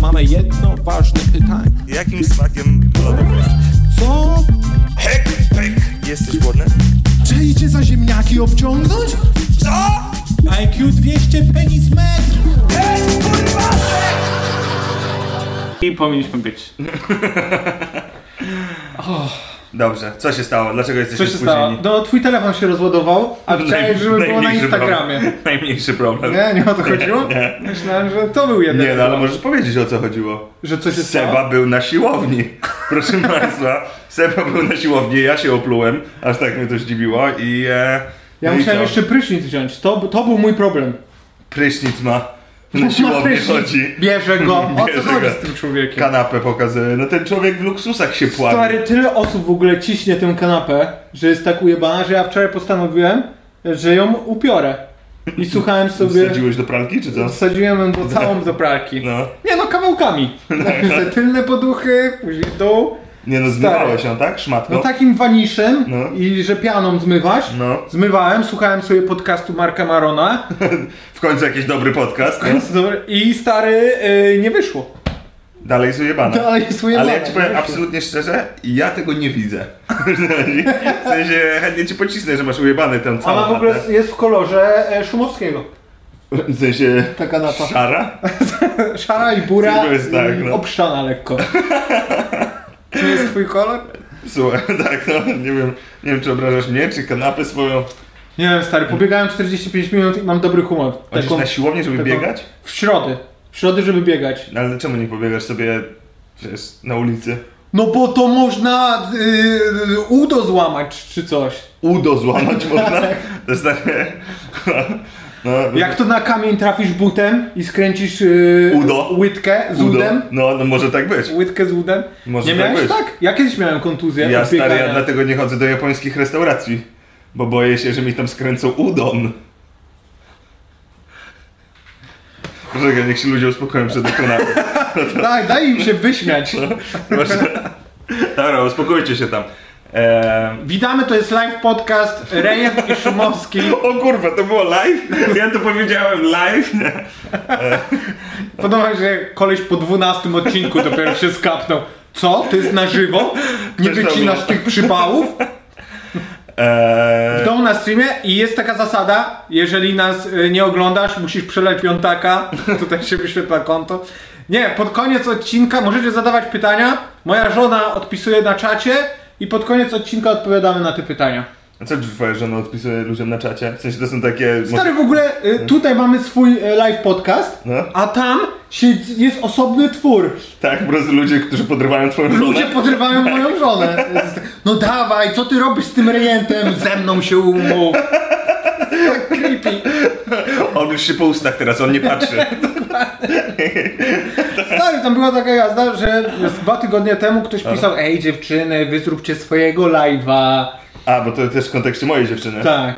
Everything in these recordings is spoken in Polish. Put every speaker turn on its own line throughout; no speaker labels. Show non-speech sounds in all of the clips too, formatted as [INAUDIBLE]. mamy jedno ważne pytanie.
Jakim smakiem lodów jesteś?
Co?
Hek, hek. Jesteś głodny?
Czy idzie za ziemniaki obciągnąć?
Co?
IQ 200 penis metr!
I powinniśmy być.
Dobrze, co się stało? Dlaczego jesteś
Co się stało? No, twój telefon się rozładował,
[LAUGHS]
a chciałeś, żeby było na Instagramie.
Problem. Najmniejszy problem.
Nie, nie
[LAUGHS]
o to chodziło? Myślałem, że to był jeden.
Nie, no ale możesz powiedzieć o co chodziło.
Że co się
Seba
stało?
był na siłowni. [LAUGHS] Proszę Państwa, Seba był na siłowni, ja się oplułem, aż tak mnie to zdziwiło i... E,
Ja
no i
musiałem
co?
jeszcze prysznic wziąć. To, to był mój problem.
Prysznic ma. Na
[LAUGHS] Ma
siłownię
prysznic,
chodzi. [LAUGHS]
Bierze go. O
Bierze
co chodzi
go.
z tym człowiekiem?
Kanapę pokazuje. No ten człowiek w luksusach się pławi.
Stary, tyle osób w ogóle ciśnie tę kanapę, że jest tak ujebana, że ja wczoraj postanowiłem, że ją upiorę. I słuchałem sobie...
Wsadziłeś do pralki, czy co?
Wsadziłem ją do całą do pralki.
No.
Nie no,
[LAUGHS]
kawałkami. Te tylne poduchy, później dół.
Nie no, zmywałeś ją, tak? Szmatką?
No takim waniszem
No.
i że pianą zmywasz.
No.
Zmywałem, słuchałem sobie podcastu Marka Marona
[LAUGHS] W końcu jakiś dobry podcast. No.
i stary y, nie wyszło.
Dalej jest ujebana.
Dalej no, jest ujebana,
Tak. Ale ja ci
nie
powiem
wyszło.
absolutnie szczerze, ja tego nie widzę. [LAUGHS] w sensie chętnie ci pocisnę, że masz ujebany tam całą
Ona w ogóle
chatę.
jest w kolorze e, Szumowskiego.
W sensie...
Ta kanapa.
Szara?
Szara i bura
To jest tak,
i
no. [LAUGHS]
obszczana lekko. Czy jest twój kolor?
Słuchaj, [LAUGHS] tak no, nie wiem, nie wiem czy obrażasz mnie, czy kanapę swoją.
Nie wiem stary, pobiegałem 45 minut i mam dobry humor.
Chodzisz na siłownię, żeby
taką-
biegać?
W środę. W środę, żeby biegać.
No ale czemu nie pobiegasz sobie, wiesz, na ulicy?
No bo to można y, udo złamać czy coś.
Udo złamać
[LAUGHS]
można? To jest takie... [LAUGHS] No,
Jak to na kamień trafisz butem i skręcisz yy,
Udo.
łydkę z
udo.
udem?
No, no może tak być.
Łydkę z udem?
Może
nie
tak
miałeś
być.
tak? Ja kiedyś miałem kontuzję
Ja
od
stary, ja
biegania.
dlatego nie chodzę do japońskich restauracji, bo boję się, że mi tam skręcą udon. Poczekaj, niech się ludzie uspokoją przed ekranami.
Daj, daj im się wyśmiać.
No. Może- Dobra, uspokójcie się tam. Ehm,
Witamy, to jest live podcast Rejek i Szumowski.
O kurwa, to było live? Ja to powiedziałem live?
Podoba mi się, że koleś po 12 odcinku dopiero się skapnął. Co? To jest na żywo? Nie
Też to
wycinasz
było.
tych przypałów?
Eee,
To na streamie i jest taka zasada, jeżeli nas y, nie oglądasz, musisz przelać piątaka, tutaj się wyświetla konto. Nie, pod koniec odcinka możecie zadawać pytania, moja żona odpisuje na czacie i pod koniec odcinka odpowiadamy na te pytania.
A co twoja żona odpisuje ludziom na czacie? W sensie to są takie...
Stary, w ogóle y, tutaj mamy swój y, live podcast,
No.
a tam się, jest osobny twór.
Tak, po prostu ludzie, którzy podrywają twoją żonę.
Ludzie podrywają moją żonę. No dawaj, co ty robisz z tym rejentem? Ze mną się umów. Tak creepy.
On już się po ustach teraz, on nie patrzy.
Stary, Tak, tam była taka jazda, że z dwa tygodnie temu ktoś pisał Ej dziewczyny, wy zróbcie swojego live'a.
A, bo to też w kontekście mojej dziewczyny.
Tak.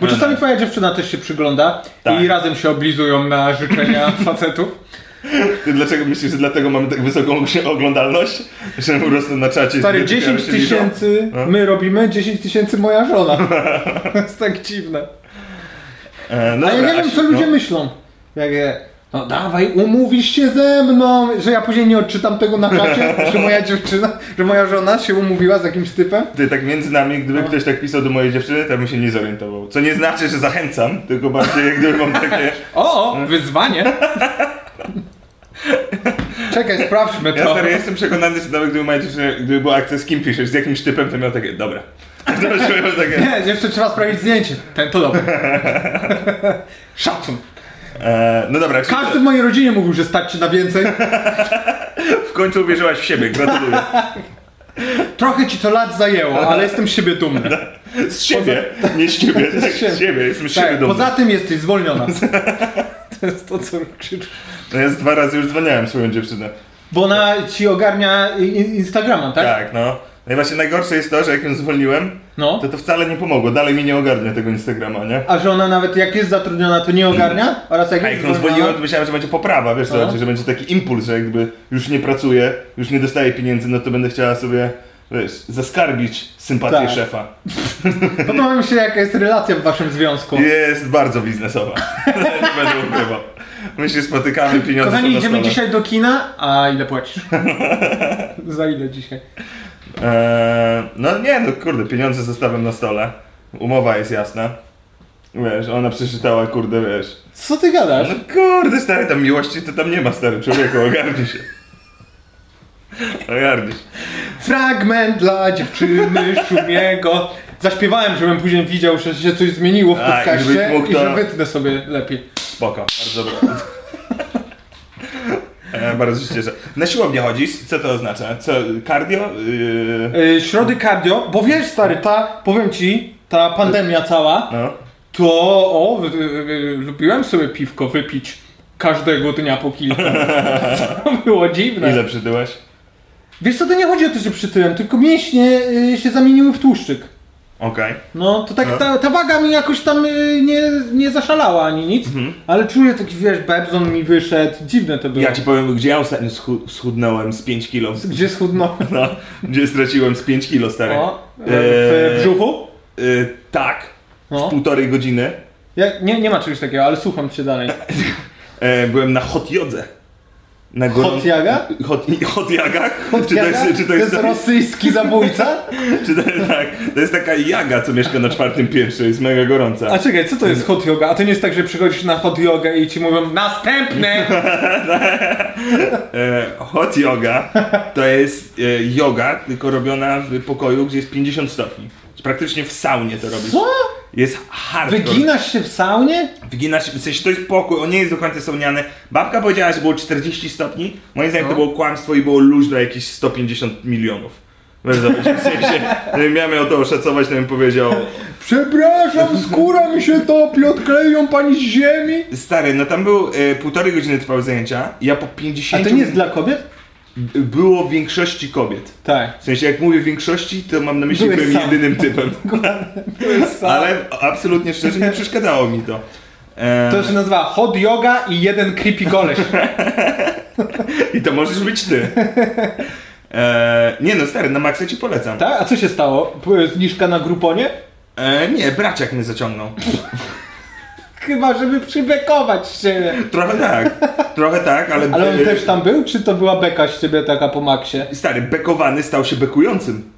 Bo czasami twoja dziewczyna też się przygląda
Tak.
i razem się oblizują na
[LAUGHS]
życzenia facetów.
Ty dlaczego myślisz, że dlatego mamy tak wysoką oglądalność? Że po prostu na czacie...
Stary,
ludzie
10
się No. liczą?
tysięcy my robimy, 10 tysięcy moja
[LAUGHS]
żona. To jest tak dziwne.
E, no
A ja
dobra,
nie wiem,
Asiu,
co ludzie
no.
myślą. Jak je, no dawaj, umówisz się ze mną, że ja później nie odczytam tego na czacie, że moja dziewczyna, że moja żona się umówiła z jakimś typem.
Ty, tak między nami, gdyby
No.
ktoś tak pisał do mojej dziewczyny, to bym się nie zorientował. Co nie znaczy, że zachęcam, tylko bardziej jak gdyby mam
[LAUGHS]
takie...
O, o, wyzwanie. Czekaj, sprawdźmy
Ja
to.
stary, jestem przekonany, że nawet gdyby moja dziewczyna, gdyby była akcja z kim piszesz, z jakimś typem, to miał takie, dobra. [LAUGHS] To już miał takie...
Nie, jeszcze trzeba sprawić zdjęcie. Ten to dobry. Szacun.
E, no dobra, czyli
Każdy w mojej rodzinie mówił, że stać się na więcej.
w końcu uwierzyłaś w siebie, gratuluję.
Trochę ci to lat zajęło, ale jestem z siebie dumny.
[LAUGHS] Z siebie, nie z ciebie,
[LAUGHS]
tak,
siebie.
z siebie, jestem z siebie
Tak,
dumny.
poza tym jesteś
[LAUGHS]
zwolniona. To jest to, co krzyczę.
No ja z dwa razy już dzwoniałem swoją dziewczynę.
Bo ona ci ogarnia i- i- Instagrama, tak?
Tak, no. No i właśnie najgorsze jest to, że jak ją zwolniłem,
No.
to to wcale nie pomogło, dalej mi nie ogarnia tego Instagrama, nie?
A że ona nawet jak jest zatrudniona, to nie ogarnia? Oraz jak
A
jest
jak ją zwolniłem, to
zwolniona...
myślałem, że będzie poprawa, wiesz co
No.
chodzi, że będzie taki impuls, że jakby już nie pracuję, już nie dostaję pieniędzy, no to będę chciała sobie, wiesz, zaskarbić sympatię
Tak.
szefa.
Podoba No. mi się, jaka jest relacja w waszym związku.
[LAUGHS] Jest bardzo biznesowa. nie No, będę ukrywał. My się spotykamy, pieniądze
Kochani,
są na
idziemy
stole.
dzisiaj do kina, a
[LAUGHS]
ile płacisz? Za ile dzisiaj?
Eee, no nie, no kurde, pieniądze zostawiam na stole. Umowa jest jasna. Wiesz, ona przeczytała, kurde, wiesz.
Co ty gadasz?
No kurde, stary, tam miłości to tam nie ma, stary człowieku, ogarnij się. Ogarnij się.
Fragment dla dziewczyny Szumiego. Zaśpiewałem, żebym później widział, że się coś zmieniło w
A, i żebyś
podcaście
mógł
i że
to-
wytnę sobie lepiej.
Spoko, bardzo dobra. Eee, bardzo się cieszę. Na siłownię chodzisz? Co to oznacza? Co, cardio? Yy,
Yy, środy cardio, bo wiesz stary, ta, powiem ci, ta pandemia cała,
no.
to o, y, y, y, lubiłem sobie piwko wypić każdego dnia po
[LAUGHS]
kilka. To było dziwne.
Ile przytyłeś?
Wiesz co, to nie chodzi o to, że przytyłem, tylko mięśnie y, się zamieniły w tłuszczyk.
Okej.
No, to tak
No.
ta, ta waga mi jakoś tam y, nie, nie zaszalała ani nic, ale czuję taki, wiesz, bebzon mi wyszedł, dziwne to było.
Mhm. Ja ci powiem, gdzie ja ostatnio schu- schudnąłem z 5 kilo.
Gdzie
[LAUGHS]
schudnąłem?
No, gdzie straciłem z 5 kilo, stary.
O, y, w
Eee,
brzuchu?
Y, tak,
No.
półtorej godziny.
Ja, nie, nie ma czegoś takiego, ale słucham cię dalej.
E, byłem na hot jodze. Na gorą...
Hot jaga?
Hot, hot jaga? Czy to
Jaga?
jest, czy to jest,
to jest rosyjski zabójca?
czy to jest, tak, to jest taka jaga, co mieszka na czwartym piętrze, jest mega gorąca.
A czekaj, co to jest hot yoga? A to nie jest tak, że przychodzisz na hot yoga i ci mówią NASTęPNY!
E, hot yoga to jest e, yoga, tylko robiona w pokoju, gdzie jest 50 stopni. Praktycznie w saunie to robisz.
Co?
Jest hardcore.
Wyginasz się w saunie?
Wygina się, w sensie to jest pokój, on nie jest do końca słoniany. Babka powiedziała, że było 40 stopni. Moim zdaniem
No.
to było kłamstwo i było luźno jakieś 150 milionów. Wiesz, zobacz, w sensie, [LAUGHS] gdybym ja miał to oszacować, to bym powiedział,
Przepraszam, skóra mi się topi, odkleją pani z ziemi!
stary, no tam był e, półtorej godziny trwały zajęcia, ja po 50
A to nie jest dla kobiet?
b- było w większości kobiet.
Tak.
W sensie, jak mówię większości, to mam na myśli,
Byłeś
byłem
sam.
jedynym
[LAUGHS]
typem. Ale absolutnie szczerze nie przeszkadzało mi to. E,
To się nazywa hot yoga i jeden creepy goleś.
[LAUGHS] I to możesz być ty. E, nie no, stary, na maksa ci polecam.
Tak? A co się stało? P- Zniżka na gruponie?
E, nie, braciak mnie zaciągnął.
Chyba, żeby przybekować z ciebie.
Trochę tak, trochę tak, ale...
Ale on
e,
też tam był, czy to była beka z ciebie taka po maksie?
Stary, bekowany stał się bekującym.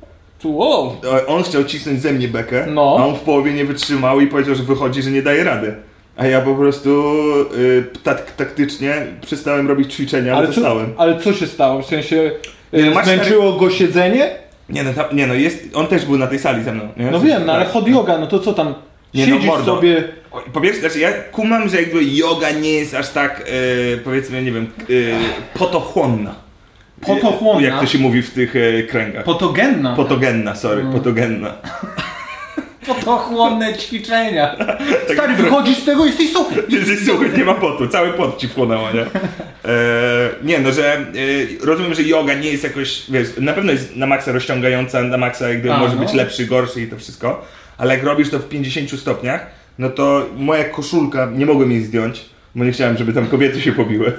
Wow.
E, On chciał cisnąć ze mnie bekę,
No.
a on w połowie nie wytrzymał i powiedział, że wychodzi, że nie daje rady. A ja po prostu y, tak, taktycznie przestałem robić ćwiczenia, ale
co,
zostałem. no
ale co się stało? W sensie e,
masz
zmęczyło go siedzenie?
Nie no, tam, nie no, jest, on też był na tej sali ze mną. Nie? tak.
No wiem, no, ale hot yoga, no to co tam?
Nie, no,
Siedzisz
mordo.
sobie...
O, Po pierwsze, znaczy ja kumam, że jakby yoga nie jest aż tak, e, powiedzmy, nie wiem, e, potochłonna.
Potochłonna.
Jak to się mówi w tych e, kręgach.
Potogenna.
Potogenna, sorry,
Mm.
potogenna.
Potochłonne ćwiczenia. Stary,
trochę-
wychodzisz z tego i jesteś suchy.
[LAUGHS] Jesteś suchy, nie ma potu, cały pot ci wchłonęło, nie? E, nie no, że e, rozumiem, że yoga nie jest jakoś, wiesz, na pewno jest na maksa rozciągająca, na maksa jakby
A,
może
no.
być lepszy, gorszy i to wszystko, ale jak robisz to w 50 stopniach, no to moja koszulka, nie mogłem jej zdjąć, bo nie chciałem, żeby tam kobiety się pobiły.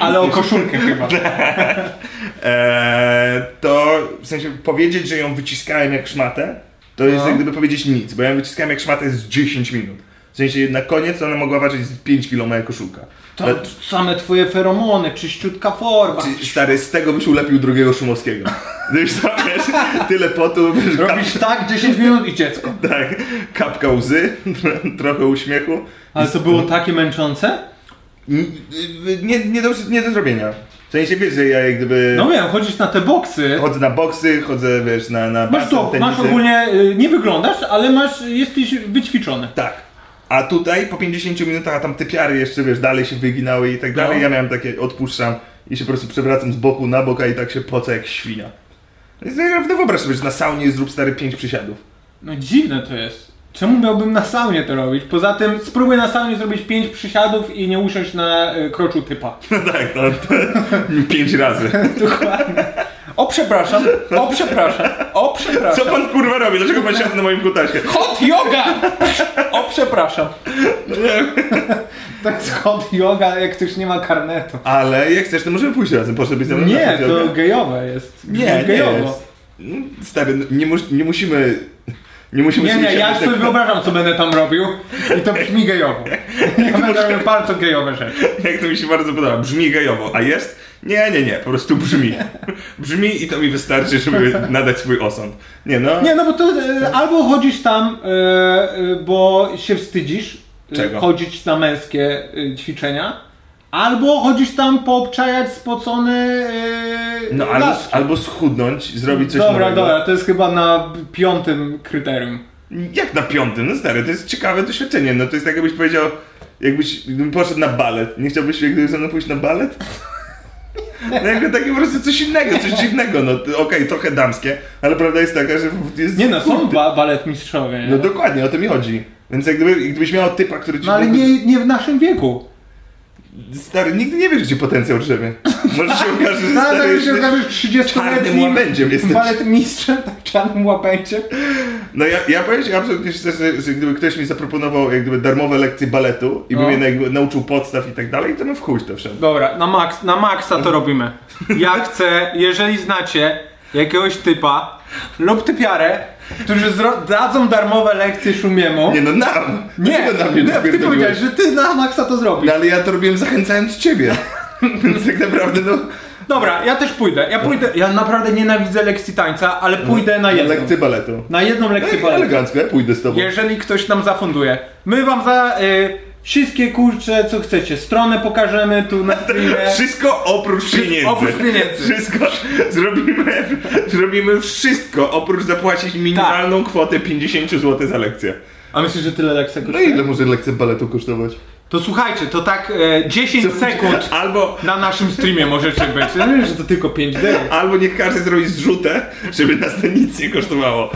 Ale o koszulkę chyba.
Eee, to w sensie powiedzieć, że ją wyciskałem jak szmatę, to jest
No.
jak gdyby powiedzieć nic, bo ja ją wyciskałem jak szmatę z 10 minut. W sensie na koniec ona mogła ważyć z 5 kg moja koszulka.
To
Ale,
same twoje feromony, czyściutka forma.
ty, stary, z tego byś ulepił drugiego
[LAUGHS]
Szumowskiego. Gdybyś tam, wiesz, tyle potu, wiesz, kap,
Robisz tak 10 minut i dziecko.
tak, kapka łzy, [LAUGHS] trochę uśmiechu.
Ale to było takie męczące?
N- Nie, nie, do, nie do zrobienia. W sensie wiesz, że ja jak gdyby
No wiem, chodzisz na te boksy.
chodzę na boksy, chodzę wiesz, na, na
Masz
basen,
to, masz
tenisy.
ogólnie, y, nie wyglądasz, ale masz, jesteś wyćwiczony.
Tak. A tutaj po 50 minutach, a tam te piary jeszcze, wiesz, dalej się wyginały i tak dalej.
No.
Ja miałem takie, odpuszczam i się po prostu przewracam z boku na bok, a i tak się poca jak świnia. Więc naprawdę wyobraź sobie, że na saunie zrób stary 5 przysiadów. [LAUGHS]
No dziwne to jest. Czemu miałbym na saunie to robić? Poza tym spróbuj na saunie zrobić 5 przysiadów i nie usiąść na y, kroczu typa. [LAUGHS]
No tak, no, [LAUGHS] 5 razy.
Dokładnie. O przepraszam, o przepraszam, o
Co
przepraszam.
pan kurwa robi? Dlaczego pan siada na moim kutasie?
Hot yoga! O przepraszam. To jest hot yoga, jak ktoś nie ma karnetu.
Ale jak chcesz, to możemy pójść razem, poszedłbyś ze mną na
Nie,
chodź,
to
okej?
gejowe jest.
Nie, nie jest. Stary, no, nie, mus, nie musimy Nie musimy
Nie,
sobie
nie, ja
siadać
sobie
tak-
wyobrażam, co będę tam robił i to brzmi gejowo. Ja będę robił bardzo gejowe rzeczy.
[LAUGHS] Jak to mi się bardzo podoba, brzmi gejowo, a jest? Nie, nie, nie, po prostu
[LAUGHS]
brzmi. Brzmi i to mi wystarczy, żeby nadać swój osąd. Nie no,
Nie, no bo to e, albo chodzisz tam, e, e, bo się wstydzisz e,
Czego?
chodzić na męskie e, ćwiczenia, albo chodzisz tam poobczajać spocony e,
no albo,
laski.
albo schudnąć, zrobić coś
Dobra,
nowego.
dobra, to jest chyba na piątym kryterium.
Jak na piątym? No stary, to jest ciekawe doświadczenie, no to jest tak jakbyś powiedział, jakbyś gdybym poszedł na balet, nie chciałbyś gdyby ze mną pójść na balet? No jakby takie po prostu coś innego, coś dziwnego, no to- okej, trochę damskie, ale prawda jest taka, że jest...
Nie no, są
Kurde.
ba balet mistrzowie. nie?
No dokładnie, o to mi chodzi. Więc jak gdyby, gdybyś miał typa, który ci...
no ale
mógłby-
nie, nie w naszym wieku.
Stary, nigdy nie wiesz, gdzie potencjał drzemie. Może się okaże, że
[LAUGHS] No,
stary
ale jak się
jesteś
okaże
czarnym
30-letnim
łabędziem jesteś.
balet mistrzem, tak czarnym łapęciem.
No ja, ja powiem ci absolutnie szczerze, że, że gdyby ktoś mi zaproponował jak gdyby darmowe lekcje baletu i bym
No.
mnie jakby nauczył podstaw i tak dalej, to bym w chuj w to wszedł.
Dobra, na, max, na maksa to robimy. Ja chcę, jeżeli znacie jakiegoś typa lub typiarę, którzy zro- dadzą darmowe lekcje Szumiemu.
Nie no, nam!
nie,
Dlaczego na mnie
nie, ty
najpierw
powiedziałeś,
robiłeś?
że ty na maksa to zrobisz.
No ale ja to robiłem zachęcając ciebie. [LAUGHS] Więc tak naprawdę no...
Dobra, ja też pójdę. Ja pójdę, ja naprawdę nienawidzę lekcji tańca, ale pójdę na jedną.
Lekcje baletu.
Na jedną lekcję
Ej,
baletu.
elegancko, ja pójdę z tobą.
Jeżeli ktoś nam zafunduje. My wam za y, wszystkie kurcze, co chcecie. Stronę pokażemy tu na streamie. [LAUGHS]
Wszystko oprócz
Wszystko
pieniędzy.
oprócz pieniędzy.
Wszystko zrobimy, zrobimy wszystko oprócz zapłacić
Tak.
minimalną kwotę 50 zł za lekcję.
A myślisz, że tyle lekcja
No
kosztuje?
ile może lekcja baletu kosztować?
To słuchajcie, to tak e, 10 sekund
Albo,
na naszym streamie możecie być. Ja wiem, że to tylko 5 d
albo niech każdy zrobi zrzutę, żeby nas to nic nie kosztowało.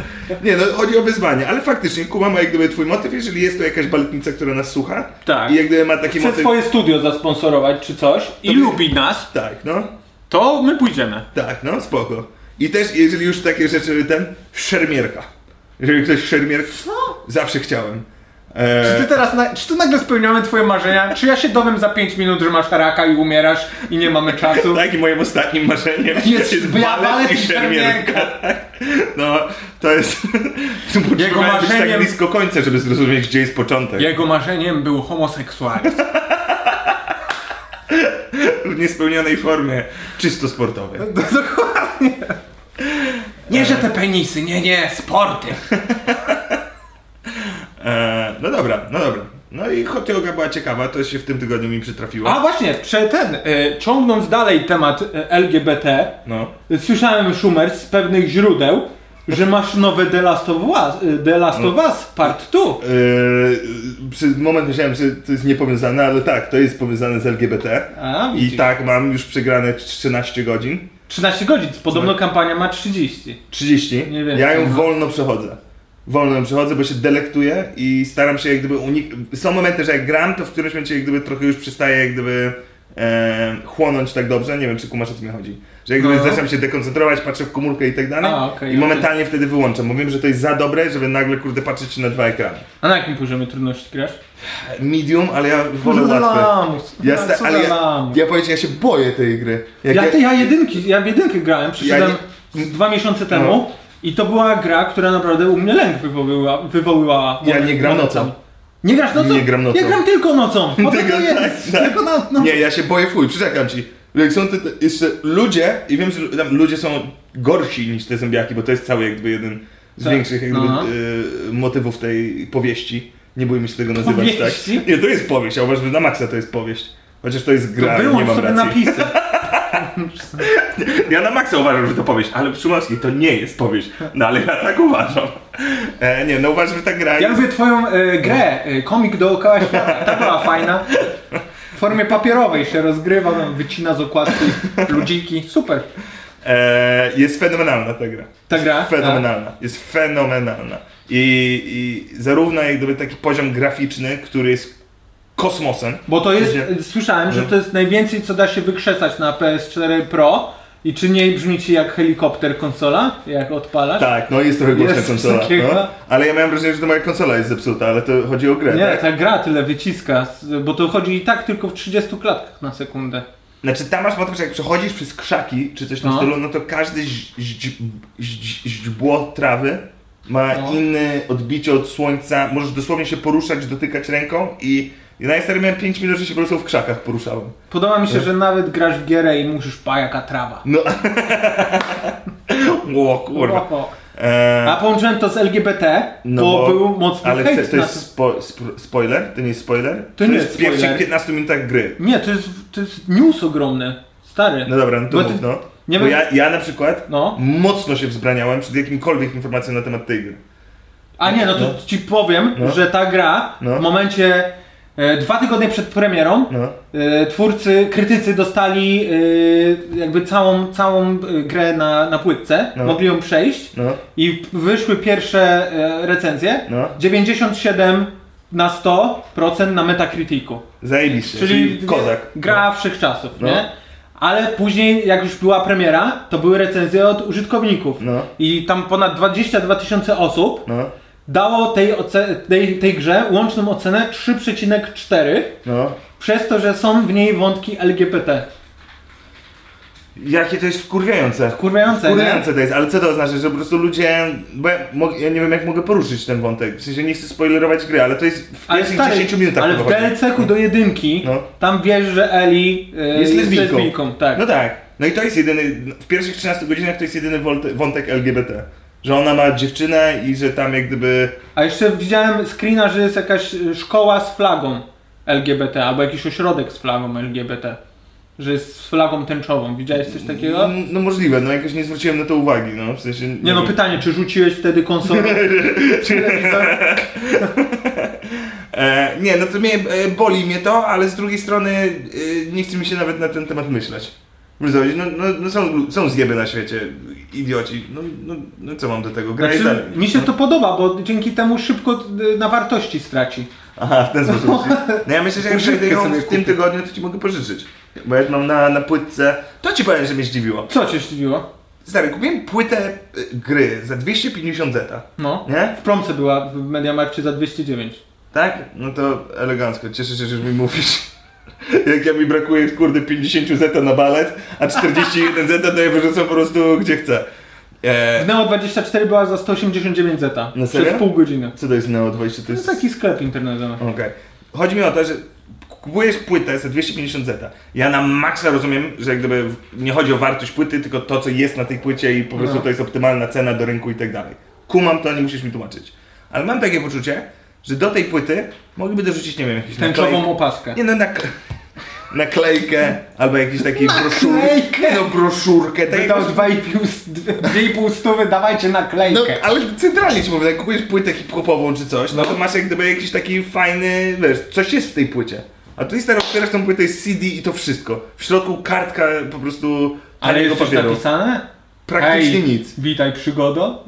Nie, no chodzi o wyzwanie, ale faktycznie kumam jak gdyby twój motyw, jeżeli jest to jakaś baletnica, która nas słucha
Tak.
i jak gdyby ma taki
Chce
motyw...
swoje studio zasponsorować czy coś i
To by-
lubi nas,
Tak, no,
to my pójdziemy.
tak, no, spoko. I też jeżeli już takie rzeczy, ten, szermierka. Jeżeli ktoś szermierka, zawsze chciałem. Eee,
Czy ty teraz, na, czy tu nagle spełniamy twoje marzenia? Czy ja się dowiem za 5 minut, że masz raka i umierasz i nie mamy czasu?
Tak, i moim ostatnim marzeniem
Jest bla- balet i
No, to jest... [LAUGHS] Jego marzeniem... być tak
marzeniem-
blisko końca, żeby zrozumieć, gdzie jest początek.
Jego marzeniem był [LAUGHS] homoseksualizm.
W niespełnionej formie, czysto sportowej.
Dokładnie. Nie, że te penisy, nie, nie, sporty.
E, no dobra, no dobra. No i hot yoga była ciekawa, to się w tym tygodniu mi
A
przytrafiło.
właśnie, prze ten, e, ciągnąc dalej temat e, LGBT,
No.
y, Słyszałem Schumer z pewnych źródeł, że masz nowe The Last of Us, y, The Last of Us Part 2.
E, Yy, przy, moment myślałem, że to jest niepowiązane, ale tak, to jest powiązane z LGBT.
A,
I
widzisz.
tak, mam już przegrane 13 godzin.
13 godzin, podobno kampania ma 30.
30.
Nie wiem, no.
ja ją
co ma.
wolno przechodzę. Wolno ją przechodzę, bo się delektuję i staram się jak gdyby uniknąć. Są momenty, że jak gram, to w którymś momencie jak gdyby trochę już przestaję jak gdyby e, chłonąć tak dobrze. Nie wiem, czy kumasz o co mi chodzi. Że jak gdyby
No.
zaczynam się dekoncentrować, patrzę w komórkę i tak dalej.
A, okej,
I
okej.
momentalnie wtedy wyłączam, bo wiem, że to jest za dobre, żeby nagle kurde patrzeć na dwa ekrany.
A na jakim poziomie trudności grasz?
Medium, ale ja wolę łatwe.
lamus.
Ja,
Ja,
sta- ale ja, ja powiem ci, ja się boję tej gry. Jak
ja, ty, ja jedynki, ja w jedynkę grałem, przyszedłem
nie- No.
z dwa miesiące temu i to była gra, która naprawdę u mnie lęk wywołyła. wywołyła
Ja
moment-
nie gram
momentami.
nocą.
Nie grasz nocą?
Nie gram nocą.
Ja gram tylko
[LAUGHS]
nocą. Po to
Tylko-
to jest.
tak, tak.
Tylko na, no.
Nie, ja się boję fuj, przyrzekam ci. Jak są te, te jeszcze ludzie, i wiem, że tam ludzie są gorsi niż te zębiaki, bo to jest cały jakby jeden z
Tak.
większych jakby,
Aha.
y, motywów tej powieści. Nie bójmy się tego nazywać,
Powieści?
tak? Nie, to jest powieść, ja uważam, że na maksa to jest powieść. Chociaż to jest gra,
To
nie
wyłącz
mam
sobie
racji.
napisy.
Ja na maksa uważam, że to powieść, ale Szumowski to nie jest powieść. No ale ja tak uważam. E, nie, no uważam, że ta gra
Ja
jest...
lubię twoją e, grę, e, komik dookoła świata, ta była fajna. W formie papierowej się rozgrywa, tam wycina z okładki ludziki, super.
E, jest fenomenalna ta gra.
Ta gra?
Fenomenalna. Jest fenomenalna. I, I zarówno jak gdyby taki poziom graficzny, który jest kosmosem.
Bo to jest,
Gdzie?
e, słyszałem, że to jest najwięcej co da się wykrzesać na PS4 Pro i czy nie brzmi ci jak helikopter konsola, jak odpalasz?
Tak, no jest trochę głośna
Jest
konsola.
takiego.
No. Ale ja miałem wrażenie, że to moja konsola jest zepsuta, ale to chodzi o grę,
Nie,
tak?
ta gra tyle wyciska, s- bo to chodzi i tak tylko w 30 klatkach na sekundę.
Znaczy tam masz motyw, że jak przechodzisz przez krzaki czy coś w tym
No.
stylu, no to każde ź- ź- ź- ź- źdźbło trawy ma
No.
inne odbicie od słońca, możesz dosłownie się poruszać, dotykać ręką i ja najstary miałem 5 minut, że się po prostu w krzakach poruszałem.
Podoba mi się, że nawet grasz w gierę i musisz pajaka trawa.
O kurwa.
Oho.
Eee,
A połączyłem to z LGBT,
no
bo,
bo-
był mocny
Ale
hejt
chcę- to
na
jest
to.
spo, sp- spoiler? To nie jest spoiler? To,
nie
jest
jest
w pierwszych
spoiler.
15 minutach tak gry.
Nie, to jest, to jest news ogromny, stary.
No dobra, no to
Bo
mów,
ty-
no.
nie
Bo
wiem-
ja, ja na przykład
No.
mocno się wzbraniałem przed jakimkolwiek informacją na temat tej gry.
A nie, no to
No.
ci powiem,
No.
że ta gra
No.
w momencie e, dwa tygodnie przed premierą
No.
e, twórcy, krytycy dostali e, jakby całą, całą e, grę na, na płytce,
No.
mogli ją przejść
No.
i wyszły pierwsze e, recenzje.
No.
97 na 100% na Metacriticu.
Zajebiście, czyli,
Czyli
kozak.
gra wszechczasów,
No.
nie? Ale później, jak już była premiera, to były recenzje od użytkowników.
No.
I tam ponad 22 tysiące osób
No,
dało tej, oce- tej, tej grze łączną ocenę 3,4
no.
przez to, że są w niej wątki LGBT.
Jakie to jest wkurwiające.
Kurwiające,
Wkurwiające to jest, ale co to oznacza, że po prostu ludzie... Bo ja, mo- ja nie wiem, jak mogę poruszyć ten wątek. W sensie nie chcę spoilerować gry, ale to jest w
Ale,
pierwszych 10 minutach
ale w
chyba chodzi.
DLC-ku do jedynki,
No.
tam wiesz, że Eli y,
Jest lesbijką.
tak.
No tak. No i to jest jedyny... W pierwszych 13 godzinach to jest jedyny wolt- wątek LGBT. Że ona ma dziewczynę i że tam jak gdyby...
A jeszcze widziałem screena, że jest jakaś y, szkoła z flagą LGBT, albo jakiś ośrodek z flagą LGBT. Że jest z flagą tęczową. Widziałeś coś takiego?
No, no możliwe, no jakoś nie zwróciłem na to uwagi, no. W sensie...
Nie no,
wiem.
pytanie, czy rzuciłeś wtedy konsolę? telewizor?
E, nie, no to mnie e, boli mnie to, ale z drugiej strony e, nie chce mi się nawet na ten temat myśleć. Wiesz, zobacz, No, no, no są, są zjeby na świecie, idioci. No, no, no co mam do tego? [LAUGHS] tak- Graj
Znaczy,
dalej. No.
mi się to podoba, bo dzięki temu szybko y, na wartości straci.
Aha, w ten sposób. No ja myślę, że jak
Używkę
przejdę ją
sobie
w tym
kupię.
tygodniu, to ci mogę pożyczyć. Bo jak mam na, na płytce, to ci powiem, że mnie zdziwiło.
Co cię zdziwiło?
Stary, kupiłem płytę e, gry za 250 zeta.
No.
Nie?
W promce była w Mediamarkcie za 209.
Tak? No to elegancko. Cieszę się, że mi mówisz. [LAUGHS] Jak ja mi brakuje, kurde, 50 zeta na balet, a 41 zeta to ja wyrzucam po prostu gdzie chcę.
W
Eee,
Neo 24 była za 189 zeta.
No serio?
przez pół godziny.
co to jest Neo 20? To
To
jest... No
jest taki sklep internetowy.
Okej. Chodzi mi o to, że kupujesz płytę za 250 zeta. Ja na maksa rozumiem, że jak gdyby nie chodzi o wartość płyty, tylko to, co jest na tej płycie i po prostu
No.
to jest optymalna cena do rynku i tak dalej. Kumam to, nie musisz mi tłumaczyć. Ale mam takie poczucie, że do tej płyty mogliby dorzucić, nie wiem, jakieś
Tęczową
naklejki.
opaskę.
Nie no, nak [LAUGHS] naklejkę, albo jakiś taki broszur...
Naklejkę!
No broszurkę, tak
Wydał
jak-
2,5 stówy, dawajcie naklejkę.
No, ale centralnie ci mówię, jak kupujesz płytę hip-hopową czy coś, no to masz jak gdyby jakiś taki fajny, wiesz, coś jest w tej płycie. A tu stary, otwierasz tą płytę, jest CD i to wszystko. W środku kartka po prostu
ale
taniego
jest coś napisane?
Praktycznie
Hej,
nic.
Witaj przygodo.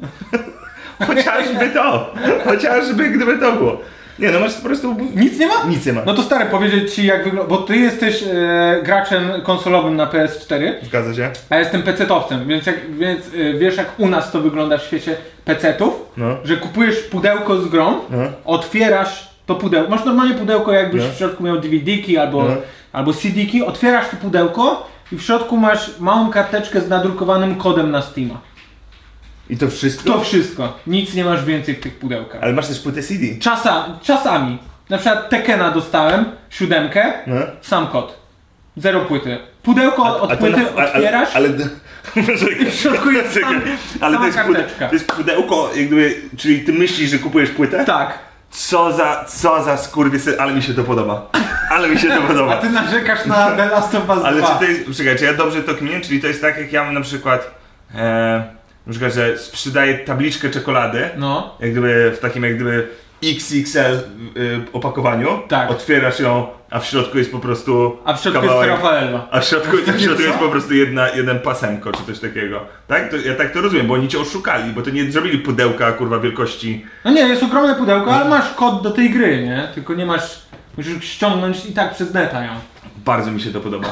Chociażby to! Chociażby gdyby to było. Nie no, masz po prostu...
Nic nie ma?
Nic nie ma.
No to stary, powiedzieć ci jak wygląda, bo ty jesteś e, graczem konsolowym na PS4,
Zgadza się?
a ja jestem pecetowcem, więc, jak, więc e, wiesz jak u nas to wygląda w świecie pecetów,
No.
że kupujesz pudełko z grą,
No.
otwierasz to pudełko, masz normalnie pudełko jakbyś
No.
w środku miał DVD-ki albo,
No.
albo CD-ki, otwierasz to pudełko i w środku masz małą karteczkę z nadrukowanym kodem na Steama.
I to wszystko?
To wszystko. Nic nie masz więcej w tych pudełkach.
No. Ale masz też płytę CD.
Czasa, czasami. Na przykład Tekena dostałem, siódemkę,
No.
sam kod. Zero płyty. Pudełko od
to na-
płyty
a-
otwierasz.
Ale, [LAUGHS] ale,
w
[LAUGHS]
środku jest sam-
ale to,
sama
jest pude,
karteczka.
to jest pudełko, jak gdyby, czyli ty myślisz, że kupujesz płytę?
Tak.
Co za, co za skurwysy, ale mi się to podoba. Ale mi się to
[LAUGHS] A
podoba.
ty narzekasz na The Last of Us
Ale
2.
czy to jest, czekajcie, ja dobrze to kminię, czyli to jest tak jak ja mam na przykład, e, na przykład, że sprzedaję tabliczkę czekolady,
No.
jak gdyby w takim jak gdyby XXL y, opakowaniu,
Tak.
otwierasz ją, a w środku jest po prostu
A w środku jest Rafaello.
a w
[LAUGHS]
środku, w środku
co?
jest po prostu jedna, jeden pasemko czy coś takiego. Tak? To, ja tak to rozumiem, bo oni cię oszukali, bo to nie zrobili pudełka kurwa wielkości.
No nie, jest ogromne pudełko, ale masz kod do tej gry, nie? Tylko nie masz... Musisz ściągnąć i tak przez neta ją.
Bardzo mi się to podoba.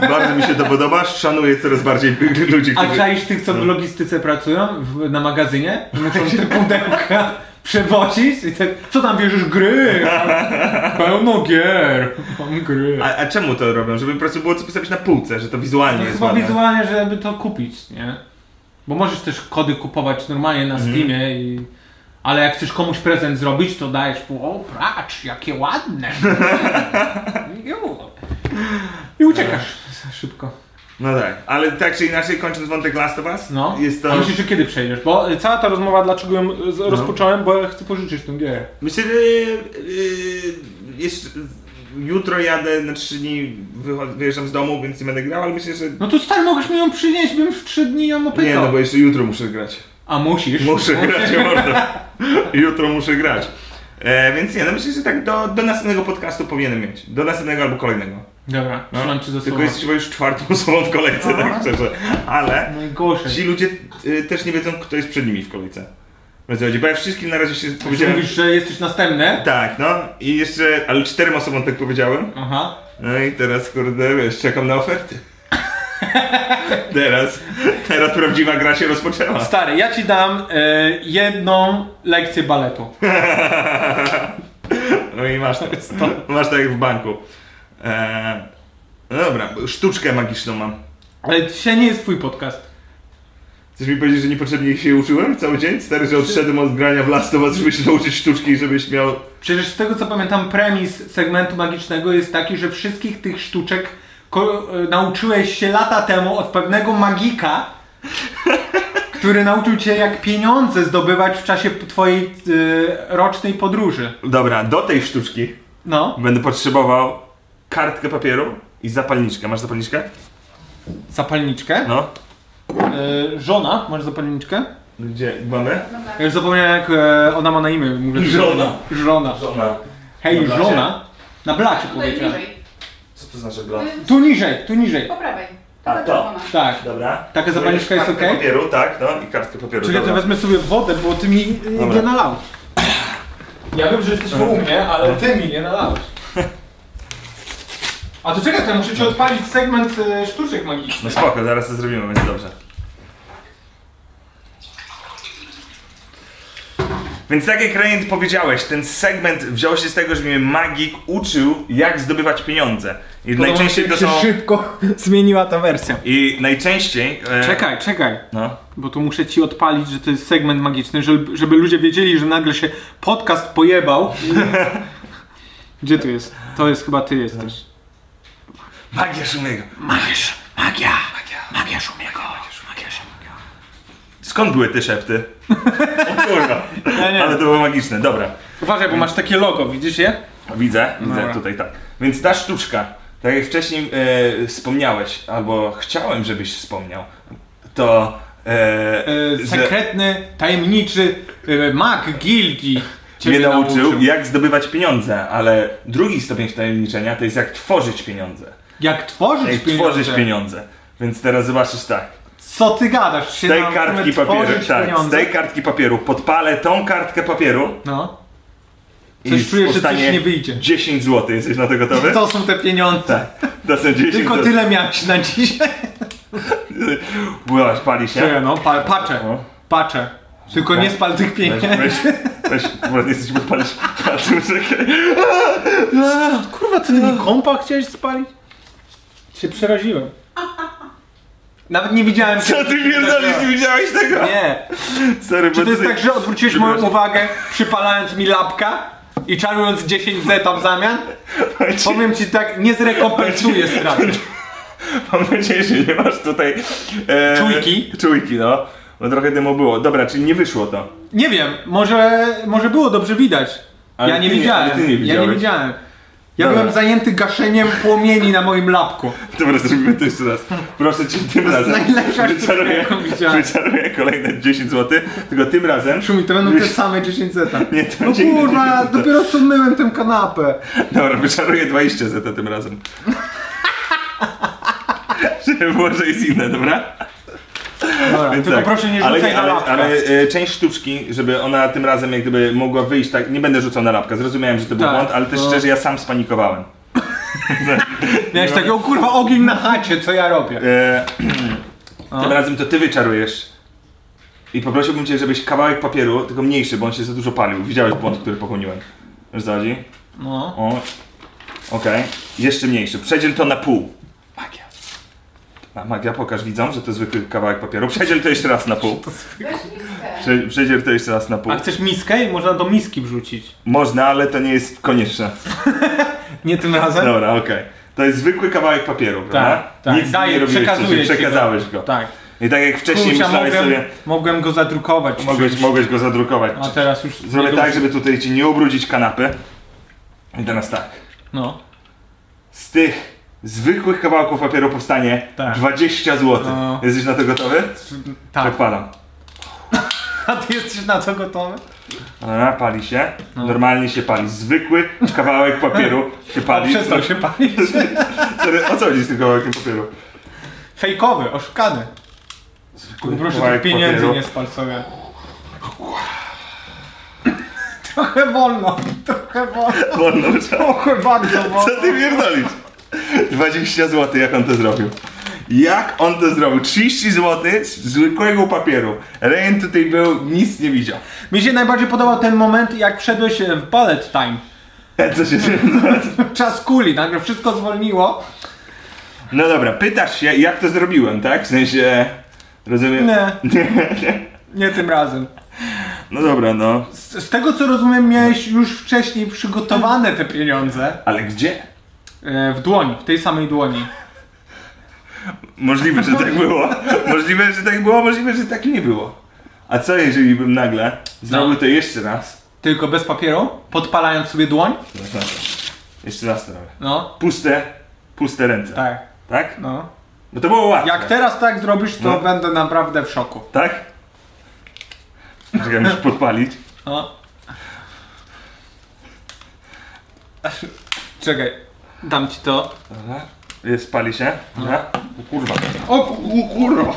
Bardzo mi się to podoba. Szanuję coraz bardziej [LAUGHS] ludzi,
A
którzy...
czaisz tych, co w logistyce pracują w, na magazynie? i Muszą te pudełka [LAUGHS] przewozić i tak, co tam wierzysz?
[LAUGHS]
Gry! Pełno gier! Mam gry.
A, a czemu to robią? Żeby po prostu było co pisać na półce, że to wizualnie
No
jest
chyba
ładne.
wizualnie,
Mhm.
żeby to kupić, nie? Bo możesz też kody kupować normalnie na Steamie i Ale jak chcesz komuś prezent zrobić, to dajesz mu, o pracz, jakie
[LAUGHS]
ładne. I uciekasz szybko.
No tak, ale tak czy inaczej, kończąc wątek Last of Us,
No.
jest to... No.
A myślisz, że kiedy przejdziesz? Bo y, cała ta rozmowa, dlaczego ją y, z- rozpocząłem, bo ja chcę pożyczyć tę gierę.
Myślę, że yy, jeszcze jutro jadę na trzy dni, wycho- wyjeżdżam z domu, więc nie będę grał, ale myślę, że...
No to stary, mogłeś mi ją przynieść, bym w trzy dni ją opykał.
Nie, no bo jeszcze jutro muszę grać.
A musisz.
Muszę grać, mordo. Jutro muszę grać. E, więc nie, no myślę, że tak do, do następnego podcastu powinienem mieć. Do następnego albo kolejnego.
Dobra,
No.
trzymam cię za słowo.
Tylko jesteś chyba już czwartą osobą w kolejce, tak szczerze. Ale
No
ci
Najgorsze.
ludzie y, też nie wiedzą, kto jest przed nimi w kolejce. W zasadzie, Bo ja wszystkim na razie się powiedziałem...
Mówisz, że jesteś następny?
Tak, no i jeszcze, ale czterem osobom tak powiedziałem.
Aha.
No i teraz, kurde, wiesz, czekam na oferty. [LAUGHS] teraz, teraz prawdziwa gra się rozpoczęła.
Stary, ja ci dam y, jedną lekcję baletu.
No i masz tak, masz tak jak w banku. Eee, no dobra, sztuczkę magiczną mam.
Ale dzisiaj nie jest twój podcast.
Chcesz mi powiedzieć, że niepotrzebnie się uczyłem cały dzień? Stary, że odszedłem od grania w Last of Us, żeby się nauczyć sztuczki i żebyś miał...
Przecież z tego co pamiętam, premis segmentu magicznego jest taki, że wszystkich tych sztuczek ko- y, nauczyłeś się lata temu od pewnego magika, który nauczył cię jak pieniądze zdobywać w czasie p- twojej y, rocznej podróży.
Dobra, do tej sztuczki
No,
będę potrzebował kartkę papieru i zapalniczkę. Masz zapalniczkę?
Tak. zapalniczkę.
No.
Y, żona, masz zapalniczkę?
Gdzie mamy?
Ja już zapomniałem jak e, ona ma na imię. Mówię, że-
Żona.
Żona.
No.
Hej,
blacie?
żona. Na blacie
Tutaj
powiedziałem.
bliżej.
Co to znaczy
Tu niżej, tu niżej.
Po prawej.
A,
Ta
to.
czerwona.
Tak.
Dobra.
Taka zapalniczka jest
Kartkę
okej?
papieru, tak, no i kartkę papieru.
Czekaj, to
dobra.
wezmę sobie wodę, bo ty mi y,
Dobra.
nie nalałeś. Ja wiem, że jesteś u mnie, ale ty mi nie nalałeś. A to czekaj, to muszę ci odpalić segment e, sztuczek magicznych.
No spoko, zaraz to zrobimy, będzie dobrze. Więc tak jak Rejent powiedziałeś, ten segment wziął się z tego, że mnie magik uczył, jak zdobywać pieniądze. I najczęściej to są...
szybko [LAUGHS] zmieniła ta wersja.
I najczęściej... E...
Czekaj, czekaj.
No.
Bo tu muszę ci odpalić, że to jest segment magiczny, żeby, żeby ludzie wiedzieli, że nagle się podcast
[LAUGHS]
pojebał. Gdzie tu jest? To jest chyba ty jesteś.
Magia Szumiego.
Magisz, magia, magia, magia Szumiego, magia Szumiego.
Skąd były te
[LAUGHS]
szepty? O kurwa.
Ja nie
Ale to było magiczne, dobra.
Uważaj, bo masz takie logo, widzisz je?
Widzę, widzę
Dobra.
tutaj tak. Więc ta sztuczka, tak jak wcześniej e, wspomniałeś, albo chciałem, żebyś wspomniał, to. E,
E,
że
sekretny, tajemniczy e, mag gildii ciebie
mnie nauczył, jak zdobywać pieniądze, ale drugi stopień wtajemniczenia to jest jak tworzyć pieniądze.
Jak tworzyć
Jak
pieniądze.
tworzyć pieniądze. Więc teraz zobaczysz tak.
Co ty gadasz? Się
Z tej
nauczymy
kartki papieru,
tworzyć
tak, z
pieniądze?
tej kartki papieru podpalę tą kartkę papieru
No. Coś
i
czuję, że coś
powstanie
nie wyjdzie.
10 zł. Jesteś na to gotowy?
To są te pieniądze.
Tak. To są 10
Tylko
zł.
tyle miałeś na dzisiaj.
Byłaś, pali się.
Czekaj, no, pa, patrzę,
No.
patrzę. Tylko nie spal tych
Weź,
pieniędzy.
weź, weź, bo jesteś podpalić palcem, czekaj.
Kurwa, ty mi kompa chciałeś spalić? Się przeraziłem. Nawet nie widziałem
Co ty pierdolisz, nie widziałeś tego?
Nie.
Stary,
Czy to jest tak, że odwróciłeś moją
Przepraszam.
uwagę, przypalając mi lapka i czarując 10 zeta w zamian? Powiem ci tak, nie zrekompensuję straty.
Mam nadzieję, że nie masz tutaj... E,
Czujki?
Czujki, no. Bo trochę dymu było. Dobra, czyli nie wyszło to.
Nie wiem, może, może było dobrze widać.
Ale
ja nie
ty nie-
widziałem.
ale ty nie
ja nie
widziałeś.
widziałem. Ja
Dobra.
byłem zajęty gaszeniem płomieni na moim lapku.
Dobra, zrobimy to jeszcze raz. Proszę cię tym razem.
najlepsza sztuka,
wyczaruję,
jaką widziałem.
wyczaruję kolejne 10 zł, tylko tym razem...
Szumi, to będą te same 10 zeta.
[LAUGHS] Nie, to
No
będzie inne
kurwa,
10 zeta.
dopiero co myłem tę kanapę.
Dobra, wyczaruję 20 zeta tym
[LAUGHS]
razem. Żeby było, że jest inne, dobra?
Dobra,
Więc
tylko
tak.
proszę nie
ale,
rzucaj na
ale,
lapka.
ale e, część sztuczki, żeby ona tym razem jak gdyby mogła wyjść, tak, nie będę rzucał na lapka, zrozumiałem, że to był
Tak,
błąd, ale też
no.
szczerze ja sam spanikowałem. no.
Miałeś takiego kurwa ogień na chacie, co ja robię.
E, [CLEARS THROAT]
No.
tym razem to ty wyczarujesz. I poprosiłbym cię, żebyś kawałek papieru, tylko mniejszy, bo on się za dużo palił. Widziałeś błąd, który popełniłem. Wiesz co chodzi?
No.
O. Okej. Jeszcze mniejszy. Przedziel to na pół. Magia. A magia, pokaż widzom, że to zwykły kawałek papieru. Przedziel to jeszcze raz na
[LAUGHS]
pół.
Weź miskę.
Prze- Przedziel to jeszcze raz na pół.
A chcesz miskę i można do miski wrzucić.
Można, ale to nie jest konieczne.
Nie tym razem?
Dobra, okej. To jest zwykły kawałek papieru, prawda?
tak.
Nic
Daję,
nie robiłeś
przekazuję
wcześniej,
ci go.
przekazałeś go.
Tak.
I tak jak wcześniej
Kurczę,
myślałeś
mogłem,
sobie,
mogłem go zadrukować.
mogłeś, mogłeś go zadrukować.
A teraz już.
Zrobię
nie
tak,
dużo.
żeby tutaj ci nie ubrudzić kanapy. I teraz tak.
No.
Z tych zwykłych kawałków papieru powstanie
Tak.
20 zł.
No.
Jesteś na to gotowy?
Tak.
Zakładam.
[LAUGHS] A ty jesteś na to gotowy? No,
Dobra, pali się. Normalnie się pali. Zwykły kawałek
[LAUGHS]
papieru się
A
pali.
przestał
[LAUGHS]
się palić.
Sorry, O co chodzi z tym kawałkiem papieru?
Fejkowy, oszukany.
Zwykły
Proszę
kawałek
tych pieniędzy
papieru.
nie spal sobie. Trochę wolno, [LAUGHS] trochę wolno.
Wolno, trzeba.
Trochę bardzo wolno.
Co ty pierdolisz? 20 zł, jak on to zrobił. Jak on to zrobił? 30 zł z zwykłego papieru. Rejent tutaj był, nic nie widział.
Mi się najbardziej podobał ten moment, jak wszedłeś e, w bullet time. [LAUGHS]
Co się [LAUGHS]
Czas kuli, nagle wszystko zwolniło.
No dobra, pytasz się, jak to zrobiłem, tak? W sensie. Rozumiem.
Nie.
[LAUGHS]
Nie tym razem.
No dobra, no.
Z, z tego co rozumiem, miałeś już wcześniej przygotowane te pieniądze
Ale gdzie?
e, w dłoni, w tej samej dłoni.
Możliwe, że tak było. Możliwe, że tak było, możliwe, że tak nie było. A co jeżeli bym nagle zrobił
No.
to jeszcze raz?
Tylko bez papieru, podpalając sobie dłoń.
Zapraszam. Jeszcze raz to robię.
No,
Puste, puste ręce.
tak,
Tak?
no.
No to było łatwe.
Jak teraz tak zrobisz, to
No.
będę naprawdę w szoku.
Tak? Czekaj, muszę podpalić.
No. Czekaj, dam ci to.
Dobra. Jest, pali się. Dobra. O No kurwa.
O, ku-
O kurwa.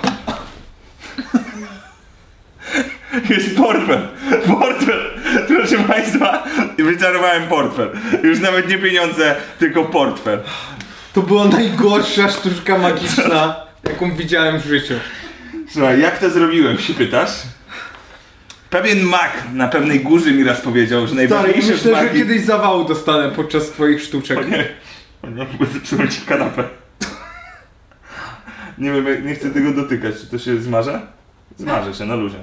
Jest portfel. Portfel. Proszę Państwa, wyczarowałem portfel. Już nawet nie pieniądze, tylko portfel.
to była najgorsza sztuczka magiczna, jaką widziałem w życiu.
Słuchaj, jak to zrobiłem, się pytasz? Pewien mak na pewnej górze mi raz powiedział, że
Stary,
najważniejsze w
myślę, że
magii...
kiedyś zawału dostanę podczas twoich sztuczek.
O nie, o [LAUGHS] nie, bo zepsułem ci kanapę. Nie wiem, jak- nie chcę tego dotykać. Czy to się zmarza? Zmarzę się, na luzie.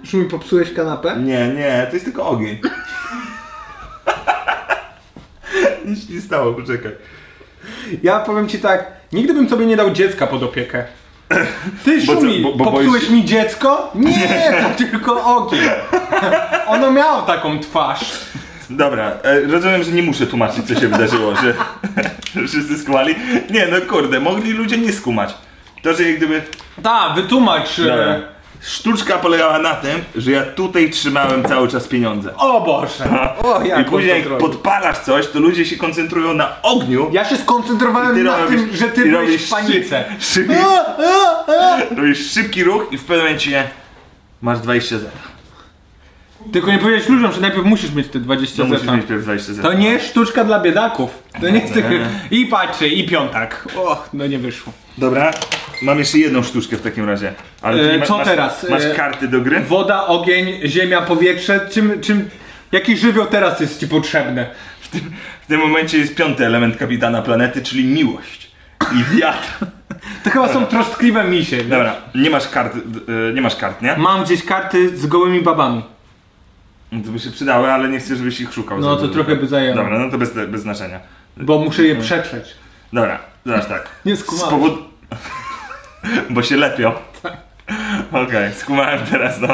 Już mi popsułeś kanapę?
Nie, nie, to jest tylko
[LAUGHS]
ogień. Nic nie stało, poczekaj.
Ja powiem ci tak, nigdy bym sobie nie dał dziecka pod opiekę. Ty
Bo co,
Szumi,
bo- bo
popsułeś
boisz się-
mi dziecko?
[LAUGHS]
Nie, to tylko ogień. Ono miało taką twarz.
Dobra, e, rozumiem, że nie muszę tłumaczyć, co się wydarzyło,
[LAUGHS]
że że wszyscy skumali. Nie, no kurde, mogli ludzie nie skumać. To, że jak gdyby...
Ta, wytłumacz. e,
Dobra. Sztuczka polegała na tym, że ja tutaj trzymałem cały czas pieniądze.
O
[LAUGHS]
Boże! O, jak
I
on to
później jak
zrobił.
podpalasz coś, to ludzie się koncentrują na ogniu.
Ja się
I ty
skoncentrowałem na
robisz-
tym, że ty
i
byłeś
robisz [LAUGHS]
w panice.
szyb- szybki- Robisz szybki ruch i w pewnym momencie masz 20 zeta.
Tylko nie powiedziałeś ludziom, że najpierw musisz mieć te 20
To No, musisz
zeta.
mieć No, pierw 20 zeta.
To nie sztuczka dla biedaków. To nie jest tylko... I patrzy, i piątak. Och, no nie wyszło.
Dobra, mam jeszcze jedną sztuczkę w takim razie. Ale ty
E,
nie ma-
co
masz,
teraz?
Masz
E,
karty do gry?
Woda, ogień, ziemia, powietrze. Czym, czym... Jaki żywioł teraz jest ci potrzebny?
W tym momencie jest piąty element kapitana planety, czyli miłość. I wiatr.
To chyba są troskliwe misie. nie?
Dobra, nie masz kart, e, nie masz kart, nie?
Mam gdzieś karty z gołymi babami.
To by się przydały, ale nie chcę, żebyś ich szukał.
No,
za
to
dużo.
trochę by zajęło.
Dobra, no to bez, bez znaczenia.
Bo muszę je przetrzeć.
Dobra, zaraz tak.
Nie skumałem.
Z powodu... [LAUGHS] Bo się lepią. Okej, skumałem teraz, no.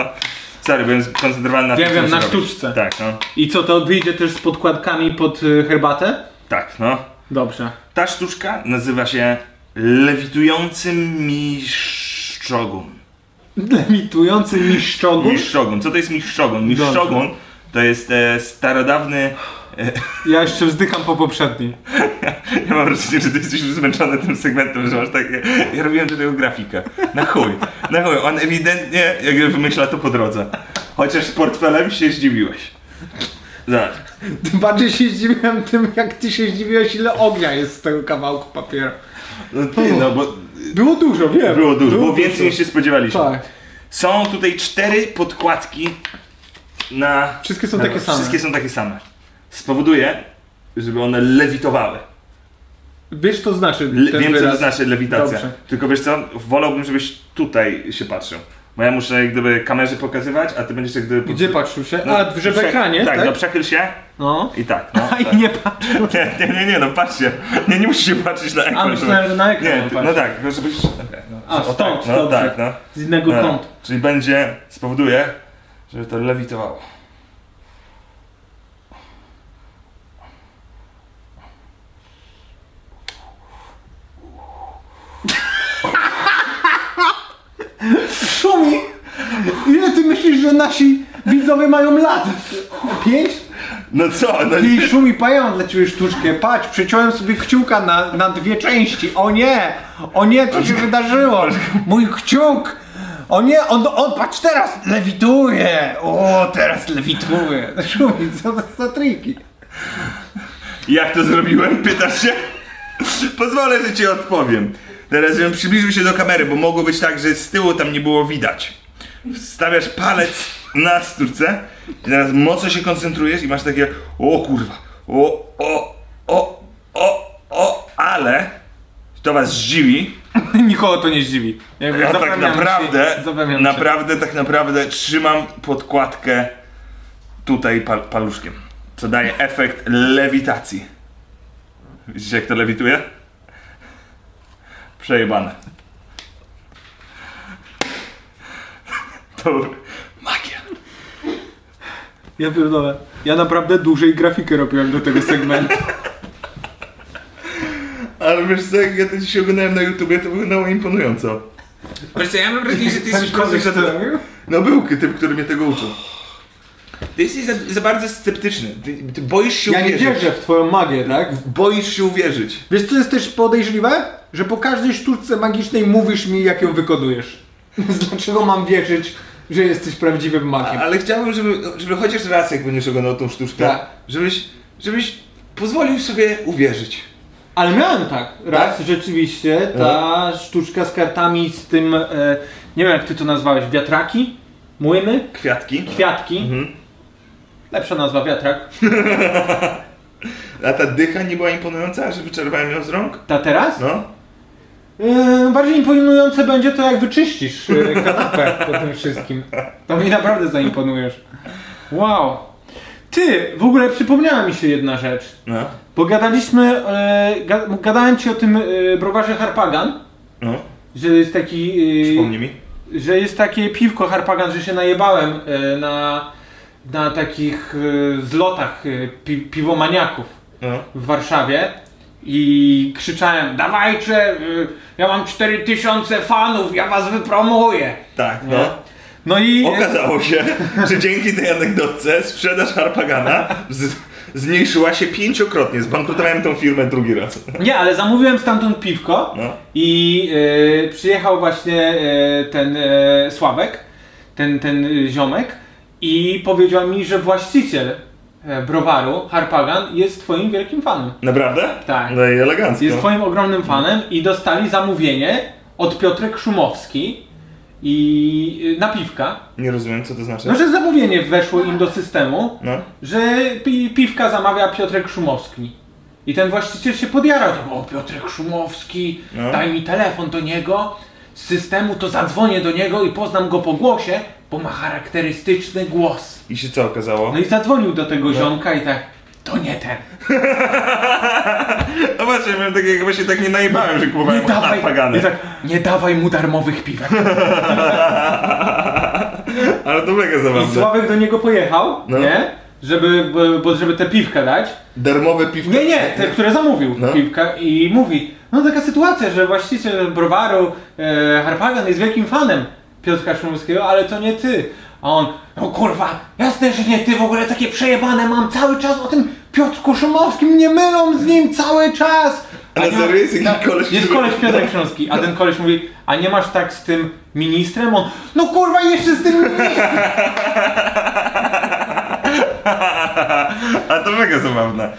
Sorry, byłem skoncentrowany na
Wiem,
tym,
wiem,
co
na
muszę robić.
sztuczce.
Tak, no.
I co, to wyjdzie też z podkładkami pod y, herbatę?
Tak, no.
Dobrze.
Ta sztuczka nazywa się lewitujący mistrzogun.
Lemitujący mistrzogu?
Mistrzogun. Co to jest mistrzogun? Mistrzogun to jest e, starodawny... [LAUGHS]
Ja jeszcze wzdycham po poprzedniej.
Ja mam wrażenie, że ty jesteś już zmęczony tym segmentem, że masz takie... Ja robiłem do tego grafikę. Na chuj. Na chuj. On ewidentnie jakby wymyśla to po drodze. Chociaż z portfelem się zdziwiłeś. Zobacz.
Tym bardziej się zdziwiłem tym, jak ty się zdziwiłeś, ile ognia jest z tego kawałku papieru.
No ty, no bo
Było dużo, wiem.
było dużo, było więcej niż się spodziewaliśmy.
Tak.
Są tutaj cztery podkładki na...
Wszystkie są
na-
takie same.
Wszystkie są takie same. Spowoduje, żeby one lewitowały.
Wiesz, co znaczy
Le-
ten
wiem, co
wyraz.
to znaczy lewitacja.
Dobrze.
Tylko wiesz co, wolałbym, żebyś tutaj się patrzył. Bo ja muszę jak gdyby kamerze pokazywać, a ty będziesz jak gdyby...
Gdzie patrzył się?
No,
A, że w
przech-
ekranie,
Tak,
tak?
no przechyl się
No.
i tak.
[LAUGHS]
No, tak.
I nie patrz.
[LAUGHS] Nie, nie, nie, nie, no patrzcie. Nie, nie musisz się patrzeć na ekran.
A myślałem, że na
żeby- Nie,
ekran.
ty,
patrz.
no tak, no żebyś... okej, no.
A,
O,
stąd,
tak, no,
dobrze.
tak, no.
Z innego
No,
kątu.
Czyli będzie, spowoduje, żeby to lewitowało.
Szumi! Ile ty myślisz, że nasi widzowie mają lat? Pięć?
No co, no
I Szumi, pająk dla ciebie sztuczkę. Patrz, przeciąłem sobie kciuka na, na dwie części. O nie! O nie, co się wydarzyło? Mój kciuk! O nie, on, on patrz teraz lewituje! O, teraz lewituje! Szumi, co to za triki?
Jak to zrobiłem? Pytasz się? Pozwolę, że ci odpowiem. Teraz bym przybliżył się do kamery, bo mogło być tak, że z tyłu tam nie było widać. Stawiasz palec na sturce i teraz mocno się koncentrujesz i masz takie o kurwa, o, o, o, o, o, ale to was zdziwi,
[LAUGHS] Nikogo to nie zdziwi. Jakby
ja tak
zapewniam
naprawdę,
Się, zapewniam się.
naprawdę, tak naprawdę trzymam podkładkę tutaj pal paluszkiem, co daje efekt lewitacji. Widzicie jak to lewituje? Przejebane. [LAUGHS] To magia.
Ja pierdolę. Ja naprawdę dłużej grafikę robiłem do tego segmentu.
Ale wiesz co, jak ja to dzisiaj oglądałem na YouTubie, to wyglądało imponująco. Tak,
Wiesz co, ja mam wrażenie, że ty [LAUGHS] jesteś
koleś, co to robił? No był typ, który mnie tego uczył. Ty jesteś za, za bardzo sceptyczny. Ty, ty boisz się
Ja nie
uwierzyć.
wierzę w twoją magię, tak?
Boisz się uwierzyć.
Wiesz co jest też podejrzliwe? Że po każdej sztuczce magicznej mówisz mi jak ją wykodujesz. [LAUGHS] Dlaczego mam wierzyć, że jesteś prawdziwym magiem?
Ale chciałbym, żeby, żeby chociaż raz, jak będziesz oglądał tą sztuczkę,
Tak.
żebyś, żebyś pozwolił sobie uwierzyć.
Ale miałem tak, raz rzeczywiście,
Mhm.
ta sztuczka z kartami z tym, e, nie wiem jak ty to nazwałeś, wiatraki? Młyny?
Kwiatki.
Kwiatki?
Mhm.
Lepsza nazwa, wiatrak.
A ta dycha nie była imponująca, że wyczerpałem ją z rąk?
Ta teraz?
No.
E, bardziej imponujące będzie to jak wyczyścisz e, kanapę po tym wszystkim. To mi naprawdę zaimponujesz. Wow. Ty, w ogóle przypomniała mi się jedna rzecz.
No.
Bo gadaliśmy, e, ga, gadałem ci o tym e, browarze Harpagan,
No.
że jest taki... e,
Przypomnij mi.
że jest takie piwko Harpagan, że się najebałem e, na, na takich e, zlotach e, pi, piwomaniaków
No.
w Warszawie i krzyczałem dawajcie, y, ja mam 4000 fanów, ja was wypromuję.
Tak,
Nie?
no.
No i
Okazało się, że dzięki tej anegdotce sprzedaż Harpagana z, zmniejszyła się pięciokrotnie. Zbankrutowałem tą firmę drugi raz.
nie, ale zamówiłem stamtąd piwko
No.
i y, przyjechał właśnie y, ten y, Sławek, ten, ten y, ziomek i powiedział mi, że właściciel e, browaru Harpagan jest twoim wielkim fanem.
Naprawdę?
Tak.
No i elegancko.
Jest twoim ogromnym fanem i dostali zamówienie od Piotrek Szumowski i y, na piwka.
Nie rozumiem, co to znaczy.
No, że zamówienie weszło im do systemu,
No.
że pi piwka zamawia Piotrek Szumowski. I ten właściciel się podjarał, to o Piotrek Szumowski,
No.
daj mi telefon do niego, z systemu to zadzwonię do niego i poznam go po głosie, bo ma charakterystyczny głos.
I się co okazało?
No i zadzwonił do tego ziomka i tak, to nie ten.
No właśnie, miałem takie, jakby się tak nie najebałem, że kupowałem
Nie dawaj,
harpagany.
nie, tak, nie dawaj mu
[LAUGHS]
darmowych piwek.
Ale to mega
I
zabawne.
Sławek do niego pojechał,
No.
nie? Żeby, bo- bo żeby te piwka dać.
Darmowe piwko.
Nie, nie, te, które zamówił
No.
piwka i mówi, no taka sytuacja, że właściciel browaru e, Harpagan jest wielkim fanem Piotra Szumowskiego, ale to nie ty. A on, no kurwa, jasne, że nie ty, w ogóle takie przejebane mam cały czas o tym Piotrku Szumowskim, mnie mylą z nim cały czas.
A na
nie-
serio jest jakiś
no,
koleś,
Jest
który-
koleś Piotrek Szumowski, a ten koleś mówi, a nie masz tak z tym ministrem? On, no kurwa, jeszcze z tym ministrem.
[LAUGHS] A to mega zabawne.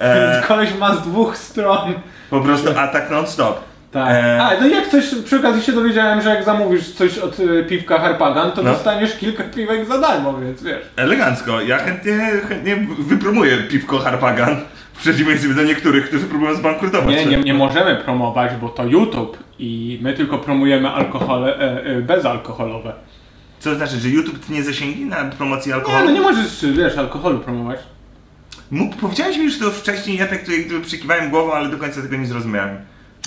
E,
Więc koleś ma z dwóch stron.
po prostu atak non-stop.
Tak.
E,
A, no i jak coś, przy okazji się dowiedziałem, że jak zamówisz coś od y, piwka Harpagan, to
No.
dostaniesz kilka piwek za darmo, więc wiesz.
elegancko. Ja chętnie, chętnie wypromuję piwko Harpagan. W przeciwieństwie do niektórych, którzy próbują zbankrutować.
Nie, nie, nie możemy promować, bo to YouTube i my tylko promujemy alkohole e, e, bezalkoholowe.
Co to znaczy, że YouTube ty nie zasięgi na promocji
Nie,
alkoholu?
no nie możesz, wiesz, alkoholu promować.
Mógł, powiedziałeś mi już to wcześniej, ja tak tutaj jakby przykiwałem głową, ale do końca tego nie zrozumiałem.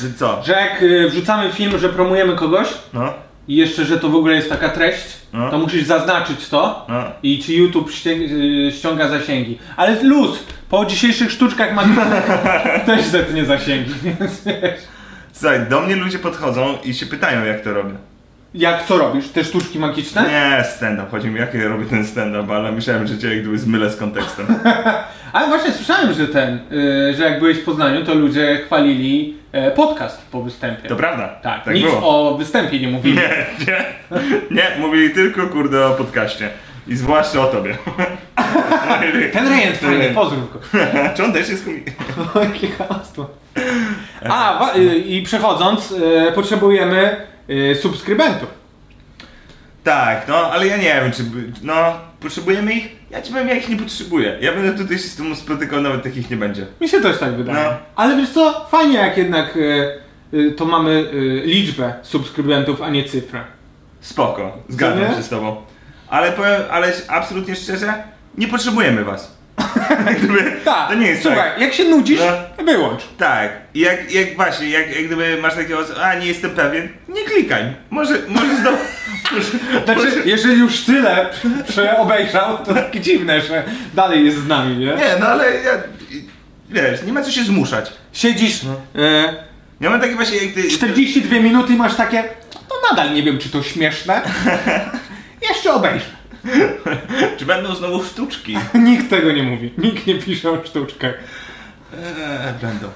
Że co?
Że jak y, wrzucamy film, że promujemy kogoś
No,
i jeszcze, że to w ogóle jest taka treść,
No.
to musisz zaznaczyć to
no.
i czy YouTube ścię- y, ściąga zasięgi. Ale luz, po dzisiejszych sztuczkach mam
[LAUGHS]
też zetnie zasięgi, więc wiesz.
Słuchaj, do mnie ludzie podchodzą i się pytają, jak to robię.
Jak co robisz? Te sztuczki magiczne?
Nie, stand-up. Chodzi mi, jak ja robię ten stand-up, ale myślałem, że cię jak gdyby zmylę z kontekstem.
Ale właśnie słyszałem, że ten, y, że jak byłeś w Poznaniu, to ludzie chwalili e, podcast po występie.
To prawda.
[LAUGHS] Tak,
tak
nic
było.
o występie nie mówili.
Nie, nie, nie, mówili tylko kurde o podcaście. I zwłaszcza o tobie.
[LAUGHS] Ten rejent fajny, pozdrów go. [LAUGHS]
Czy on też jest komikiem?
Jakie chamstwo. A, wa- y, i przechodząc, y, potrzebujemy y, subskrybentów.
Tak, no, ale ja nie wiem, czy... by- No, potrzebujemy ich? Ja ci powiem, ja ich nie potrzebuję. Ja będę tutaj się z tym spotykał, nawet takich nie będzie.
Mi się też tak wydaje.
No.
Ale wiesz co, fajnie jak jednak y, y, to mamy y, liczbę subskrybentów, a nie cyfrę.
Spoko, zgadzam
nie?
się z tobą. Ale powiem, ale absolutnie szczerze, nie potrzebujemy was. [LAUGHS] Gdyby,
Tak,
to nie jest
słuchaj,
tak.
jak się nudzisz,
No.
wyłącz.
Tak, I jak, jak właśnie, jak, jak gdyby masz takiego, a nie jestem pewien, nie klikaj. Może, może znowu... [LAUGHS] może,
Znaczy, jeżeli już tyle przeobejrzał, to takie dziwne, że dalej jest z nami, nie?
Nie, no ale ja... Wiesz, nie ma co się zmuszać.
Siedzisz
No.
e,
Ja mam takie właśnie jak ty...
42 minuty i masz takie, "No to nadal nie wiem, czy to śmieszne. Jeszcze obejrzę.
Czy będą znowu sztuczki?
Nikt tego nie mówi. Nikt nie pisze o sztuczkach.
Eee, będą.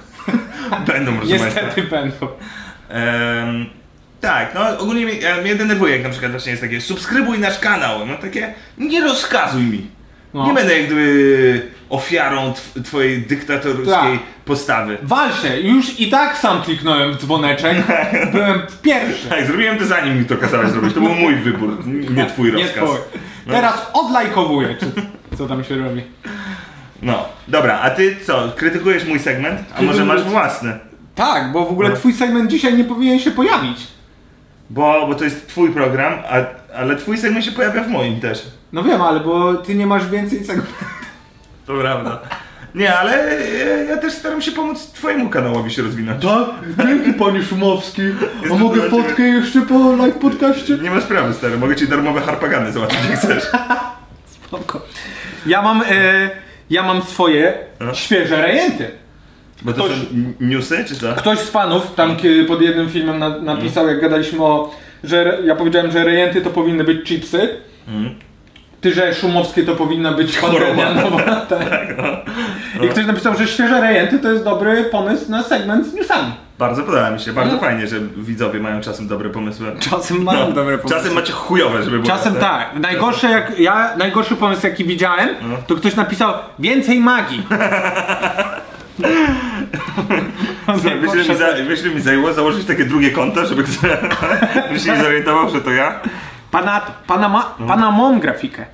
[LAUGHS] Będą, proszę
Niestety
państwa.
będą.
Em, tak, no ogólnie mnie, ja, mnie denerwuje, jak na przykład właśnie jest takie subskrybuj nasz kanał. No takie, nie rozkazuj mi.
No.
Nie będę jak gdyby ofiarą tw- twojej
Tak.
dyktatorskiej postawy.
Wal się. Już i tak sam kliknąłem w dzwoneczek. Byłem pierwszy.
Tak, zrobiłem to zanim mi to kazałeś zrobić. To był mój wybór, n- nie twój
Nie
rozkaz.
twój. Teraz odlajkowuję, czy, co tam się robi.
No, dobra, a ty co, krytykujesz mój segment? A może masz własny?
Tak, bo w
No.
ogóle twój segment dzisiaj nie powinien się pojawić.
Bo, bo to jest twój program, a, ale twój segment się pojawia w moim też.
No wiem, ale bo ty nie masz więcej segmentów.
To prawda. Nie, ale e, ja też staram się pomóc twojemu kanałowi się rozwinąć.
Tak? Dzięki panie Szumowski. A
Jestem
mogę
dla ciebie-
fotkę jeszcze po live podcaście?
Nie ma sprawy, stary, mogę ci darmowe harpagany załatwić, jak chcesz.
Ja mam, e, ja mam swoje
No.
świeże rejenty.
Bo to są n- newsy, czy co?
Ktoś z fanów tam kiedy pod jednym filmem na, napisał, jak gadaliśmy o, że re, ja powiedziałem, że rejenty to powinny być chipsy.
Mm.
Ty, że szumowskie to powinna być
[LAUGHS]
pandemia nowa. Tak.
no.
I ktoś napisał, że świeże rejenty to jest dobry pomysł na segment z newsami.
Bardzo podoba mi się, bardzo fajnie, że widzowie mają czasem dobre pomysły.
No. Czasem mam
No, Czasem macie chujowe, żeby było.
Czasem tak. Najgorsze jak ja, najgorszy pomysł jaki widziałem,
Mhm.
to ktoś napisał
[LAUGHS]
więcej magii.
Słuchaj, Wiesz, ile No, mi, za, wiesz, ile mi zajęło założyć takie drugie konto, żeby ktoś [LAUGHS] żeby się nie zorientował, że to ja?
Pana, pana, ma,
Mhm.
pana mam grafikę.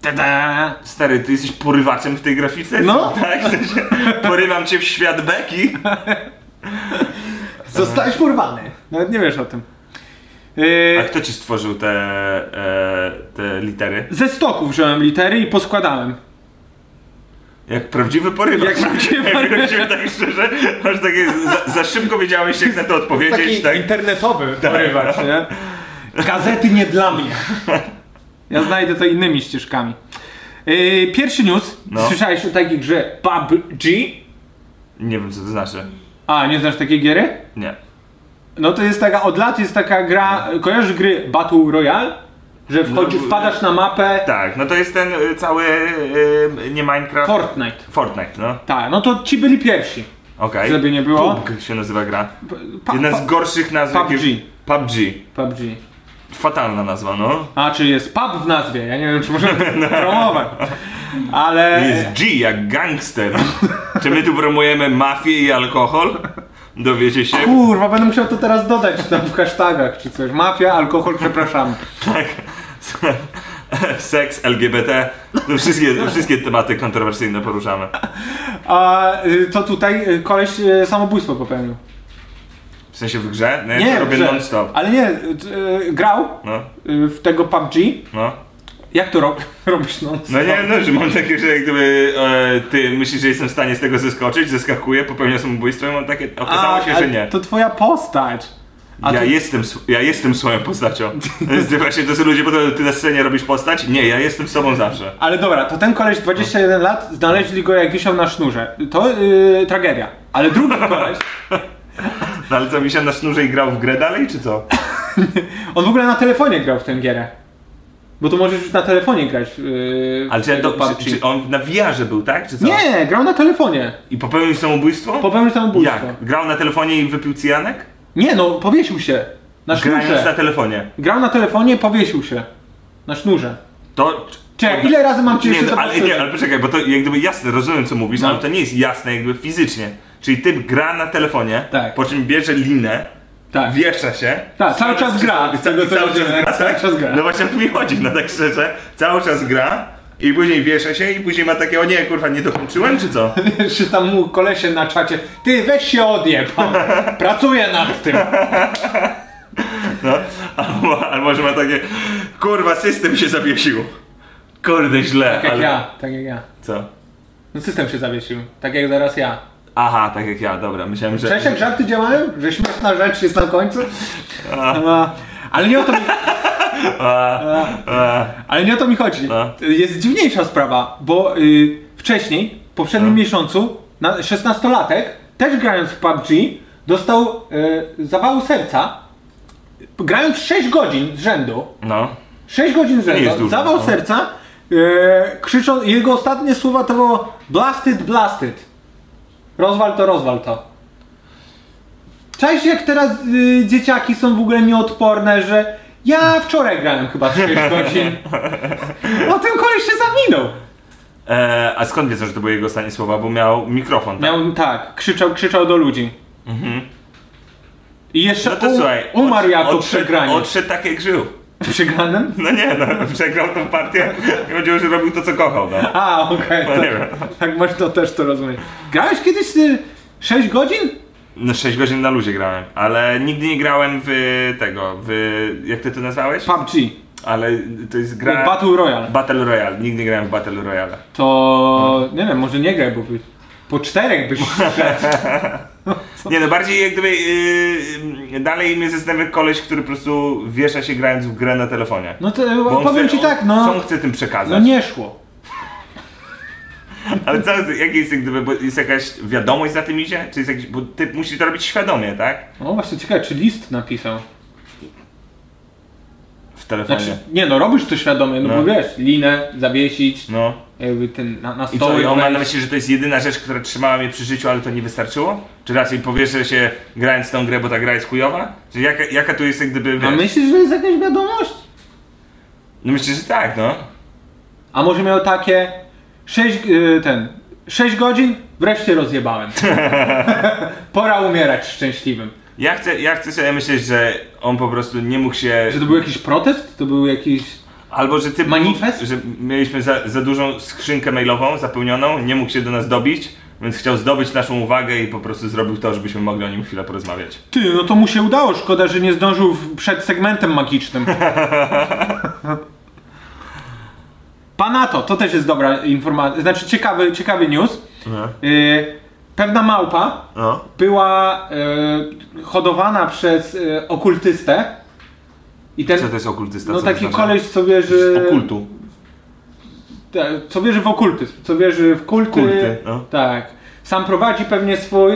Tada! Stary, ty jesteś porywaczem w tej grafice?
No.
Tak? W sensie, porywam cię w świat beki?
Zostałeś porwany. Nawet nie wiesz o tym.
A
Yy,
kto ci stworzył te, e, te litery?
ze stoku wziąłem litery i poskładałem.
Jak prawdziwy porywacz.
Jak
[LAUGHS]
prawdziwy porywacz.
porywacz. tak szczerze, aż takie za, za szybko wiedziałeś jak na to odpowiedzieć, tak?
internetowy
[LAUGHS] Tak.
porywacz, nie? Gazety nie dla mnie. Ja znajdę to innymi ścieżkami. Yy, pierwszy news.
No.
Słyszałeś o takich grze PUBG?
Nie wiem co to znaczy.
A, nie znasz takiej giery?
Nie.
No to jest taka, od lat jest taka gra, kojarzysz gry Battle Royale? Że wchodzi,
No,
wpadasz na mapę
Tak, no to jest ten y, cały, y, nie Minecraft...
Fortnite.
Fortnite, no.
Tak, no to ci byli pierwsi.
Okej.
Żeby nie było.
PUBG się nazywa gra.
Pa-
Jedna
pa-
z gorszych nazw.
PUBG.
jakie- PUBG.
PUBG.
Fatalna nazwa, no.
A, czy jest pub w nazwie? Ja nie wiem, czy możemy
[LAUGHS]
to promować. Ale...
Jest G jak gangster. Czy my tu promujemy mafię i alkohol? Dowiecie się.
Kurwa, będę musiał to teraz dodać tam w hashtagach czy coś. Mafia, alkohol, przepraszam.
Tak. seks, LGBT, to No wszystkie, wszystkie tematy kontrowersyjne poruszamy.
A y, to tutaj y, koleś y, samobójstwo popełnił.
W sensie w grze? Nie,
Nie,
to robię
że-
non-stop.
Ale nie, y, y, grał
No,
y, w tego PUBG.
no.
Jak to rob, [LAUGHS] robisz non
No nie, no, że mam takie, że jak gdyby e, ty myślisz, że jestem w stanie z tego zeskoczyć, zeskakuję, popełniam samobójstwo i mam takie, okazało się, że nie.
To twoja postać. a
Ja
to-
jestem, sw- ja jestem swoją postacią. To jest właśnie, to są ludzie, bo to, ty na scenie robisz postać? Nie, ja jestem sobą zawsze.
Ale dobra, to ten koleś 21 lat, znaleźli go jak wisiał na sznurze. To y, tragedia.
[LAUGHS]
Ale drugi koleś,
No ale co, mi się na sznurze i grał w grę dalej, czy co?
on w ogóle na telefonie grał w tę gierę. Bo to możesz już na telefonie grać. Yy,
Ale czy, ja to, czy, czy on na wiarze był, tak? Czy co?
Nie, grał na telefonie.
I popełnił samobójstwo?
Popełnił samobójstwo.
Jak? Grał na telefonie i wypił cyjanek?
Nie no, powiesił się. Na
Grając na
sznurze.
telefonie.
Grał na telefonie, powiesił się. Na sznurze.
To...
Czekaj, ile razy mam ci
Nie,
jeszcze
no,
to
ale, nie,
powtórzyć?
ale poczekaj, bo to jak gdyby jasne, rozumiem co mówisz,
No.
ale to nie jest jasne jakby fizycznie. Czyli typ gra na telefonie,
Tak.
po czym bierze linę,
Tak. [LAUGHS]
wiesza się.
Tak, cały czas gra. Z tego co
cały czas
widziałem,
gra, tak?
Cały czas gra.
No właśnie o to mi chodzi, no tak szczerze. Cały czas gra i później wiesza się i później ma takie, o nie, kurwa, nie dokończyłem, czy co?
Czy tam mu kolesie na czacie, ty weź się odjeb,
[LAUGHS]
pracuję nad tym.
No. Albo, albo że ma takie, kurwa, system się zawiesił. Kurde, źle,
Tak jak
ale...
ja, tak jak ja.
Co?
No system się zawiesił, tak jak zaraz ja.
Aha, tak jak ja, dobra, myślałem, że...
Cześć, jak żarty działają? Że śmieszna rzecz jest na końcu? A, ale nie o to mi... A, ale nie o to mi chodzi.
A.
Jest dziwniejsza sprawa, bo y, wcześniej, w poprzednim miesiącu, na, 16-latek, też grając w PUBG, dostał y, zawału serca, grając 6 godzin z rzędu.
No.
6 godzin z
jest
rzędu,
dużo,
zawał
no.
serca, e, krzyczą, jego ostatnie słowa to było blasted, blasted. Rozwal to, rozwal to. Cześć, jak teraz y, dzieciaki są w ogóle nieodporne, że ja wczoraj grałem chyba 6
[LAUGHS]
godzin. No ten koleś się zawinął.
E, a skąd wiedzą, że to były jego ostatnie słowa? Bo miał mikrofon, tak?
Miał tak, krzyczał, krzyczał do ludzi. I jeszcze
Mhm. No to
u,
słuchaj,
umarł
odsz-
jako
odszedł-
przegranie.
Odszedł tak jak żył.
Przegranym?
No nie, no, [LAUGHS] przegrał tą partię i powiedział, że robił to, co kochał, no.
A, okej.
No nie
tak.
wiem.
Tak masz to też to rozumiem. Grałeś kiedyś ty 6 godzin?
No 6 godzin na luzie grałem, ale nigdy nie grałem w tego, w... jak ty to nazwałeś?
PUBG.
Ale to jest gra...
Battle Royale.
Battle Royale, nigdy nie grałem w Battle Royale.
To nie wiem, może nie graj, bo by... po czterech byś szedł.
Nie no, bardziej jak gdyby... Yy, dalej mnie zastanawia koleś, który po prostu wiesza się grając w grę na telefonie.
No to
Bo on
powiem
chce-
ci tak,
on- Co on
no.
chce tym przekazać?
No nie szło.
Ale co, jak jest, jak gdyby, bo jest jakaś wiadomość za tym idzie? Czy jest jakiś, bo ty musisz to robić świadomie, tak?
No właśnie ciekawe, czy list napisał.
W telefonie.
Znaczy, nie no, robisz to świadomie, no,
No.
bo wiesz, linę zawiesić,
No.
jakby ten na, na
I co,
stoły.
i on ma na
wejść.
myśli, że to jest jedyna rzecz, która trzymała mnie przy życiu, ale to nie wystarczyło? Czy raczej powieszę się grając w tą grę, bo ta gra jest chujowa? Czy jaka, jaka tu jest jak gdyby,
A
wiesz?
myślisz, że jest jakaś wiadomość?
No myślę, że tak, no.
A może miał takie 6 y, ten 6 godzin
[LAUGHS]
wreszcie rozjebałem. [LAUGHS] Pora umierać szczęśliwym.
Ja chcę, ja chcę sobie myśleć, że on po prostu nie mógł się...
Czy to był jakiś protest? To był jakiś
Albo, że ty...
Manifest?
Że mieliśmy za, za dużą skrzynkę mailową zapełnioną, nie mógł się do nas dobić, więc chciał zdobyć naszą uwagę i po prostu zrobił to, żebyśmy mogli o nim chwilę porozmawiać.
Ty, no to mu się udało, szkoda, że nie zdążył w- przed segmentem magicznym. [LAUGHS] Panato, to też jest dobra informacja, znaczy ciekawy, ciekawy news. Y, pewna małpa
No.
była y, hodowana przez y, okultystę i ten
Co to jest okultysta?
No
Co
taki
to znaczy?
koleś, co wierzy...
Z okultu.
te- Co wierzy w okultyzm, co wierzy w kulty.
Kulty, no.
Tak. Sam prowadzi pewnie swój.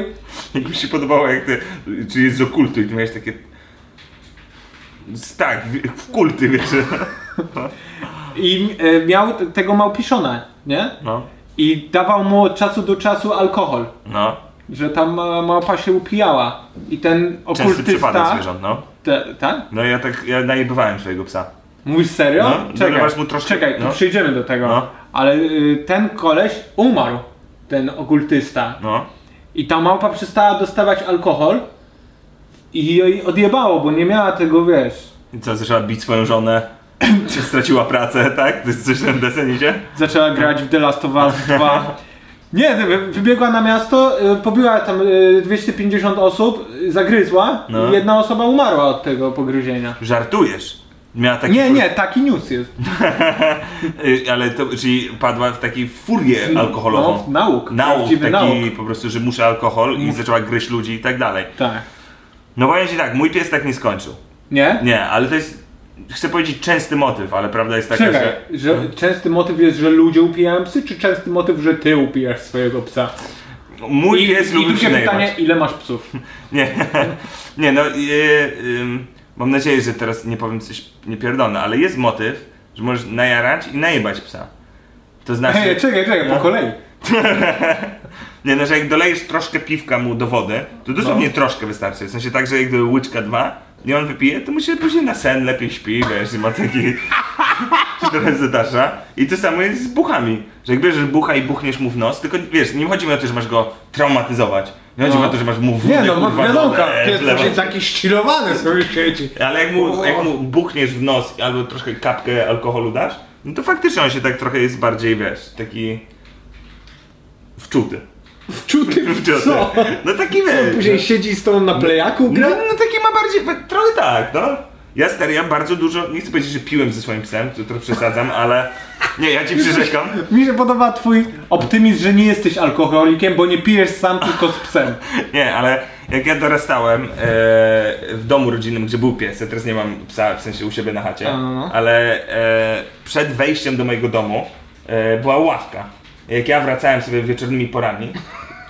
Jak [LAUGHS] mi się podobało, jak ty, czyli jest z okultu i ty miałeś takie... Z- Tak, w, w kulty, wiesz.
I e, miał t- tego małpiszona, nie?
No.
I dawał mu od czasu do czasu alkohol.
No.
Że tam ma- małpa się upijała. I ten
Częsty przypadek
okultysta.
zwierząt, no.
Te, tak?
No ja tak, ja najebywałem swojego psa.
Mówisz serio?
No, dolewasz mu troszkę-
czekaj,
no.
to przyjdziemy do tego.
No.
Ale y, ten koleś umarł, ten okultysta.
No.
I ta małpa przestała dostawać alkohol i jej odjebało, bo nie miała tego, wiesz.
I co, zaczęła bić swoją żonę. [CLEARS THROAT] Czy straciła pracę, tak? To jest coś ten desen idzie?
Zaczęła grać w The Last of Us 2. Nie, wy- wybiegła na miasto, y, pobiła tam y, 250 osób, y, zagryzła
No.
i jedna osoba umarła od tego pogryzienia.
Żartujesz. Miała taki
Nie, nie, taki news jest.
Y, Ale to, czyli padła w takiej furię alkoholową.
No, nauk.
Nauk,
prawdziwy
taki
nauk. Mm.
po prostu, że muszę alkohol i zaczęła gryźć ludzi i tak dalej.
Tak.
No powiem ci tak, mój pies tak nie skończył.
Nie?
Nie, ale to jest, chcę powiedzieć częsty motyw, ale prawda jest taka,
Czekaj,
że... no.
że częsty motyw jest, że ludzie upijają psy, czy częsty motyw, że ty upijasz swojego psa?
Mój pies
I
lubi
tu się
się
pytanie,
najebać.
ile masz psów?
Nie, nie no, y, ym, mam nadzieję, że teraz nie powiem coś niepierdolne, ale jest motyw, że możesz najarać i najebać psa. To [LAUGHS] znaczy...
Hej, czekaj, czekaj, po kolei.
Nie, no, że jak dolejesz troszkę piwka mu do wody, to dosłownie
No.
troszkę wystarczy. W sensie tak, że jak do łyczka dwa i on wypije, to mu się później na sen lepiej śpi, wiesz, i ma taki... [LAUGHS] się trochę zatasza. I to samo jest z buchami. Że jak bierzesz bucha i buchniesz mu w nos, tylko wiesz, nie chodzi mi o to, że masz go traumatyzować. Nie chodzi mi o to, że masz mu wódę,
Nie no,
kurwa,
no wiadomo,
dolać,
pies
wlewać.
będzie taki ścilowany sobie siedzi.
Ale jak mu, jak mu buchniesz w nos albo troszkę kapkę alkoholu dasz, no to faktycznie on się tak trochę jest bardziej, wiesz, taki... Wczuty. [LAUGHS]
Czuty w
Wczuty.
co?
No taki,
Co,
E,
wiesz...
Później siedzi z tą na plejaku
No,
gra?
no taki ma bardziej, trochę tak, no. Ja stary, ja bardzo dużo, nie chcę powiedzieć, że piłem ze swoim psem, to trochę przesadzam, ale nie, ja ci przyrzekam.
Mi się podoba twój optymizm, że nie jesteś alkoholikiem, bo nie pijesz sam, tylko z psem.
[LAUGHS] Nie, ale jak ja dorastałem e, w domu rodzinnym, gdzie był pies, ja teraz nie mam psa, w sensie u siebie na chacie,
no, no.
ale e, przed wejściem do mojego domu e, była ławka. Jak ja wracałem sobie wieczornymi porami,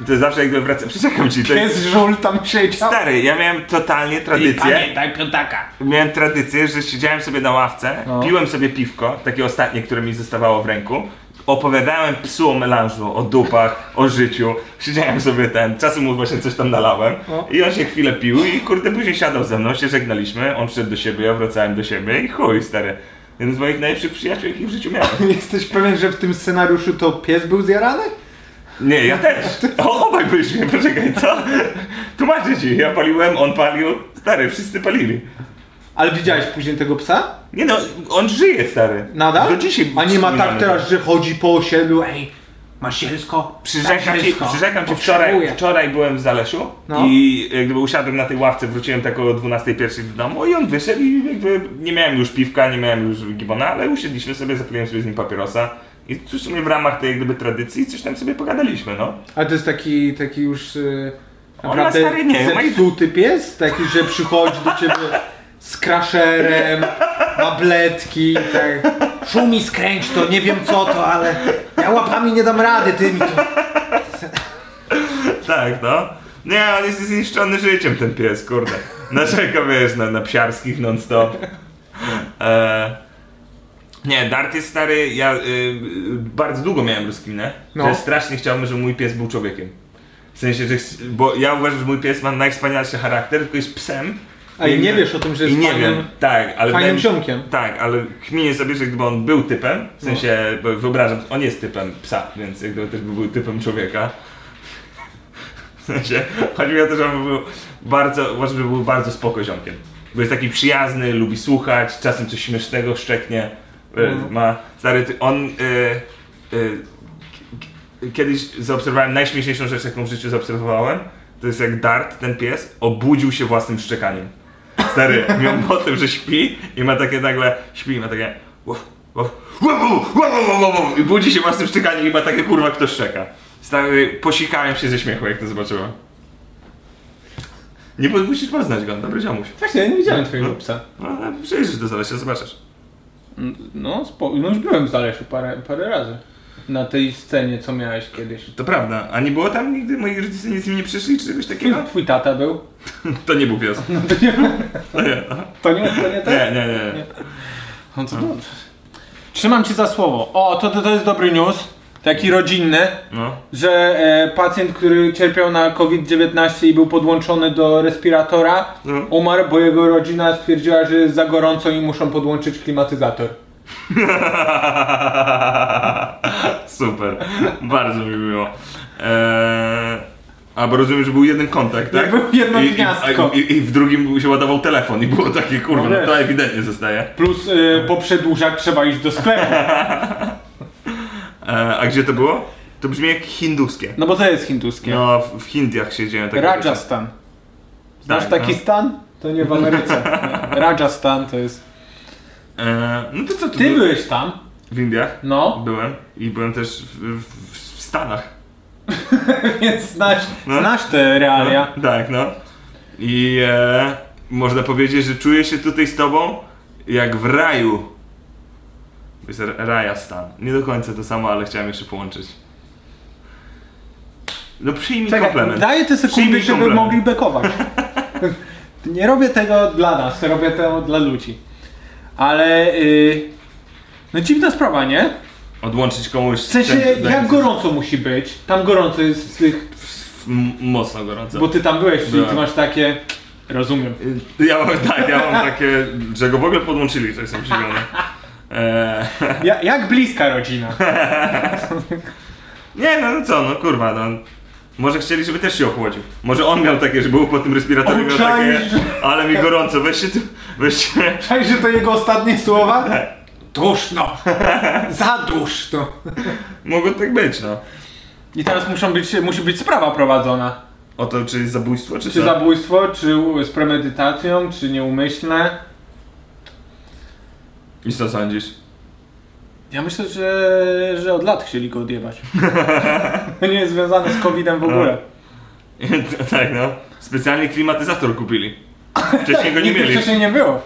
to zawsze jakby [LAUGHS] wracałem, przyrzekam ci, to jest...
Pies żul tam siedział.
Stary, ja miałem totalnie tradycję.
No. Pamiętaj piątaka. No.
miałem tradycję, że siedziałem sobie na ławce, piłem sobie piwko, takie ostatnie, które mi zostawało w ręku. Opowiadałem psu o melanżu, o dupach, o życiu. Siedziałem sobie ten, czasem mu właśnie coś tam nalałem.
No.
I on się chwilę pił i kurde, później siadał ze mną, się żegnaliśmy, on szedł do siebie, ja wracałem do siebie i chuj, stary. Jeden z moich najlepszych przyjaciół, jakich w życiu miałem.
Jesteś pewien, że w tym scenariuszu to pies był zjarany?
Nie, ja też. O, obaj byliśmy, poczekaj, co? Tłumaczę ci, ja paliłem, on palił, stary, wszyscy palili.
Ale widziałeś później tego psa?
Nie no, on żyje, stary.
Nadal?
Do No dzisiaj
A nie ma tak
wspominamy to.
teraz, że chodzi po osiedlu, ej, masz zielsko?
Przyrzekam
Daj
ci,
zielsko.
przyrzekam ci
Potrzebuję.
wczoraj, wczoraj byłem w Zaleszu
No.
i jak gdyby usiadłem na tej ławce, wróciłem tak około 12.01 do domu i on wyszedł i jakby nie miałem już piwka, nie miałem już gibona, ale usiedliśmy sobie, zapaliłem sobie z nim papierosa i w sumie w ramach tej jak gdyby tradycji coś tam sobie pogadaliśmy, no.
Ale to jest taki, taki już yy,
Ona
naprawdę
stary nie, ma i-
zepsuty pies? Taki, że przychodzi do ciebie z kraszerem, ma bledki, tak. Szumi skręć to, nie wiem co to, ale ja łapami nie dam rady, ty mi to...
Tak, no. Nie, on jest zniszczony życiem ten pies, kurde. Narzeka, wiesz, na, na psiarskich non-stop. E, nie, Dart jest stary, ja y, y, bardzo długo miałem rozkminę,
No.
że strasznie chciałbym, żeby mój pies był człowiekiem. W sensie, że, chc- bo ja uważam, że mój pies ma najwspanialszy charakter, tylko jest psem.
A i nie wiesz o tym, że jest
I nie
fajnym-
wiem, tak, ale
fajnym
wydaje mi-
ziomkiem. No.
Tak, ale kminię sobie, że gdyby on był typem, w sensie, bo wyobrażam, on jest typem psa, więc jak gdyby też by był typem człowieka. W sensie, chodzi mi o to, że on był bardzo, uważam, że był bardzo spoko ziomkiem. Bo jest taki przyjazny, lubi słuchać, czasem coś śmiesznego szczeknie. e, Ma, stary, ty- on... e, e, kiedyś zaobserwowałem najśmieszniejszą rzecz, jaką w życiu zaobserwowałem. To jest jak Dart, ten pies, obudził się własnym szczekaniem. Stary, miał potem, że śpi i ma takie nagle, śpi i ma takie uf, uf, uf, uf, uf, uf, uf, i budzi się własnym szczekaniem i ma takie kurwa, kto szczeka. Stary, posikałem się ze śmiechu, jak to zobaczyłem. Nie po- musisz poznać go, dobry ziomuś.
Właśnie, ja nie widziałem twojego psa.
No, ale przyjrzysz do zalesia, zobaczysz.
No, spo... no już byłem w Zaleszu parę, parę razy. Na tej scenie, co miałeś kiedyś.
To prawda, a nie było tam nigdy, moi rodzice nic mi nie przyszli, czy czegoś [LAUGHS] takiego?
Twój tata był?
No To nie był pies. [LAUGHS] To nie,
To nie, to nie ten?
nie, nie. nie.
No to dobrze. Trzymam cię za słowo. O, to, to, to jest dobry news. Taki rodzinny,
No.
że e, pacjent, który cierpiał na COVID-19 i był podłączony do respiratora,
No.
umarł, bo jego rodzina stwierdziła, że jest za gorąco i muszą podłączyć klimatyzator.
[LAUGHS] Super, bardzo mi miło. Eee, A bo rozumiem, że był jeden kontakt, tak?
był jedno
I- i-
gniazdko.
I, i, I w drugim się ładował telefon i było takie, kurwa, no
wiesz.
to ewidentnie zostaje.
Plus yy,
No.
po przedłużach trzeba iść do sklepu.
E, a gdzie to było? To brzmi jak hinduskie.
No bo to jest hinduskie.
No, w, w Indiach się dzieją takie rzeczy.
Rajasthan. Znasz
Tak,
taki
no.
stan? To nie
[LAUGHS]
w Ameryce. Rajasthan to jest...
E, no to co tu
Ty
było?
byłeś tam?
W Indiach?
No, [LAUGHS]
Byłem. I byłem też w, w, w Stanach.
więc znasz,
No.
znasz te realia.
No, tak, no. I e, można powiedzieć, że czuję się tutaj z tobą jak w raju. To jest raja stan. Nie do końca to samo, ale chciałem jeszcze połączyć. No przyjmij komplement.
daję te sekundy,
Przyjmij
żeby
komplement.
mogli bekować. nie robię tego dla nas, robię to dla ludzi. Ale... Yy, no dziwna sprawa, nie?
Odłączyć komuś...
W sensie, jak gorąco musi być? Tam gorąco jest w tych...
Mocno gorąco.
Bo ty tam byłeś, czyli ty
Byłem.
masz takie... Rozumiem.
Ja mam, tak, ja mam takie, że go w ogóle podłączyli, to jestem zdziwiony. Eee,
Ja, jak bliska
[LAUGHS]
rodzina.
nie, no, no co, no kurwa, no. Może chcieli, żeby też się ochłodził. Może on miał takie, że był po tym respiratorze miał takie,
Czaisz?
ale mi gorąco, weź się tu, weź się...
Czaj, że to jego ostatnie słowa?
Tak.
Duszno. Za duszno.
Mogło tak być, no.
I teraz muszą być, musi być sprawa prowadzona.
O to, czy jest zabójstwo, czy,
Czy
co?
zabójstwo, czy u- z premedytacją, czy nieumyślne.
I co sądzisz? [LAUGHS]
Ja myślę, że, że od lat chcieli go odjebać. To nie jest związane z COVID-em w ogóle.
No, tak, no. Specjalnie klimatyzator kupili. Wcześniej go nie
Nigdy
mieli.
wcześniej nie było.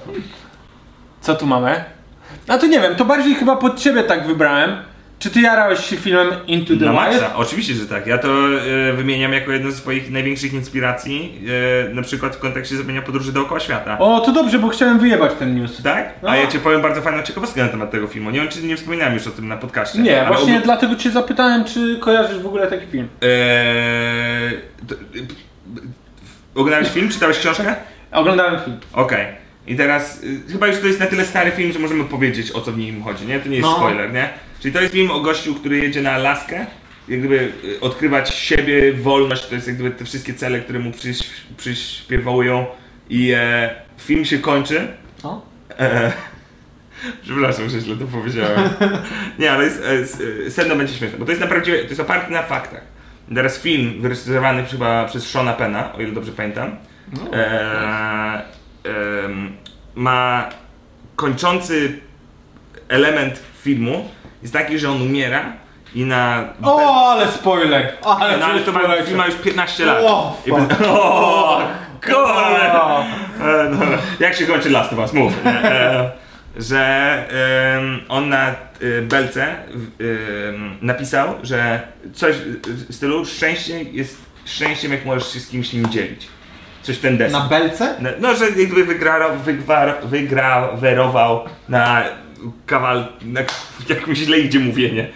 Co tu mamy? A to nie wiem, to bardziej chyba pod ciebie tak wybrałem. Czy ty jarałeś się filmem Into the
Na
Wild?
maksa, oczywiście, że tak. Ja to e, wymieniam jako jedną z swoich największych inspiracji, e, na przykład w kontekście zrobienia podróży dookoła świata.
O, to dobrze, bo chciałem wyjebać ten news.
Tak?
No.
A ja ci powiem bardzo fajną ciekawostkę na temat tego filmu. Nie wiem, czy nie wspominałem już o tym na podcaście.
Nie,
ale
właśnie
ogó-
dlatego cię zapytałem, czy kojarzysz w ogóle taki film.
Eee, to- y, p- Oglądałeś film? Czytałeś książkę?
Oglądałem film.
Okej. I teraz, y, chyba już to jest na tyle stary film, że możemy powiedzieć o co w nim chodzi, nie? To nie jest
No.
spoiler, nie? Czyli to jest film o gościu, który jedzie na Alaskę, jak gdyby y, odkrywać siebie, wolność, to jest jak gdyby te wszystkie cele, które mu przyś, przyśpiewują i e, film się kończy.
Co?
E, przepraszam, że źle to powiedziałem. [LAUGHS] Nie, ale jest, e, s- e, sedno będzie śmieszne, bo to jest naprawdę, to jest oparte na faktach. Teraz film wyrysowany chyba przez Shona Pena, o ile dobrze pamiętam, No. e, em, ma kończący element filmu jest taki, że on umiera i na...
O, ale spoiler! Ale,
no, ale to ma,
spoiler.
film ma już 15 lat.
O,
I [LAUGHS] bez... o, kurde! E, no, jak się kończy Last of Us? Mów. E, że em, on na e, belce w- em, napisał, że coś w- w stylu szczęście jest szczęściem, jak możesz się z kimś nim dzielić. Coś w ten deser.
Na belce?
No, no że jakby wygra, wygwar, wygrawerował na kawal... Na, jak mi źle idzie mówienie.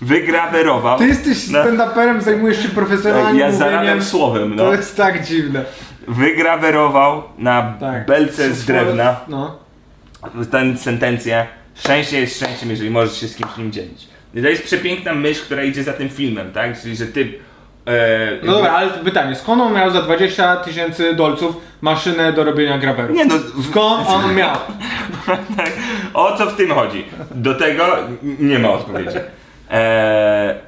Wygrawerował.
Ty jesteś
No.
stand-uperem, zajmujesz się profesjonalnie
Ja
mówieniem.
zarabiam słowem, no.
To jest tak dziwne.
Wygrawerował na
Tak.
belce z drewna
No.
tę sentencję szczęście jest szczęściem, jeżeli możesz się z kimś nim dzielić. I to jest przepiękna myśl, która idzie za tym filmem, tak? Czyli, że ty... E,
No dobra, ale pytanie, skąd on miał za 20 tysięcy dolców maszynę do robienia grawerów?
Nie no, w,
Skąd on miał?
[LAUGHS] tak, o co w tym chodzi? Do tego n- nie ma odpowiedzi. E,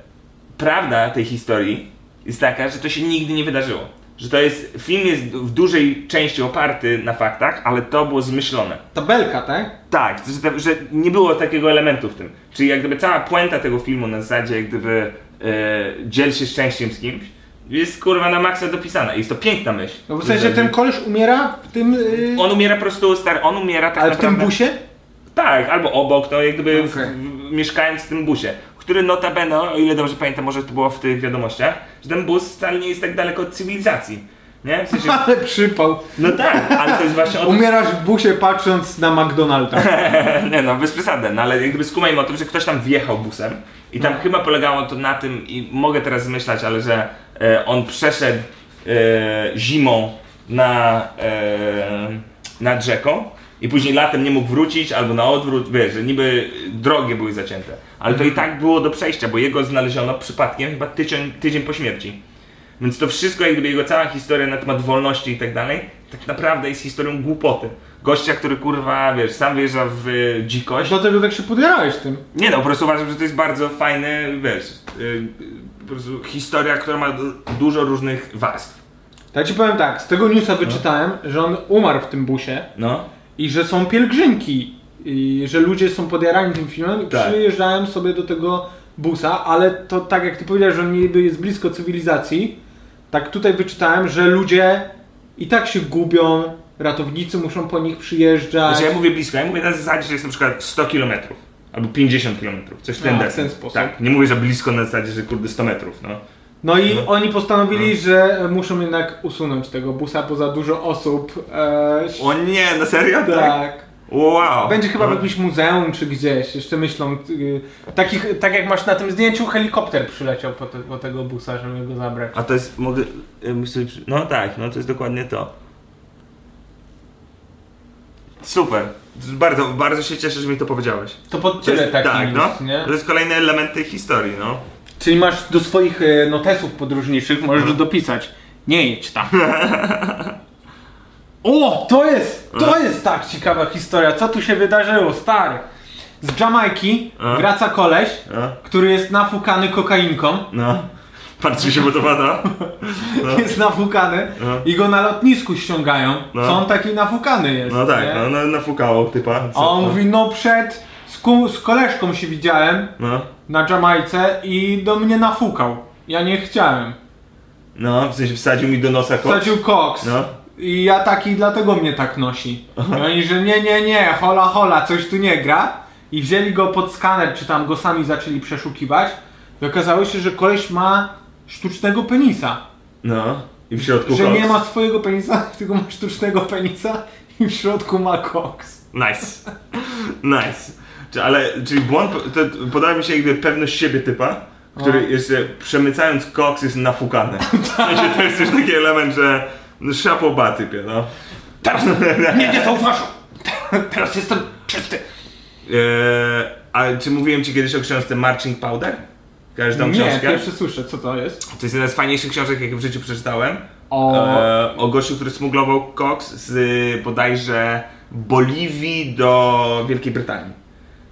prawda tej historii jest taka, że to się nigdy nie wydarzyło. Że to jest, film jest w dużej części oparty na faktach, ale to było zmyślone.
Ta belka, tak?
Tak, że, te- że nie było takiego elementu w tym. Czyli jak gdyby cała puenta tego filmu na zasadzie jak gdyby e, dziel się szczęściem z kimś jest kurwa na maksa dopisana i jest to piękna myśl.
No w sensie ten koleś umiera w tym... Yy...
On umiera po prostu, stary, on umiera tak
Ale w tym
naprawdę...
busie?
Tak, albo obok, no jak gdyby w-
Okej.
w, mieszkając w tym busie. Który notabene, o ile dobrze pamiętam, może to było w tych wiadomościach, że ten bus wcale nie jest tak daleko od cywilizacji. Nie? W
[LAUGHS]
sensie,
[LAUGHS] Ale przypał.
no tak, ale to jest właśnie o to,
Umierasz w busie patrząc na McDonalda.
Nie no, bez przesady, no ale jakby skumajmy o tym, że ktoś tam wjechał busem i tam chyba polegało to na tym i mogę teraz zmyślać, ale że e, on przeszedł e, zimą na, e, nad rzeką i później latem nie mógł wrócić albo na odwrót, wiesz, że niby drogi były zacięte. Ale to i tak było do przejścia, bo jego znaleziono przypadkiem chyba tydzień, tydzień po śmierci. Więc to wszystko, jakby jego cała historia na temat wolności i tak dalej, tak naprawdę jest historią głupoty. Gościa, który kurwa, wiesz, sam wjeżdża w y, dzikość.
[LAUGHS] Dlatego tak się podjarałeś tym.
Nie no, po prostu uważam, że to jest bardzo fajny, wiesz, y, y, po prostu historia, która ma du- dużo różnych warstw.
Ja ci powiem tak, z tego newsa wyczytałem, że on umarł w tym busie
No.
i że są pielgrzymki, i że ludzie są podjarani tym filmem i
Tak.
przyjeżdżałem sobie do tego busa, ale to tak jak ty powiedziałeś, że on niby jest blisko cywilizacji, tak tutaj wyczytałem, że ludzie i tak się gubią, ratownicy muszą po nich przyjeżdżać.
Znaczy ja mówię blisko, ja mówię na zasadzie, że jest na przykład 100 km albo 50 km, coś w ten
A, No, w
deseń.
ten sposób.
Tak, nie mówię, że blisko na zasadzie, że kurde 100 metrów, no.
No i oni postanowili,
Mhm.
że muszą jednak usunąć tego busa, bo za dużo osób. E,
O nie, na serio?
tak.
Wow.
Będzie chyba w
no.
jakimś muzeum czy gdzieś, jeszcze myślą. y, takich, tak jak masz na tym zdjęciu, helikopter przyleciał po, te, po tego busa, żeby go zabrać.
A to jest, mogę, y, muszę sobie przy- no tak, no to jest dokładnie to. Super. Bardzo, bardzo się cieszę, że mi to powiedziałeś.
To pod
To
tyle
jest,
taki
tak,
news,
no.
nie?
To jest kolejny element tej historii, no.
Czyli masz do swoich y, notesów podróżniczych, możesz
Mhm.
dopisać. Nie jedź tam. o, to jest,
Mhm.
to jest tak ciekawa historia. Co tu się wydarzyło, stary? Z Jamajki
A?
wraca koleś,
No.
który jest nafukany kokainką. [LAUGHS]
no. Bardzo mi się podoba, no. No.
Jest nafukany
No.
i go na lotnisku ściągają.
No.
Co on taki nafukany jest?
No
nie?
tak, no, no nafukało typa.
A on
no.
mówi, no przed z, ku, z koleżką się widziałem
No.
na Jamajce i do mnie nafukał. Ja nie chciałem.
No, w sensie wsadził mi do nosa koks.
Wsadził koks.
No.
I ja taki, dlatego mnie tak nosi. I oni, że nie, nie, nie, hola, hola, coś tu nie gra. I wzięli go pod skaner, czy tam go sami zaczęli przeszukiwać. I okazało się, że koleś ma sztucznego penisa.
No. I w środku
Że
koks.
nie ma swojego penisa, [LAUGHS] tylko ma sztucznego penisa i w środku ma koks.
Nice. Nice. Czy, ale, czyli błąd, po- to podoba mi się jakby pewność siebie typa, który
No.
jeszcze przemycając koks jest
[LAUGHS]
nafukany. W sensie to jest już taki element, że no, szapoba typie, no. Teraz, nie, nie.
zauważ! Teraz jestem czysty!
Eee, a czy mówiłem ci kiedyś o książce Marching Powder? Kojarzysz tą
Nie,
książkę?
pierwszy słyszę, co to jest.
To jest jedna z fajniejszych książek, jakie w życiu przeczytałem.
O.
E, o gościu, który smuglował koks z y, bodajże Boliwii do Wielkiej Brytanii.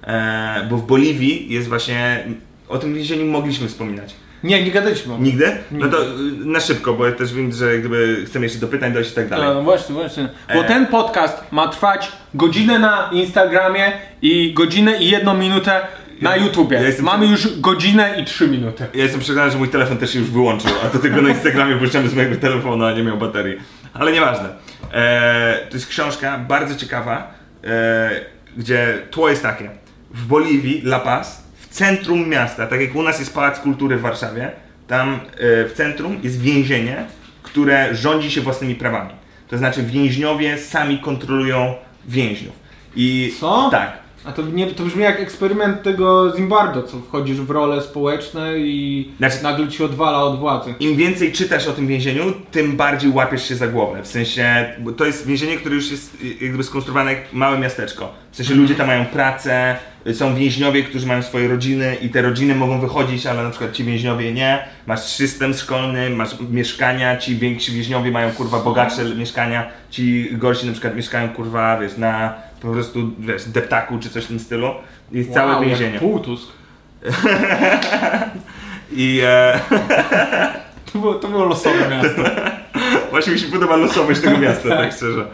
E, bo w Boliwii jest właśnie. O tym więzieniu mogliśmy wspominać.
Nie, nie gadaliśmy o tym.
Nigdy? No to y, na szybko, bo ja też wiem, że gdyby chcemy jeszcze do pytań dojść i tak dalej.
No, no właśnie, właśnie. Bo
E.
ten podcast ma trwać godzinę na Instagramie i godzinę i jedną minutę na YouTubie.
ja jestem-
Mamy już godzinę i trzy minuty.
Ja jestem przekonany, że mój telefon też się już wyłączył, a to tylko na Instagramie puszczamy z mojego telefonu, a nie miał baterii. Ale nieważne. Eee, to jest książka bardzo ciekawa, eee, gdzie tło jest takie. W Boliwii, La Paz, w centrum miasta, tak jak u nas jest Pałac Kultury w Warszawie, tam eee, w centrum jest więzienie, które rządzi się własnymi prawami. To znaczy więźniowie sami kontrolują więźniów. I
Co?
Tak.
A to, nie, to brzmi jak eksperyment tego Zimbardo, co wchodzisz w role społeczne i
Znaczy-
nagle ci odwala od władzy.
im więcej czytasz o tym więzieniu, tym bardziej łapiesz się za głowę. W sensie, bo to jest więzienie, które już jest y, jakby skonstruowane jak małe miasteczko. W sensie
Mhm.
ludzie tam mają pracę, y, są więźniowie, którzy mają swoje rodziny i te rodziny mogą wychodzić, ale na przykład ci więźniowie nie. Masz system szkolny, masz mieszkania, ci więksi więźniowie mają kurwa bogatsze mieszkania, ci gorsi na przykład mieszkają kurwa, wiesz, na po prostu, wiesz, deptaku czy coś w tym stylu. Jest całe
Wow, jak
więzienie.
Półtusk.
I e, [LAUGHS]
To było, to było losowe miasto.
Właśnie mi się podoba losowość tego miasta, tak szczerze.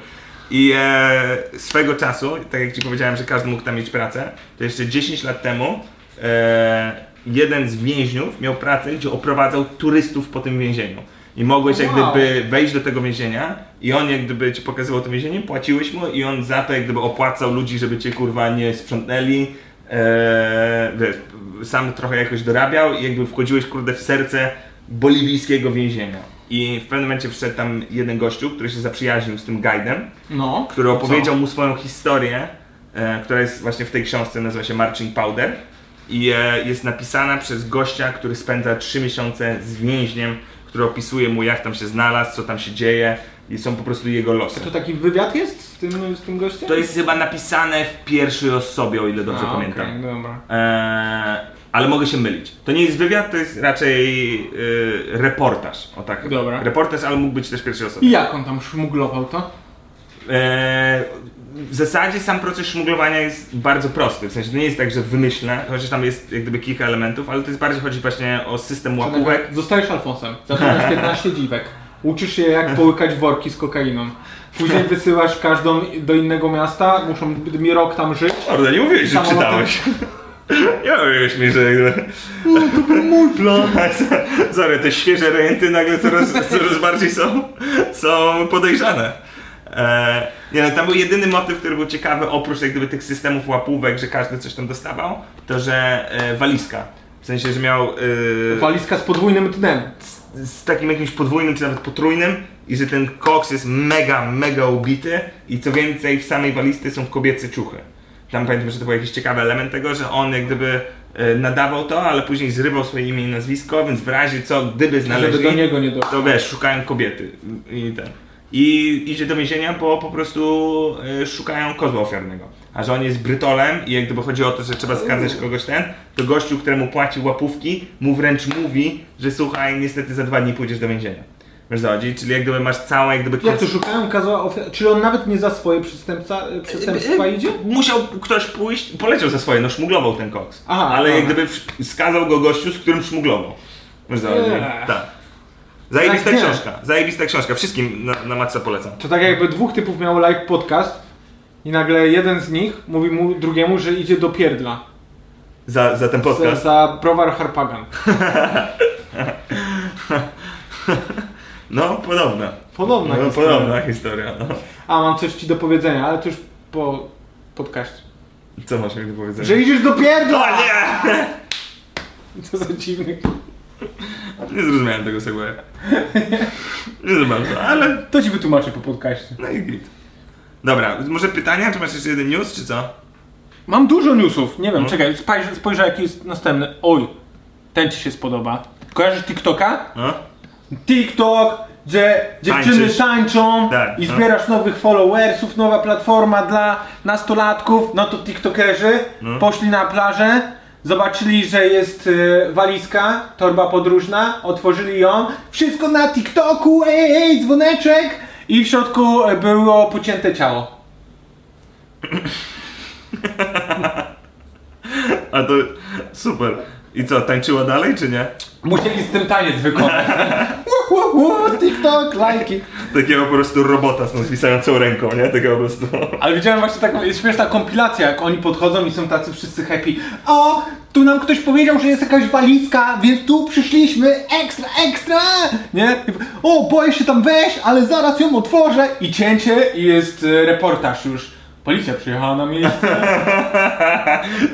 I e, swego czasu, tak jak ci powiedziałem, że każdy mógł tam mieć pracę, to jeszcze 10 lat temu e, jeden z więźniów miał pracę, gdzie oprowadzał turystów po tym więzieniu. I mogłeś jak
Wow.
gdyby wejść do tego więzienia i on jak gdyby ci pokazywał to więzienie, płaciłeś mu i on za to jak gdyby opłacał ludzi, żeby cię kurwa nie sprzątnęli. E, wiesz, sam trochę jakoś dorabiał i jakby wchodziłeś kurde w serce boliwijskiego więzienia. I w pewnym momencie wszedł tam jeden gościu, który się zaprzyjaźnił z tym guidem,
No.
który
Co?
opowiedział mu swoją historię, e, która jest właśnie w tej książce, nazywa się Marching Powder i e, jest napisana przez gościa, który spędza 3 miesiące z więźniem, który opisuje mu jak tam się znalazł, co tam się dzieje i są po prostu jego losy.
To taki wywiad jest z tym, z tym gościem?
To jest chyba napisane w pierwszej osobie, o ile dobrze
A,
pamiętam.
okej, dobra.
Eee, ale mogę się mylić. To nie jest wywiad, to jest raczej yy, reportaż. O tak.
Dobra.
Reportaż, ale mógł być też pierwszej osoby.
I jak on tam szmuglował to?
Eee, w zasadzie sam proces szmuglowania jest bardzo prosty, w sensie to nie jest tak, że wymyślne, chociaż tam jest jak gdyby kilka elementów, ale to jest bardziej chodzi właśnie o system łapówek.
Zostajesz Alfonsem, zaczynasz 15 dziwek. Uczysz się jak połykać worki z kokainą. Później wysyłasz każdą do innego miasta, muszą mi rok tam żyć.
Kurde, nie mówiłeś, że
Samolotem.
czytałeś. [LAUGHS] Nie mówiłeś mi, że...
No, To był mój plan.
[LAUGHS] Sorry, te świeże renty nagle coraz, coraz bardziej są, są podejrzane. Eee, nie no, tam był jedyny motyw, który był ciekawy, oprócz jak gdyby tych systemów łapówek, że każdy coś tam dostawał, to że e, walizka. W sensie, że miał... e,
Walizka z podwójnym dnem.
z takim jakimś podwójnym czy nawet potrójnym i że ten koks jest mega, mega ubity i co więcej w samej walizce są kobiece ciuchy. Tam pamiętam, że to był jakiś ciekawy element tego, że on jak gdyby e, nadawał to, ale później zrywał swoje imię i nazwisko, więc w razie co, gdyby
Żeby
znaleźli,
do niego nie doszło.
to wiesz, szukają kobiety i ten. I idzie do więzienia, bo po prostu e, szukają kozła ofiarnego. A że on jest brytolem i jak gdyby chodzi o to, że trzeba skazać kogoś ten, to gościu, któremu płaci łapówki, mu wręcz mówi, że słuchaj, niestety za dwa dni pójdziesz do więzienia. Wiesz co chodzi? Czyli jak gdyby masz całą jak gdyby...
Jak to szukają kazała ofiar? Czyli on nawet nie za swoje przestępca,
Eee,
przestępstwa idzie?
Musiał ktoś pójść, poleciał za swoje, no szmuglował ten koks.
Aha,
Ale jak
aha.
gdyby w- skazał go gościu, z którym szmuglował. Wiesz co chodzi?
Eee.
Tak. Zajebista
Tak, nie.
książka, zajebista książka, wszystkim na, na maksa polecam.
To tak jakby dwóch typów miało live podcast i nagle jeden z nich mówi mu drugiemu, że idzie do pierdla.
Za, za ten
Za,
podcast.
za browar Harpagan.
No, podobna.
Podobna
No,
historia.
podobna historia. No.
A, mam coś ci do powiedzenia, ale to już po podcaście.
Co masz mi do powiedzenia?
Że idziesz do
O
pierdla!
nie!
Co za dziwny.
Nie zrozumiałem tego segwaya. Nie zrozumiałem to, ale...
To ci wytłumaczę po podcaście.
No i git. Dobra, może pytania? Czy masz jeszcze jeden news, czy co?
Mam dużo newsów, nie wiem, czekaj, spojrzę, spojrzę jaki jest następny. Oj, ten ci się spodoba. Kojarzysz TikToka?
No?
TikTok, gdzie dziewczyny
Tańczysz.
tańczą
Tak,
i
no.
zbierasz nowych followersów, nowa platforma dla nastolatków, no to tiktokerzy
No.
poszli na plażę, zobaczyli, że jest y, walizka, torba podróżna, otworzyli ją, wszystko na TikToku, ej, ej, dzwoneczek i w środku y, było pocięte ciało.
A to... Super. I co, tańczyła dalej, czy nie?
Musieli z tym taniec
[LAUGHS]
wykonać. Wu, wu, wu, TikTok, lajki.
Takiego po prostu robota z tą zwisającą ręką, nie? Takiego po prostu...
Ale widziałem właśnie taką, jest śmieszna kompilacja, jak oni podchodzą i są tacy wszyscy happy. O, tu nam ktoś powiedział, że jest jakaś walizka, więc tu przyszliśmy, ekstra, ekstra! Nie? O, boję się tam wejść, ale zaraz ją otworzę. I cięcie i jest e, reportaż już. Policja przyjechała na miejsce.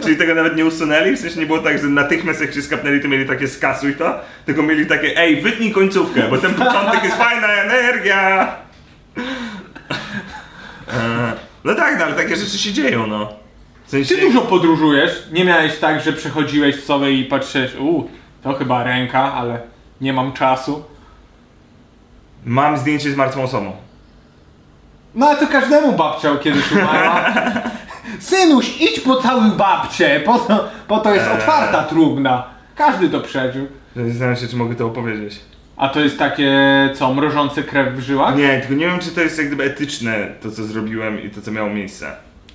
Czyli tego nawet nie usunęli? W sensie nie było tak, że natychmiast jak się skapnęli, to mieli takie skasuj to, tylko mieli takie ej, wytnij końcówkę, bo ten początek jest fajna energia! E, No tak, no ale takie rzeczy się dzieją, no. W sensie...
Ty dużo podróżujesz? Nie miałeś tak, że przechodziłeś sobie i patrzysz, u, to chyba ręka, ale nie mam czasu.
Mam zdjęcie z martwą osobą.
No ale to każdemu babciał kiedyś umarła. Synuś, idź po całym babcie, po to, po to
Eee.
jest otwarta trumna. Każdy to przeżył.
Zastanawiam się, czy mogę to opowiedzieć.
A to jest takie, co, mrożące krew w żyłach?
Nie, tylko nie wiem, czy to jest jak gdyby etyczne, to co zrobiłem i to co miało miejsce.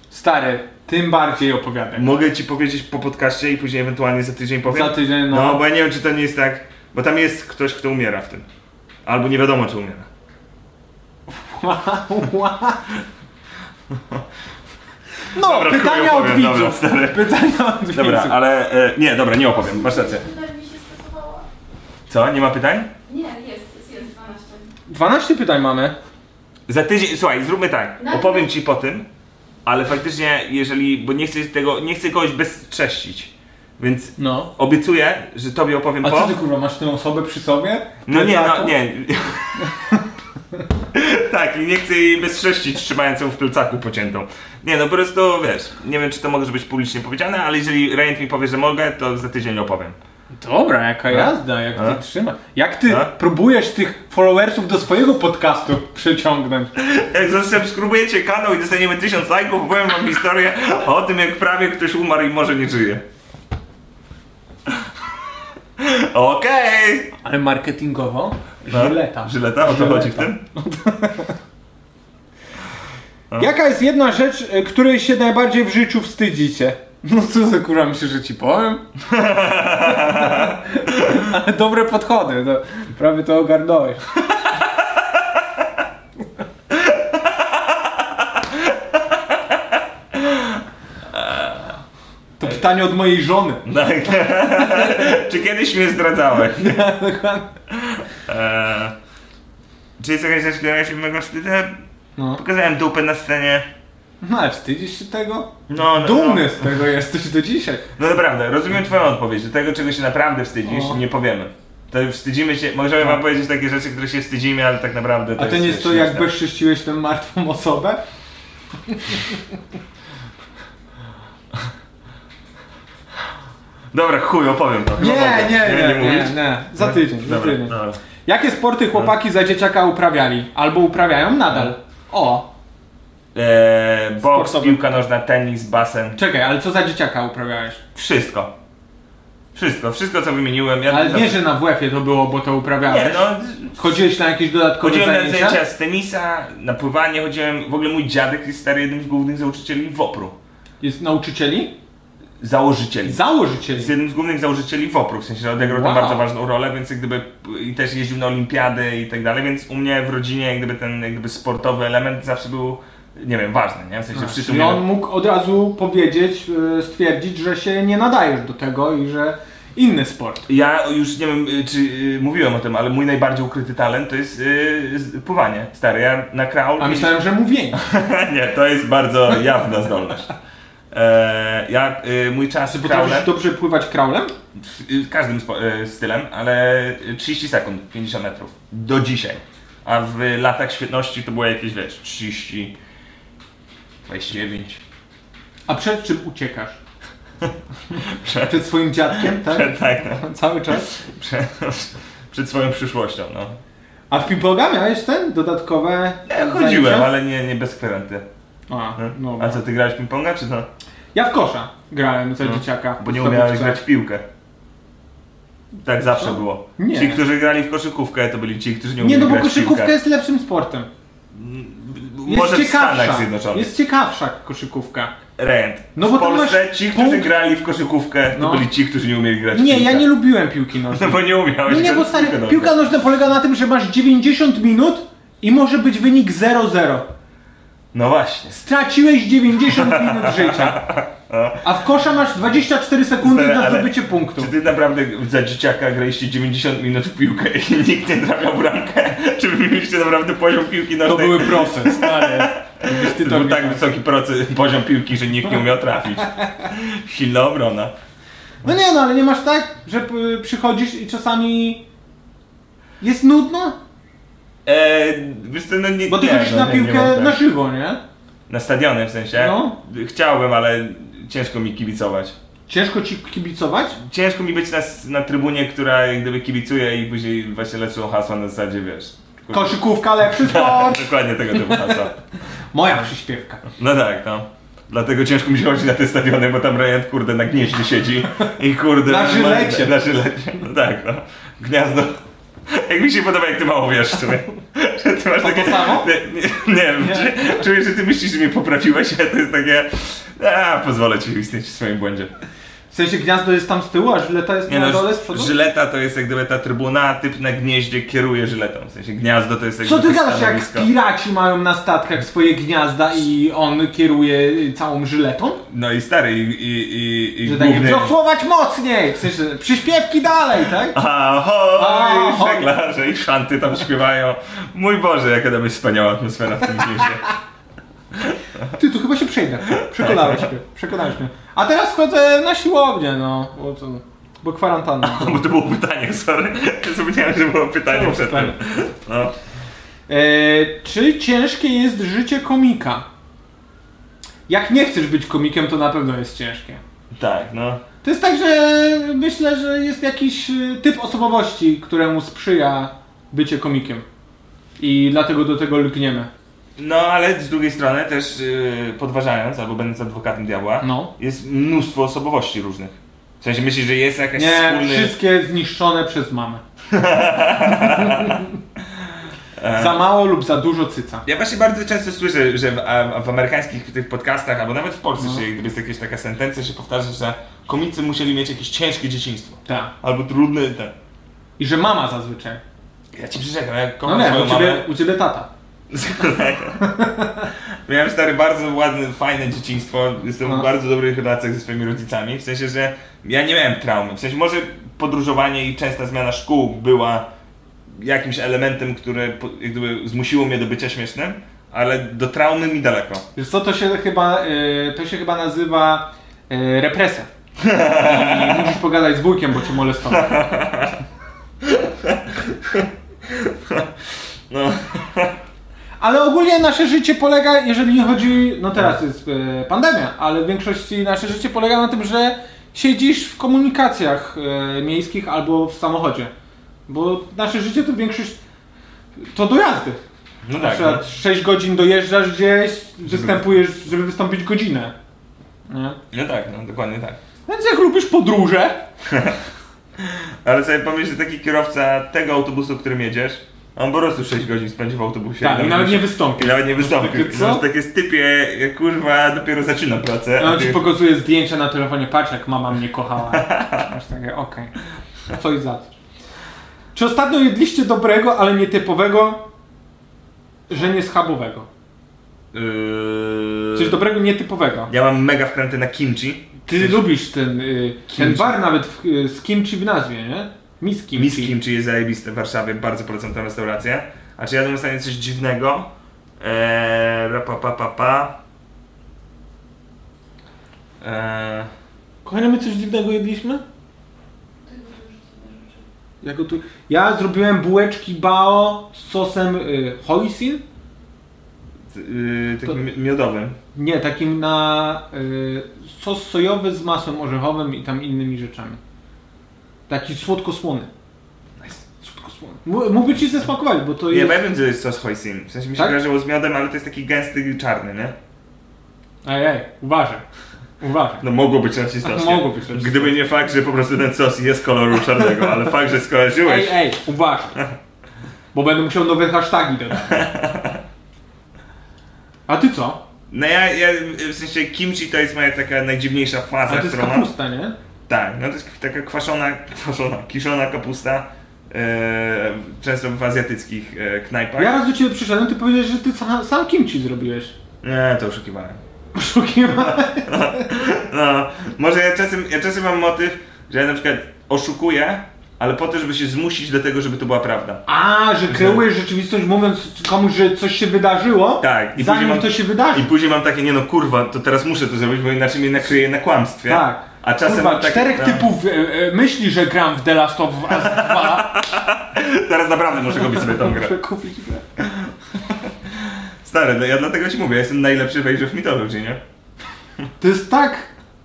Stary, tym bardziej opowiadaj.
Mogę ci powiedzieć po podcaście i później ewentualnie za tydzień powiem?
Za tydzień, no.
No, bo ja nie wiem, czy to nie jest tak, bo tam jest ktoś, kto umiera w tym. Albo nie wiadomo, czy umiera.
No,
Dobra,
pytania
chuj
od
opowiem, dobra,
widzów.
stary.
[LAUGHS] pytania od
Dobra,
widzów.
ale... E, nie, dobra, nie opowiem, masz rację.
Tutaj mi się stosowało.
Co, nie ma pytań?
Nie, jest, jest, jest 12.
12 pytań mamy.
Za tydzień, słuchaj, zróbmy tak,
No.
opowiem ci po tym, ale faktycznie, jeżeli, bo nie chcę tego, nie chcę kogoś bezcześcić, więc
No.
obiecuję, że tobie opowiem
A
po...
co ty kurwa, masz tę osobę przy sobie?
No nie,
Plecaku?
no nie. [LAUGHS] tak, i nie chcę jej bezcześcić trzymając ją w plecaku pociętą. Nie, no po prostu wiesz, nie wiem czy to może być publicznie powiedziane, ale jeżeli Rejent mi powie, że mogę, to za tydzień opowiem.
Dobra, jaka jazda, jak
A?
ty trzymasz. Jak ty
A?
próbujesz tych followersów do swojego podcastu [LAUGHS] przyciągnąć?
Jak zasubskrybujecie kanał i dostaniemy tysiąc lajków, opowiem wam historię o tym, jak prawie ktoś umarł i może nie żyje. [LAUGHS] Okej!
Ale marketingowo
No,
żyleta.
Żyleta, o co
Żyleta.
chodzi w tym?
Jaka jest jedna rzecz, y, której się najbardziej w życiu wstydzicie? No co za kurwa myślisz, że ci powiem? [LAUGHS] Ale dobre podchody, to prawie to ogarnąłeś. To pytanie od mojej żony.
Tak. [LAUGHS] Czy kiedyś mnie
[LAUGHS]
zdradzałeś?
Tak,
Eee, czy jest jakaś rzecz, która się mega wstydzę?
No.
Pokazałem dupę na scenie.
No ale wstydzisz się tego?
No, no,
Dumny z tego jesteś do dzisiaj.
No, no naprawdę, rozumiem twoją odpowiedź. Do tego, czego się naprawdę wstydzisz,
O.
nie powiemy. To wstydzimy się, możemy wam powiedzieć takie rzeczy, które się wstydzimy, ale tak naprawdę to
No. A to nie jest to,
śmieszne.
jak bezczyściłeś tę martwą osobę?
Dobra, chuj, opowiem to.
No,
Nie,
Chyba mogę.
nie, nie, nie, nie,
mówić? No.
Za tydzień, za
Dobra,
tydzień.
dobra.
Jakie sporty chłopaki za dzieciaka uprawiali? Albo uprawiają nadal? O,
Eee, boks,
Sportowy.
piłka nożna, tenis, basen.
czekaj, ale co za dzieciaka uprawiałeś?
Wszystko. Wszystko, wszystko co wymieniłem. Ja
Ale nie, że na WF-ie to było, bo to uprawiałeś.
Nie, no,
Chodziłeś na jakieś dodatkowe
chodziłem na
zajęcia?
zajęcia z tenisa, na pływanie, chodziłem, w ogóle mój dziadek jest stary jednym z głównych nauczycieli WOPR-u.
Jest nauczycieli?
Założycieli.
Założycieli.
Jest jednym z głównych założycieli WOPR-u, w sensie odegrał tam
Wow.
bardzo ważną rolę, więc jak gdyby i też jeździł na olimpiady i tak dalej, więc u mnie w rodzinie jak gdyby ten jak gdyby sportowy element zawsze był, nie wiem, ważny, nie? W sensie wszyscy
I
mnie-
No, on mógł od razu powiedzieć, y, stwierdzić, że się nie nadajesz do tego i że inny sport.
Ja już nie wiem, y, czy y, mówiłem o tym, ale mój najbardziej ukryty talent to jest y, z- pływanie, stary. Ja na kraul...
A myślałem, że mówienie.
[LAUGHS] nie, to jest bardzo jawna zdolność. E, ja, y, mój czas w kraule,
Potrafisz dobrze pływać kraulem?
y, każdym spo, y, stylem, ale 30 sekund, 50 metrów. Do dzisiaj. A w latach świetności to było jakieś, wiesz, 30, 29.
A przed czym uciekasz? Przed swoim dziadkiem, tak?
Tak, no.
Cały czas?
Przed, przed swoją przyszłością, no.
A w Pimpoga miałeś ten? Dodatkowe
Ja chodziłem, ale nie, nie bez kwerenty.
A, no.
A co, ty grałeś ping-ponga, czy no?
Ja w kosza grałem za
No,
dzieciaka.
Bo nie
w
umiałeś
stołówce.
grać w piłkę. Tak zawsze było.
Nie.
Ci, którzy grali w koszykówkę, to byli ci, którzy nie
Nie,
umieli
no bo
grać w
koszykówka
piłkę.
jest lepszym sportem. Jest
Może w Stanach
ciekawsza.
Zjednoczonych.
Jest ciekawsza koszykówka.
Rent.
No
No
bo
w
ty
Polsce
masz
ci, którzy
punkt-
grali w koszykówkę, to
No.
byli ci, którzy nie umieli grać w
Nie,
piłkę.
ja nie lubiłem piłki nożnej.
[LAUGHS] No bo nie umiałeś
No nie,
grać
bo
w
stary,
piłkę nożną.
piłka nożna polega na tym, że masz 90 minut i może być wynik 0-0.
No właśnie.
Straciłeś
[LAUGHS]
90 minut życia. A w kosza masz 24 sekundy
Stary,
na
ale-
zdobycie punktu.
Czy ty naprawdę za dzieciaka graliście 90 minut w piłkę i [LAUGHS] nikt nie trafiał bramkę? Czy wy mieliście naprawdę poziom piłki
To
nożnej?
były proste, stary. Gdybyś ty
To
to
był tak
miał.
wysoki procy, poziom piłki, że nikt nie umiał trafić. Silna obrona.
No nie no, ale nie masz tak, że y, przychodzisz i czasami jest nudno?
Eee, wiesz co, no nie,
Bo ty
nie,
chodzisz
no
na
nie,
piłkę
nie mam tak.
na żywo, nie?
Na stadiony w sensie?
No.
Chciałbym, ale ciężko mi kibicować.
Ciężko ci kibicować?
Ciężko mi być na, na trybunie, która jak gdyby kibicuje i później właśnie lecą hasła na zasadzie, wiesz... kurwa, [LAUGHS]
Koszykówka lepszy sport!
Dokładnie tego typu hasła.
Moja przyśpiewka.
No tak, no. Dlatego ciężko mi się chodzi na te stadiony, bo tam Rejent kurde na gnieździe siedzi i kurde...
Na żylecie.
Na, żylecie, no tak, no. Gniazdo... Jak mi się podoba, jak ty mało wiesz w sumie. [LAUGHS] Że ty masz takie...
to samo?
Nie, nie, nie wiem, czy- czuję, że ty myślisz, że mnie poprawiłeś, a to jest takie... A, pozwolę ci istnieć w swoim błędzie.
W sensie gniazdo jest tam z tyłu, a żyleta jest
Nie
na
no,
dole z przodu?
Żyleta to jest jak gdyby ta trybuna, a typ na gnieździe kieruje Żyletą. W sensie gniazdo to jest jak
Co ty
gdyby
gadasz, jak
stanowisko.
piraci mają na statkach swoje gniazda i on kieruje całą żyletą?
No i stary, i, i, i, i
Że tak,
główny...
wiosłować mocniej! W sensie, przyśpiewki dalej, tak?
Ahoj,
Ahoj.
żeglarze i szanty tam śpiewają. Mój Boże, jaka tam jest wspaniała atmosfera w tym mieście.
Ty, tu chyba się przejdę. Przekonałeś mnie, przekonałeś mnie. A teraz chodzę na siłownię, no. Bo, to, bo kwarantanna.
Bo to było pytanie, sorry. Zapomniałem, że było pytanie przed tym. No.
E, czy ciężkie jest życie komika? Jak nie chcesz być komikiem, to na pewno jest ciężkie.
Tak, no.
To jest tak, że myślę, że jest jakiś y, typ osobowości, któremu sprzyja bycie komikiem. I dlatego do tego lgniemy.
No, ale z drugiej strony y, też yy, podważając, albo będąc adwokatem diabła,
No.
jest mnóstwo osobowości różnych. W sensie myślisz, że jest jakaś
Nie,
wspólny...
wszystkie zniszczone
[LAUGHS]
przez mamę. za mało lub za dużo cyca.
Ja właśnie bardzo często słyszę, że w, a- w amerykańskich tych podcastach, albo nawet w Polsce, no. gdyby jest jakaś taka sentencja, się powtarza, że komicy musieli mieć jakieś ciężkie dzieciństwo.
Tak.
Albo trudne, tak.
I że mama zazwyczaj.
Ja ci przyrzekam, ja
No
kocham
nie,
swoją
u
mamę. [LAUGHS]
ciebie, u ciebie tata.
Miałem stary bardzo ładne, fajne dzieciństwo. Jestem
No.
w bardzo dobrych relacjach ze swoimi rodzicami. W sensie, że ja nie miałem traumy. W sensie, może podróżowanie i częsta zmiana szkół była jakimś elementem, które po- jak gdyby zmusiło mnie do bycia śmiesznym, ale do traumy mi daleko.
Wiesz co, to się chyba, y, to się chyba nazywa y, represja. I musisz pogadać z wujkiem, bo cię molestował.
No.
Ale ogólnie nasze życie polega, jeżeli chodzi, no teraz jest e, pandemia, ale w większości nasze życie polega na tym, że siedzisz w komunikacjach e, miejskich albo w samochodzie. Bo nasze życie to większość to dojazdy.
No
Na
tak.
przykład
no.
6 godzin dojeżdżasz gdzieś, występujesz, żeby wystąpić godzinę. Nie?
No tak, no dokładnie tak.
Więc jak lubisz podróże,
Ale sobie pomyśl, że taki kierowca tego autobusu, którym jedziesz, on po prostu 6 godzin spędzi w autobusie.
tak, i nawet nie
się- I
wystąpisz.
nawet nie wystąpił.
Takie co?
Masz takie stypie, kurwa, dopiero zaczyna pracę. a
Ja ci
ty-
pokazuję zdjęcia na telefonie, patrz jak mama mnie
[LAUGHS]
kochała. Masz takie, okej. Coś za coś. Czy ostatnio jedliście dobrego, ale nietypowego, że nie schabowego?
Yy...
Coś dobrego, nietypowego.
Ja mam mega wkręty na kimchi.
Ty lubisz ten, y, ten bar nawet w, y, z kimchi w nazwie, nie? Miss kimchi.
Miss kimchi jest zajebiste w Warszawie, bardzo polecam tę restaurację. A czy jadłem ostatnio coś dziwnego? Eee, ra pa pa pa pa. Eee,
Kochani, my coś dziwnego jedliśmy? Ja, gotu... ja zrobiłem bułeczki bao z sosem y, hoisin.
t- yy, takim
To-
mi- miodowym.
Nie, takim na y, sos sojowy z masłem orzechowym i tam innymi rzeczami. Taki słodko-słony. Słodko-słony. M- Mógłby ci zasmakować, bo to
Nie,
jest...
bo ja wiem, że jest sos hoisin. W sensie mi się
Tak?
kojarzyło z miodem, ale to jest taki gęsty i czarny, nie?
Ej, ej, uważaj. Uważaj.
No mogło być
[LAUGHS]
rasistowskie.
Ach, mogło być rasistowskie.
Gdyby nie fakt, że po prostu ten sos jest koloru czarnego, ale fakt, że skojarzyłeś.
Ej, ej, uważaj. Bo będę musiał nowe hasztagi dodać. A ty co?
No ja, ja, w sensie kimchi to jest moja taka najdziwniejsza faza,
A to jest
którą mam.
kapusta, nie?
Tak, no to jest taka kwaszona, kwaszona, kiszona kapusta, e, często w azjatyckich e, knajpach.
Ja raz do ciebie przyszedłem, ty powiedziałeś, że ty sam, sam kimchi zrobiłeś. [LAUGHS]
Nie, to oszukiwałem.
Poszukiwałem.
No, może ja czasem, ja czasem mam motyw, że ja na przykład oszukuję, ale po to, żeby się zmusić do tego, żeby to była prawda.
A, że kreujesz rzeczywistość mówiąc komuś, że coś się wydarzyło,
Tak, i później
zanim
mam-
to się wydarzy.
I później mam takie, nie no kurwa, to teraz muszę to zrobić, bo inaczej mnie nakryje na kłamstwie.
Tak.
A czasem
Kurwa,
mam takie,
czterech
no,
typów e, e, myśli, że gram w The Last of Us 2.
[LAUGHS] Teraz naprawdę muszę kupić sobie tą grę.
Muszę kupić grę.
Stary, no ja dlatego ci mówię, ja jestem najlepszy wejrzy w mitologię, nie?
To jest tak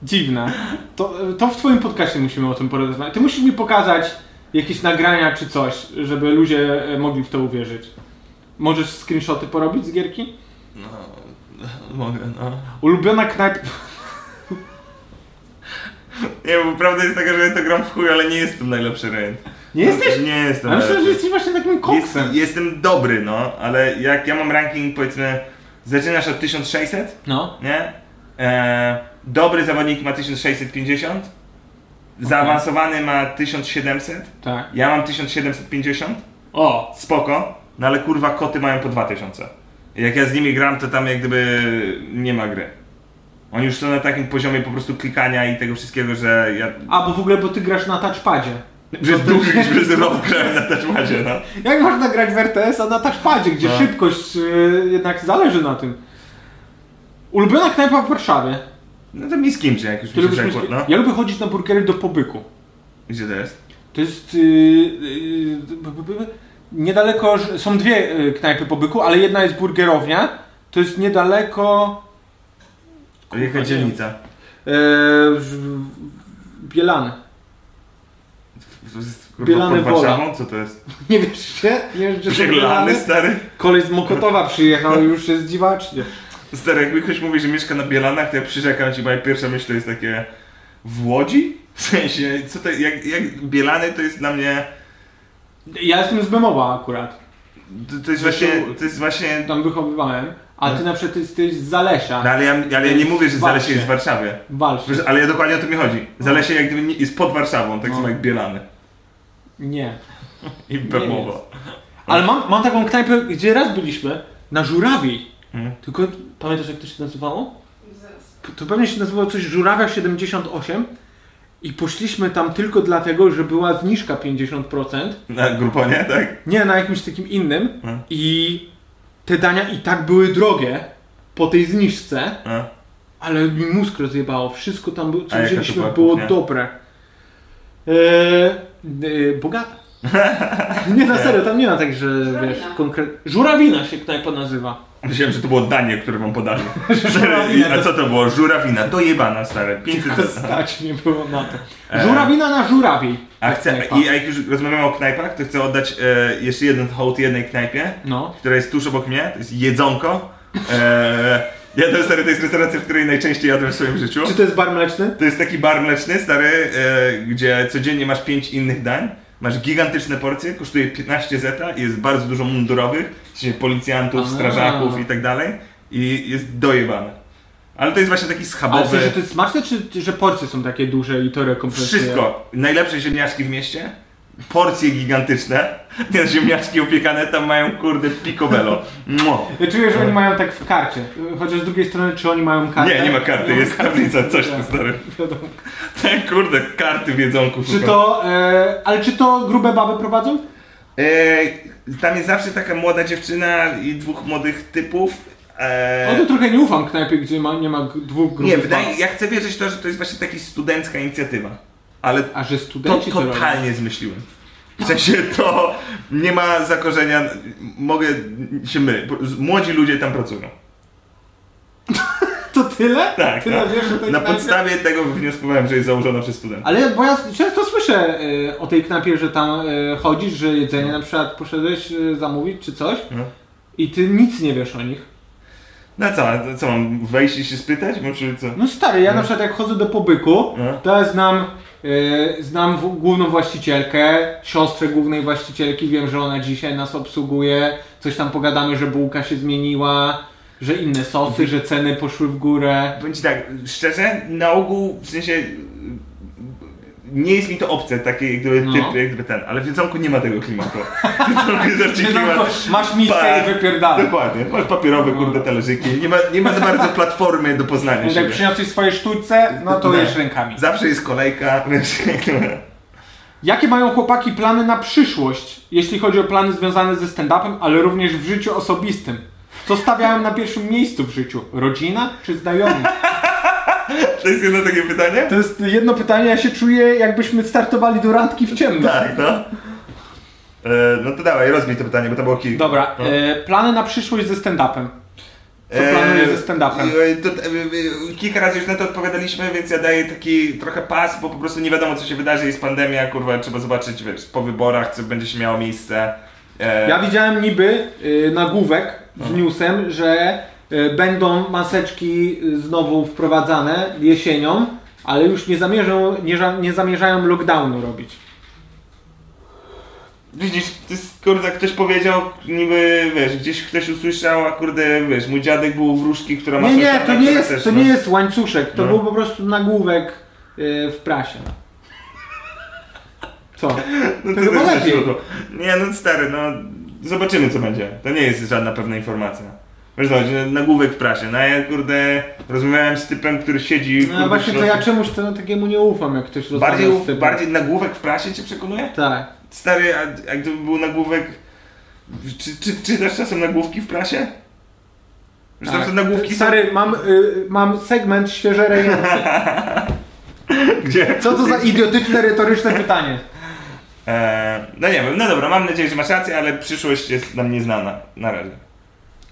dziwne. To, to w twoim podcaście musimy o tym porozmawiać. Ty musisz mi pokazać jakieś nagrania czy coś, żeby ludzie e, mogli w to uwierzyć. Możesz screenshoty porobić z gierki?
Mogę, no.
Ulubiona knajpa...
E, Nie, bo prawda jest taka, że ja to gram w chuj, ale nie jestem najlepszy rejent.
Nie jesteś?
Nie jestem
Ja myślę, że
najlepszy.
jesteś właśnie takim
Jest,
koksem.
jestem dobry, no, ale jak ja mam ranking, powiedzmy, zaczynasz od 1600,
No.
nie? E, dobry zawodnik ma 1650, zaawansowany ma 1700,
Tak.
ja mam 1750,
O,
spoko, no ale kurwa koty mają po 2000. I Jak ja z nimi gram, to tam jak gdyby nie ma gry. Oni już są na takim poziomie po prostu klikania i tego wszystkiego, że ja...
A, bo w ogóle, bo ty grasz na touchpadzie.
Przez
[LAUGHS]
długi niż przez rok grałem na taszmacie, no.
Jak można grać w RTS-a na touchpadzie, gdzie
No.
szybkość y, jednak zależy na tym? Ulubiona knajpa w Warszawie.
No to mi z kimś, jak już
Ty
mi się
lubisz
przekład,
mieć-
no.
Ja lubię chodzić na burgery do pobyku.
Gdzie to jest?
To jest... Y, y, b- b- b- niedaleko... Ż- Są dwie y, knajpy pobyku, ale jedna jest burgerownia. To jest niedaleko...
Jaka
nie
dzielnica?
Y, w- Bielany.
To jest, kurwa,
Bielany
pod
Wola.
Warszawą? Co to jest?
Nie wiesz się? Nie wiesz, że to
Bielany, stary?
Kolej z Mokotowa przyjechał i już jest dziwacznie.
Stary, jak mi ktoś mówi, że mieszka na Bielanach, to ja przyrzekam ci, moja pierwsza myśl to jest takie... W Łodzi? W sensie, co to, jak, jak Bielany to jest dla mnie,
Ja jestem z Bemowa akurat.
to, to jest właśnie, to jest właśnie,
Tam wychowywałem. A ty na przykład jesteś z Zalesia.
no ale ja, ale ja nie mówię, że Zalesie jest w Warszawie.
Walcz.
Wiesz, Ale ja dokładnie o to mi chodzi. Zalesie jak gdyby nie, jest pod Warszawą, tak samo jak Bielany.
No. Nie.
I Bemowo.
Ale mam, mam taką knajpę, gdzie raz byliśmy. Na Żurawi.
Mhm.
Tylko pamiętasz jak to się nazywało?
Zaraz.
P- To pewnie się nazywało coś Żurawia 78. I poszliśmy tam tylko dlatego, że była zniżka 50%.
Na Gruponie, tak?
Nie, na jakimś takim innym.
Mhm.
I te dania i tak były drogie po tej zniżce.
No.
Ale mi mózg rozjebało. Wszystko tam, było,
A
co
jaka to
wzięliśmy,
była
było
kuchnia?
dobre. Eee, eee, [LAUGHS] bogata. nie, na serio, tam nie ma tak, że wiesz, konkretnie... Żurawina się knajpa nazywa.
Myślałem, że to było danie, które wam podali. [LAUGHS] A co to było? Żurawina. To jebana, stare. 500 zł.
Stać nie było na to. Żurawina na żurawi.
A chcę,
Knajpa.
i jak już rozmawiamy o knajpach, to chcę oddać e, jeszcze jeden hołd jednej knajpie,
No.
która jest tuż obok mnie, to jest Jedzonko. E, ja to, stary, to jest restauracja, w której najczęściej jadłem w swoim życiu.
Czy to jest bar mleczny?
To jest taki bar mleczny, stary, e, gdzie codziennie masz 5 innych dań, masz gigantyczne porcje, kosztuje 15 zeta i jest bardzo dużo mundurowych, czyli policjantów,
A.
strażaków i tak dalej i jest dojebane. Ale to jest właśnie taki
Ale
schabowy...
co, że to jest smaczne, czy że porcje są takie duże i to rekompensuje?
Wszystko. Najlepsze ziemniaczki w mieście. Porcje gigantyczne. [LAUGHS] Te ziemniaczki opiekane tam mają kurde picobello. Mło.
Ja czuję, że oni mają tak w karcie. Chociaż z drugiej strony, czy oni mają kartę?
Nie, nie ma karty, jest tablica, coś tu stary.
Wiadomo.
Te kurde karty wiedzonku.
Czy to, e, ale czy to grube baby prowadzą?
E, tam jest zawsze taka młoda dziewczyna i dwóch młodych typów.
No
E,
to trochę nie ufam knajpie, gdzie ma, nie ma g- dwóch grup.
nie, wydaje, ja chcę wierzyć to, że to jest właśnie taka studencka inicjatywa. Ale
A że
to
studenci to, to robią.
totalnie zmyśliłem. W sensie to nie ma zakorzenia, mogę się mylić. bo Młodzi ludzie tam pracują.
To tyle?
Tak,
Tyle
no.
wiesz o tej
Na
knajpie?
podstawie tego wnioskowałem, że jest założona przez studenta.
Ale bo ja często słyszę e, o tej knajpie, że tam e, chodzisz, że jedzenie na przykład poszedłeś e, zamówić czy coś
No.
i ty nic nie wiesz o nich.
No co, co mam wejść i się spytać? Bo Czy co?
No stary, ja na przykład jak chodzę do pobyku,
No.
to ja znam, e, znam w, główną właścicielkę, siostrę głównej właścicielki, wiem, że ona dzisiaj nas obsługuje, coś tam pogadamy, że bułka się zmieniła, że inne sosy, że ceny poszły w górę.
Powiem ci tak, szczerze, na ogół, w sensie, y, nie jest mi to obce, taki jak gdyby
No.
typ, jak gdyby ten, ale w jedzonku nie ma tego
[LAUGHS]
klimatu. W jedzonku jest raczej klimat...
Masz miskę
Pa-
i No. wypierdalaj.
Dokładnie, masz papierowe, kurde, talerzyki, nie ma, nie ma za
[LAUGHS]
bardzo platformy do poznania
Jak
siebie.
przyniosłeś swoje sztućce, no to
Nie.
jesz rękami.
Zawsze jest kolejka, [LAUGHS] wiesz, jak to-
Jakie mają chłopaki plany na przyszłość, jeśli chodzi o plany związane ze stand-upem, ale również w życiu osobistym? Co stawiają na pierwszym miejscu w życiu? Rodzina czy znajomi?
to jest jedno takie pytanie?
To jest jedno pytanie, ja się czuję jakbyśmy startowali do randki w ciemno.
Tak, no. E, No to dawaj, rozbij to pytanie, bo to było kilka.
Dobra,
No.
e, plany na przyszłość ze stand-upem. Co planujesz ze stand-upem?
Eee, to, e, e, Kilka razy już na to odpowiadaliśmy, więc ja daję taki trochę pas, bo po prostu nie wiadomo co się wydarzy, jest pandemia, kurwa, trzeba zobaczyć, wiesz, po wyborach, co będzie się miało miejsce. Eee,
Ja widziałem niby y, nagłówek z
No.
newsem, że y, będą maseczki y, znowu wprowadzane jesienią, ale już nie zamierzą, nie, ża- nie zamierzają lockdownu robić.
Widzisz, to jest, kurde, ktoś powiedział, niby, wiesz, gdzieś ktoś usłyszał, a kurde, wiesz, mój dziadek był w wróżki, która ma
Nie, nie,
sąsiada,
to nie
która
jest,
też,
to
no.
nie jest łańcuszek, to
No.
był po prostu nagłówek y, w prasie. Co?
No
To
to
chyba
też
lepiej.
zeszło. Nie, no stary, no zobaczymy co będzie. To nie jest żadna pewna informacja. Wiesz, no, że nagłówek w prasie. No a ja kurde, rozmawiałem z typem, który siedzi.
No
kurde,
właśnie
w
to ja
środku.
czemuś to, no, takiemu nie ufam, jak ktoś rozmawia
bardziej,
z typem.
bardziej nagłówek w prasie cię przekonuje?
Tak.
Stary, a, a gdyby był nagłówek. Czy, czy, czytasz czasem nagłówki w prasie? Że tam
tak.
są nagłówki są,
Stary, mam, y, mam segment świeże rejestry.
gdzie.
Co to za idiotyczne, retoryczne pytanie?
E, no nie wiem, no dobra, mam nadzieję, że masz rację, ale przyszłość jest nam nieznana na razie.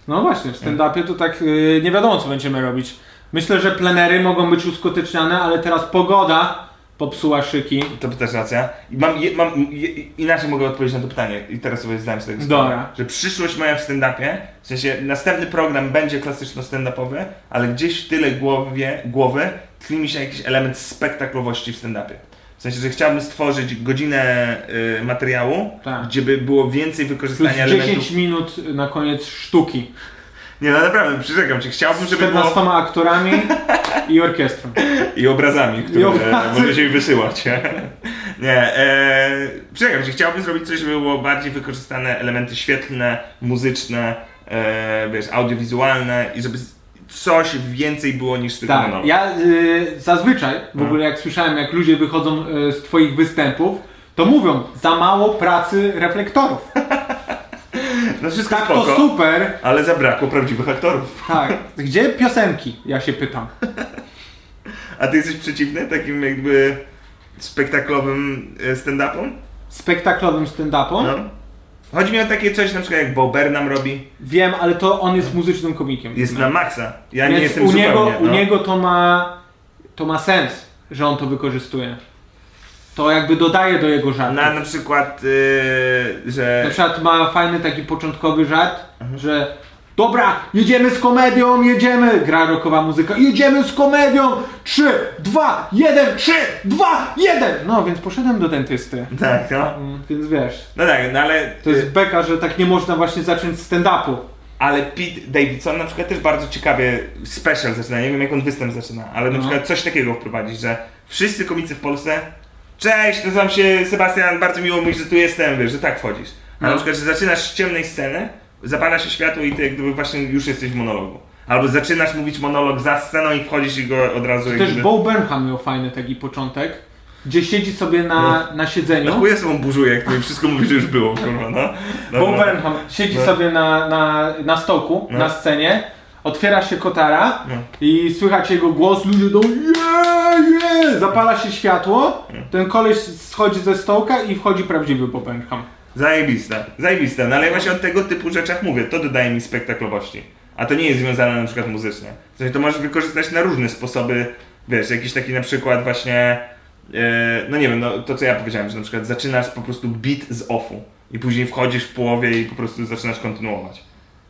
No właśnie, w stand-upie to tak y, nie wiadomo, co będziemy robić. Myślę, że plenery mogą być uskuteczniane, ale teraz pogoda popsuła szyki.
To by też racja. I Mam, je, mam, je, inaczej mogę odpowiedzieć na to pytanie i teraz sobie zdałem sobie
Dobra.
Że przyszłość moja w stand-upie, w sensie następny program będzie klasyczno stand-upowy, ale gdzieś w tyle głowie, głowy tli mi się jakiś element spektaklowości w stand-upie. W sensie, że chciałbym stworzyć godzinę y, materiału,
Tak.
gdzie by było więcej
Plus
wykorzystania
10
elementów.
minut na koniec sztuki.
Nie, no naprawdę, przyrzekam cię, chciałbym,
Z
żeby było
14 aktorami i orkiestrą.
[LAUGHS] I obrazami, które
I obrazy.
możecie mi wysyłać. [LAUGHS] Nie, e, przyjechałem się, chciałbym zrobić coś, żeby było bardziej wykorzystane elementy świetlne, muzyczne, e, wiesz, audiowizualne i żeby z- coś więcej było niż tylko
Tak,
monolog.
ja y, zazwyczaj, w ogóle jak słyszałem, jak ludzie wychodzą y, z twoich występów, to mówią, za mało pracy reflektorów.
No wszystko
Tak,
spoko,
to super,
ale zabrakło prawdziwych aktorów.
tak. Gdzie piosenki, ja się pytam.
A ty jesteś przeciwny takim jakby spektaklowym e, stand-upom?
Spektaklowym stand-upom?
No. Chodzi mi o takie coś na przykład jak Bo Burnham robi,
Wiem, ale to on jest muzycznym komikiem.
jest na maksa. Ja
Mhm. Więc
nie jestem
u niego,
zupełnie.
u
no.
niego to ma to ma sens, że on to wykorzystuje. To jakby dodaje do jego żartu.
Na, na przykład, y, że...
Na przykład ma fajny taki początkowy żart,
Mhm.
że dobra, jedziemy z komedią, jedziemy, gra rockowa muzyka, jedziemy z komedią, 3, 2, 1, 3, 2, 1. No, więc poszedłem do dentysty,
Tak, no.
Mm, więc wiesz,
No tak, no ale,
to jest beka, że tak nie można właśnie zacząć stand-upu.
ale Pete Davidson na przykład też bardzo ciekawie special zaczyna, nie wiem jak on występ zaczyna,
No.
ale na przykład coś takiego wprowadzić, że wszyscy komicy w Polsce Cześć, nazywam się Sebastian, bardzo miło mi, że tu jestem, wiesz, że tak wchodzisz. A
No.
na przykład, że zaczynasz z ciemnej sceny, zapala się światło i ty jak gdyby właśnie już jesteś w monologu. Albo zaczynasz mówić monolog za sceną i wchodzisz i go od razu
Też Bo Burnham miał fajny taki początek, gdzie siedzi sobie na, na
No
siedzeniu.
chuję sobą burzuje, jak to mi wszystko mówi, że już było, kurwa, no.
Bo
Dobra.
Burnham siedzi
No.
sobie na, na, na stołku,
No.
na scenie, otwiera się kotara
No.
i słychać jego głos, ludzie idą yeah, yeah! zapala się światło, ten koleś schodzi ze stołka i wchodzi prawdziwy Bo Burnham.
Zajebista, zajebista, no ale ja właśnie o tego typu rzeczach mówię, to dodaje mi spektaklowości. A to nie jest związane na przykład muzycznie. W sensie to możesz wykorzystać na różne sposoby, wiesz, jakiś taki na przykład właśnie, e, no nie wiem, no to co ja powiedziałem, że na przykład zaczynasz po prostu beat z offu i później wchodzisz w połowie i po prostu zaczynasz kontynuować.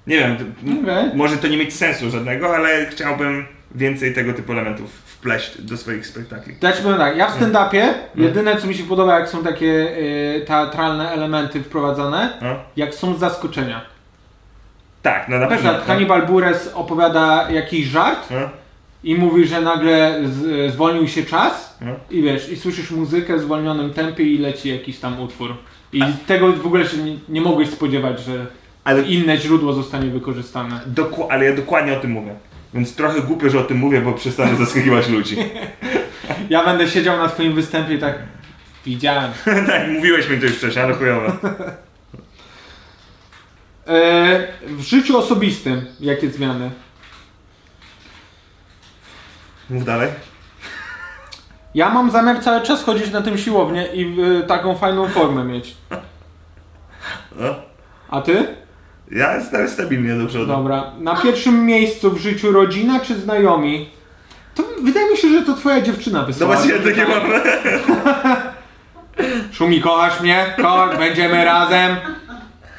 Nie wiem, to, m-
Okej.
może to nie mieć sensu żadnego, ale chciałbym więcej tego typu elementów wpleść do swoich spektakli.
Ja ci powiem tak, ja w stand-upie, jedyne co mi się podoba jak są takie y, teatralne elementy wprowadzane,
No.
jak są zaskoczenia.
Tak, no na
Na
pewno.
przykład Hannibal Buress opowiada jakiś żart,
No.
I mówi, że nagle z, y, zwolnił się czas
No.
i wiesz, i słyszysz muzykę w zwolnionym tempie i leci jakiś tam utwór. I tego w ogóle się nie, nie mogłeś spodziewać, że
Ale
inne źródło zostanie wykorzystane.
Doku- ale ja dokładnie o tym mówię. Więc trochę głupio, że o tym mówię, bo przestanę zaskakiwać [LAUGHS] ludzi.
Ja będę siedział na twoim występie i tak widziałem.
tak, mówiłeś mi to już wcześniej, ale chujowe.
E, w życiu osobistym jakie zmiany?
Mów dalej.
Ja mam zamiar cały czas chodzić na tym siłownię i e, taką fajną formę mieć.
No.
A ty?
Ja jestem stabilnie do przodu.
Dobra. Na pierwszym miejscu w życiu rodzina czy znajomi? To wydaje mi się, że to twoja dziewczyna wysłała.
Zobaczcie, takie mam.
Szumi, kochasz mnie? Kochasz, będziemy razem.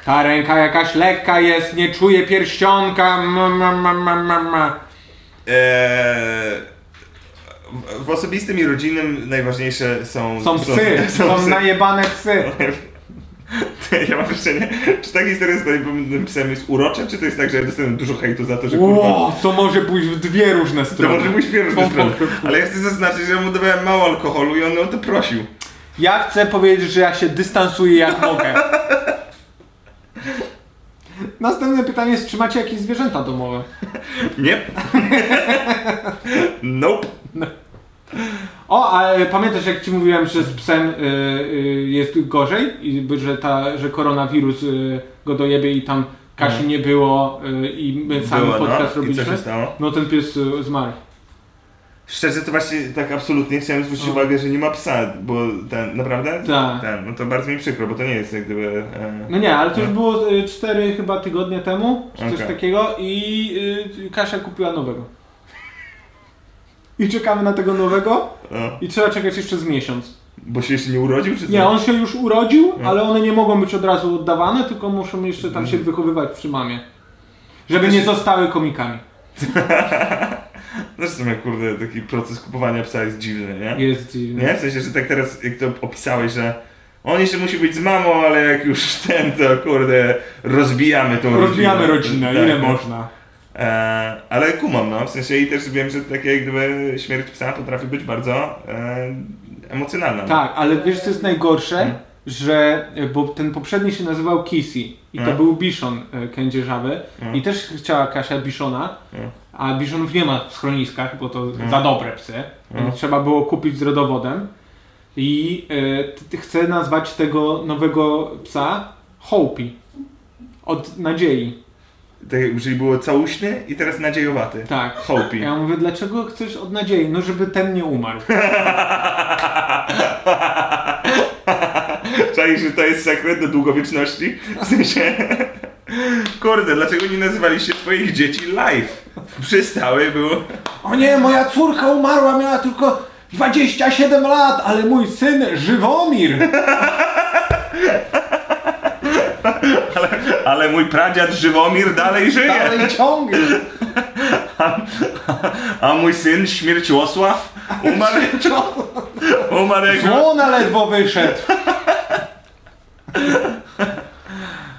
Ta ręka jakaś lekka jest, nie czuję pierścionka. Ma, ma, ma, ma, ma, ma.
[LAUGHS] Eee, w- w osobistym i rodzinnym najważniejsze są...
Są psy, są, najebane psy.
[LAUGHS] Ja mam wrażenie, czy ta historia z najpomniejszym psem jest urocza, czy to jest tak, że ja dostanę dużo hejtu za to, że kurwa...
Ło, to może pójść w dwie różne
To
strony.
może pójść w pierwszą
O,
stronę.
kurwa.
Ale ja chcę zaznaczyć, że mu dawałem mało alkoholu i on o to prosił.
Ja chcę powiedzieć, że ja się dystansuję jak
[LAUGHS]
mogę. Następne pytanie jest, czy macie jakieś zwierzęta domowe?
Nie. nope.
O, ale pamiętasz jak ci mówiłem, że z psem y, y, jest gorzej i by- że, ta, że koronawirus y, go dojebie i tam Kasi nie było y, i my sami
No. Było,
podcast
no. I co
robiliśmy?
się stało?
No ten pies y, zmarł.
Szczerze to właśnie tak absolutnie chciałem zwrócić uwagę, że nie ma psa, bo ten, naprawdę?
Tak.
Ten, no to bardzo mi przykro, bo to nie jest jak gdyby... E...
No nie, ale to już było y, 4 chyba tygodnie temu, czy coś
Okej.
takiego i y, Kasia kupiła nowego. I czekamy na tego nowego
No,
i trzeba czekać jeszcze z miesiąc.
bo się jeszcze nie urodził, czy co?
Nie, on się już urodził, ale one nie mogą być od razu oddawane, tylko muszą jeszcze tam się wychowywać przy mamie. Żeby nie zostały komikami.
No Zresztą jak kurde taki proces kupowania psa jest dziwny, nie?
Jest dziwny.
Nie? W sensie, że tak teraz jak to opisałeś, że on jeszcze musi być z mamą, ale jak już ten, to kurde, rozbijamy tą
Rozbijamy rodzinę,
Tak.
ile można.
E, ale kumam, no, w sensie i też wiem, że takie jak gdyby śmierć psa potrafi być bardzo e, emocjonalna. no.
Tak, ale wiesz co jest najgorsze? Że, e, bo ten poprzedni się nazywał Kisi i to
Mm.
był Biszon e, kędzierzawy
Mm.
i też chciała Kasia Biszona,
Mm.
a Biszonów nie ma w schroniskach, bo to za dobre psy, więc
Mm.
trzeba było kupić z rodowodem i e, t- t- chcę nazwać tego nowego psa Hopi. Od nadziei,
Tak, jakby, czyli było całuśny i teraz nadziejowaty.
tak.
Hopi.
Ja mówię, dlaczego chcesz od nadziei? No, żeby ten nie umarł.
Czaisz, że to jest sekret do długowieczności? W sensie... [LAUGHS] Kurde, dlaczego nie nazywaliście swoich dzieci live? Przystały było...
O nie, moja córka umarła, miała tylko 27 lat, ale mój syn Żywomir.
Ale mój pradziad Żywomir dalej żyje!
Dalej ciągnie.
A mój syn Śmierciosław
[LAUGHS]
umarł... umarł jak...
Złona ledwo wyszedł.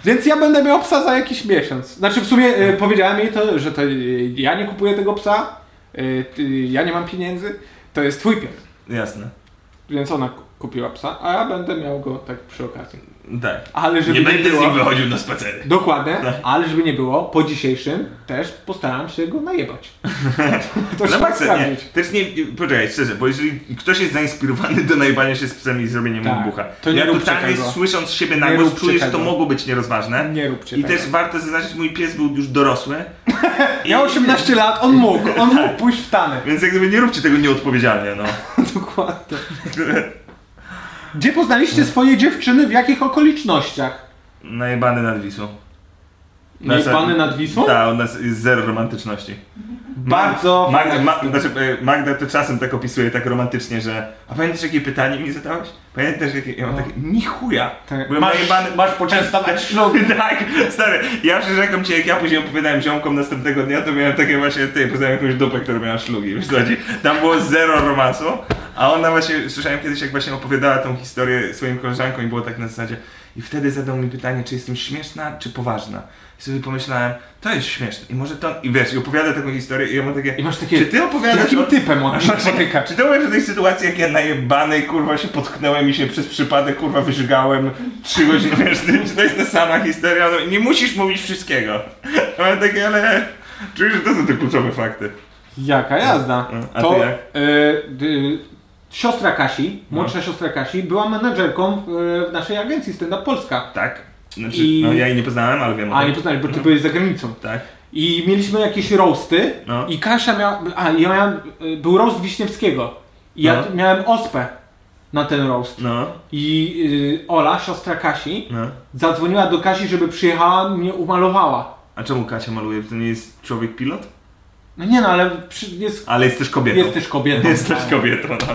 Więc ja będę miał psa za jakiś miesiąc. Znaczy w sumie e, powiedziałem jej to, że to e, ja nie kupuję tego psa, e, ty- ja nie mam pieniędzy, to jest twój pies.
Jasne.
Więc ona ku- kupiła psa, a ja będę miał go tak przy okazji.
Tak.
Ale żeby
Nie będę z
było-
nim wychodził na spacery.
Dokładnie,
Tak.
ale żeby nie było, po dzisiejszym też postaram się
[LAUGHS]
go najebać. To
Na
trzeba
maksa, nie.
sprawdzić.
Też nie, poczekaj, szczerze, bo jeżeli ktoś jest zainspirowany do najbania się z psem i zrobienia mu
Tak.
bucha,
To nie
ja
róbcie
totalnie
tego.
słysząc siebie na
Nie
głos
róbcie
czuję, że to
tego.
mogło być nierozważne.
Nie róbcie
I
tego.
też warto zaznaczyć, mój pies był już dorosły.
Miał 18 lat, on mógł, on mógł pójść w
[LAUGHS]
tanę.
Więc jak gdyby nie róbcie tego nieodpowiedzialnie, no. [LAUGHS]
Dokładnie. Gdzie poznaliście
No.
swoje dziewczyny, w jakich okolicznościach?
Najebany nad Wisłą.
Najebany nad Wisłą?
Tak, u nas jest zero romantyczności.
Bardzo
Magda, ma, znaczy, e, Magda to czasem tak opisuje tak romantycznie, że a pamiętasz jakie pytanie mi zadałeś? Pamiętasz jakie? Ja mam takie, ni chuja.
No. Tak.
Byłem najebany,
masz poczęstować
[LAUGHS] tak, stary, ja przyrzekam ci, jak ja później opowiadałem ziomkom następnego dnia, to miałem takie właśnie, ty, poznałem jakąś dupę, która miała szlugi, wiesz co chodzi? Tam było zero romansu, a ona właśnie, słyszałem kiedyś, jak właśnie opowiadała tą historię swoim koleżankom i było tak na zasadzie, i wtedy zadał mi pytanie, czy jestem śmieszna, czy poważna. I sobie pomyślałem, to jest śmieszne. I może to, i wiesz, i opowiada taką historię i ja mam takie,
I masz takie,
czy ty opowiadasz
jakim
o... [LAUGHS]
typem on się spotyka?
Znaczy, Czy to mówisz o tej sytuacji, jak ja najebany, kurwa, się potknąłem i się przez przypadek, kurwa, wyżygałem trzy godziny, [LAUGHS] wiesz, czy to jest ta sama historia? No, nie musisz mówić wszystkiego. Ale takie, ale... Czuję, że to są te kluczowe fakty.
Jaka jazda.
Mm, a
to
ty jak? No.
e, d- siostra Kasi, młodsza siostra Kasi, była menadżerką w, e, w naszej agencji Stand Up Polska.
Tak? Znaczy,
I-
no ja jej nie poznałem, ale wiem o
A
tym.
nie poznali, bo ty byłeś za granicą.
Tak.
I mieliśmy jakieś roasty
No.
i Kasia miała... A, ja miałem... y, Był roast Wiśniewskiego. I ja
No.
t- miałem ospę na ten roast.
No,
I y, Ola, siostra Kasi,
no.
zadzwoniła do Kasi, żeby przyjechała, mnie umalowała.
A czemu Kasia maluje? To nie jest człowiek pilot?
No nie no, ale przy, jest,
Ale jest też kobietą.
jest też kobietą.
[LAUGHS] Jest też kobietą, no.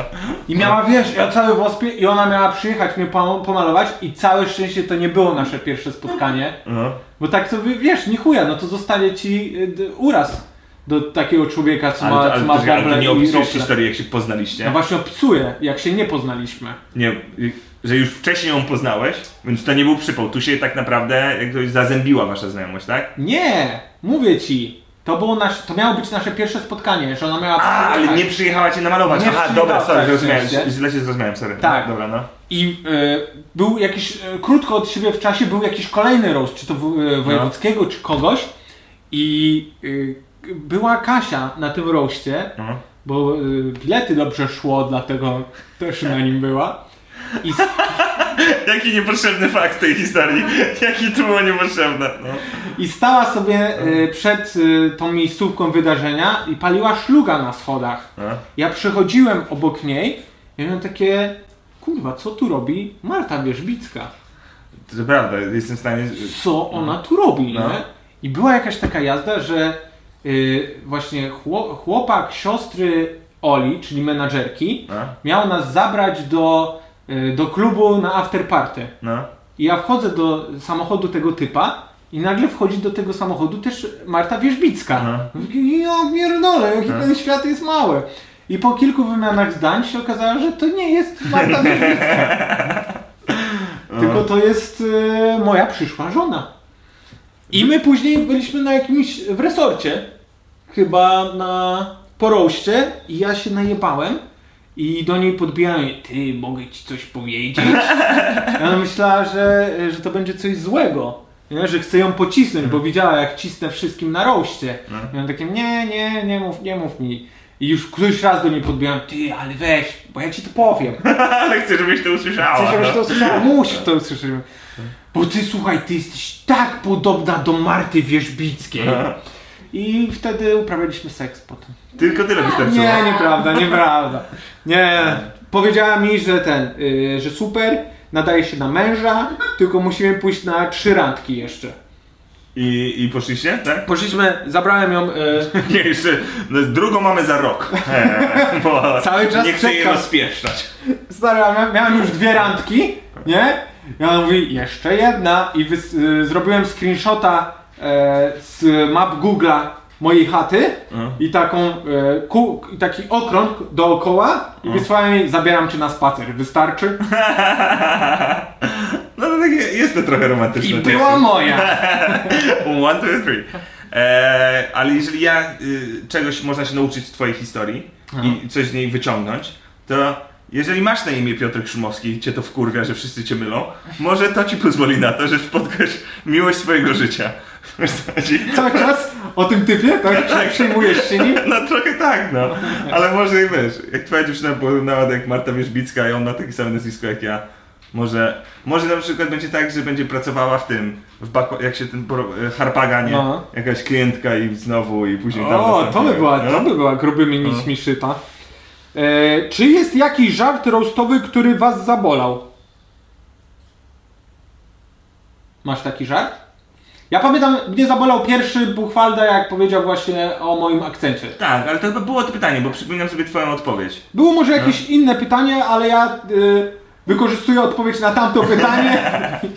I miała, wiesz, ja cały w ospie i ona miała przyjechać mnie pom- pomalować i całe szczęście to nie było nasze pierwsze spotkanie.
no.
Bo tak to wy- wiesz, nie chuja, no to zostanie ci y, d- uraz do takiego człowieka, co
Ale,
ma,
to-
co
ale,
ma
ale, ale to
gablę
nie
i
opisujesz
rofle.
historii, jak się poznaliście.
Ja właśnie opisuję, jak się nie poznaliśmy.
Nie, y, że już wcześniej ją poznałeś, więc to nie był przypał. Tu się tak naprawdę jakoś zazębiła wasza znajomość, tak?
Nie! Mówię ci! To, było nasz, to miało być nasze pierwsze spotkanie, że ona miała...
A, ale nie przyjechała cię namalować.
tak. Nie
Aha,
przyjechała,
dobra, sorry,
tak,
zrozumiałem.
oczywiście.
Źle się zrozumiałem, sorry.
Tak.
Dobra, no.
I e, był jakiś, e, krótko od siebie w czasie był jakiś kolejny roast, czy to w,
No.
e, wojewódzkiego, czy kogoś. I e, k- była Kasia na tym roście,
no.
bo e, bilety dobrze szło, dlatego [LAUGHS] też na nim była. I s-
Jaki niepotrzebny fakt tej historii. [LAUGHS] Jaki to było niepotrzebne. No.
I stała sobie e, przed e, tą miejscówką wydarzenia i paliła szluga na schodach.
No.
Ja przychodziłem obok niej i miałem takie, kurwa, co tu robi Marta Wierzbicka?
To prawda, jestem w stanie...
Co ona tu robi,
No.
nie? I była jakaś taka jazda, że y, właśnie chło- chłopak siostry Oli, czyli menadżerki,
No,
miał nas zabrać do, y, do klubu na afterparty.
no.
I ja wchodzę do samochodu tego typa I nagle wchodzi do tego samochodu też Marta Wierzbicka.
Aha.
Ja pierdolę, jaki ten świat jest mały. I po kilku wymianach zdań się okazało, że to nie jest Marta Wierzbicka. Tylko to jest e, moja przyszła żona. I my później byliśmy na jakimś w resorcie, chyba na poroście i ja się najebałem i do niej podbijałem, ty mogę ci coś powiedzieć. Ja ona myślała, że, że to będzie coś złego. Nie? Że chcę ją pocisnąć, bo widziała jak cisnę wszystkim na roście. I on takie, nie, nie, nie mów, nie mów mi. I już któryś raz do niej podbijałem, ty, ale weź, bo ja ci to powiem.
Ale chcę, żebyś to usłyszała.
Chcę, żebyś to
no.
usłyszała, musisz to usłyszeć. Bo ty, słuchaj, ty jesteś tak podobna do Marty Wierzbickiej. I wtedy uprawialiśmy seks potem.
Tylko tyle wystarczyło.
Nie, nieprawda, nieprawda. Nie, powiedziała mi, że ten, y, że super, nadaje się na męża, tylko musimy pójść na trzy randki jeszcze.
I, I poszliście, tak? [LAUGHS]
Poszliśmy, zabrałem ją, y,
Nie, jeszcze no, drugą mamy za rok. [LAUGHS] Eee, bo
Cały czas
Nie chcę jej
czekam.
rozpieszczać.
stary, a mia- miałem już dwie randki, nie? I ona mówi, jeszcze jedna i wys- y, zrobiłem screenshota e, z map Google'a mojej chaty i taką, e, ku, i taki okrąg dookoła i wysłałem jej, zabieram cię na spacer, wystarczy?
No to takie, jest to trochę romantyczne.
I
teksty.
była moja.
[LAUGHS] One, two, three. Eee, ale jeżeli ja y, czegoś można się nauczyć z twojej historii i coś z niej wyciągnąć, to jeżeli masz na imię Piotr Krzymowski i cię to wkurwia, że wszyscy cię mylą, może to ci pozwoli na to, że spotkasz miłość swojego życia. [LAUGHS] Wiesz, co chodzi?
Cały czas o tym typie, tak? Czy Przyjmujesz się nim?
[LAUGHS] No trochę tak, no. Ale może i wiesz, jak twoja dziewczyna porównała to jak Marta Wierzbicka i on ma takie same nazwisko jak ja, może, może na przykład będzie tak, że będzie pracowała w tym, w bako, jak się ten pro- e, harpaga, nie?
No.
Jakaś klientka i znowu i później tam
O, to
następny,
by była,
no?
to by była grubymi nićmi szyta. E, czy jest jakiś żart roastowy, który was zabolał? Masz taki żart? Ja pamiętam, mnie zabolał pierwszy Buchwalda, jak powiedział właśnie o moim akcencie.
Tak, ale to chyba było to pytanie, bo przypominam sobie twoją odpowiedź. No
Było może jakieś inne pytanie, ale ja y, wykorzystuję odpowiedź na
[LAUGHS]
tamto pytanie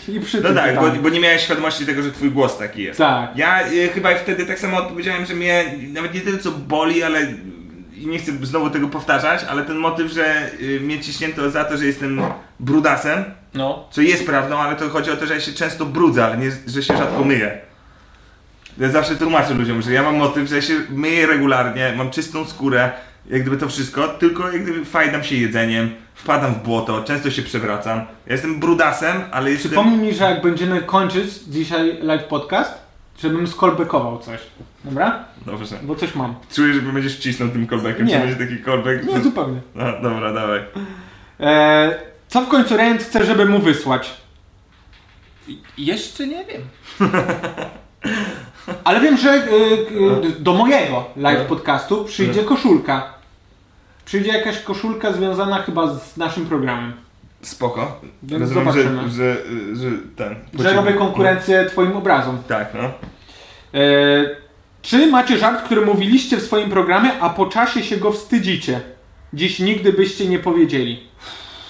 i przy
No
tym
tak, bo,
pytaniu.
bo nie miałeś świadomości tego, że twój głos taki jest.
Tak.
Ja y, chyba wtedy tak samo odpowiedziałem, że mnie nawet nie tyle co boli, ale i nie chcę znowu tego powtarzać, ale ten motyw, że y, mnie ciśnięto za to, że jestem brudasem,
No.
co jest prawdą, ale to chodzi o to, że ja się często brudzę, ale nie, że się rzadko myję. Ja zawsze tłumaczę ludziom, że ja mam motyw, że ja się myję regularnie, mam czystą skórę, jak gdyby to wszystko, tylko jak gdyby fajdam się jedzeniem, wpadam w błoto, często się przewracam. Ja jestem brudasem, ale jestem...
Przypomnij mi, że jak będziemy kończyć dzisiaj live podcast, żebym skolbekował coś. Dobra?
Dobrze.
Bo coś mam.
No, Czuję, że będziesz wcisnął tym callbackiem,
Nie.
czy będzie taki callback?
Nie, zupełnie.
No, dobra, dawaj.
E, co w końcu Rent chce, żeby mu wysłać? Jeszcze nie wiem. Ale wiem, że e, e, do mojego live podcastu przyjdzie koszulka. Przyjdzie jakaś koszulka związana chyba z naszym programem.
Spoko.
Więc
Rozumiem,
No, zobaczymy.
że, że, że ten...
Że robię konkurencję twoim obrazom.
Tak, no.
E, czy macie żart, który mówiliście w swoim programie, a po czasie się go wstydzicie? Dziś nigdy byście nie powiedzieli.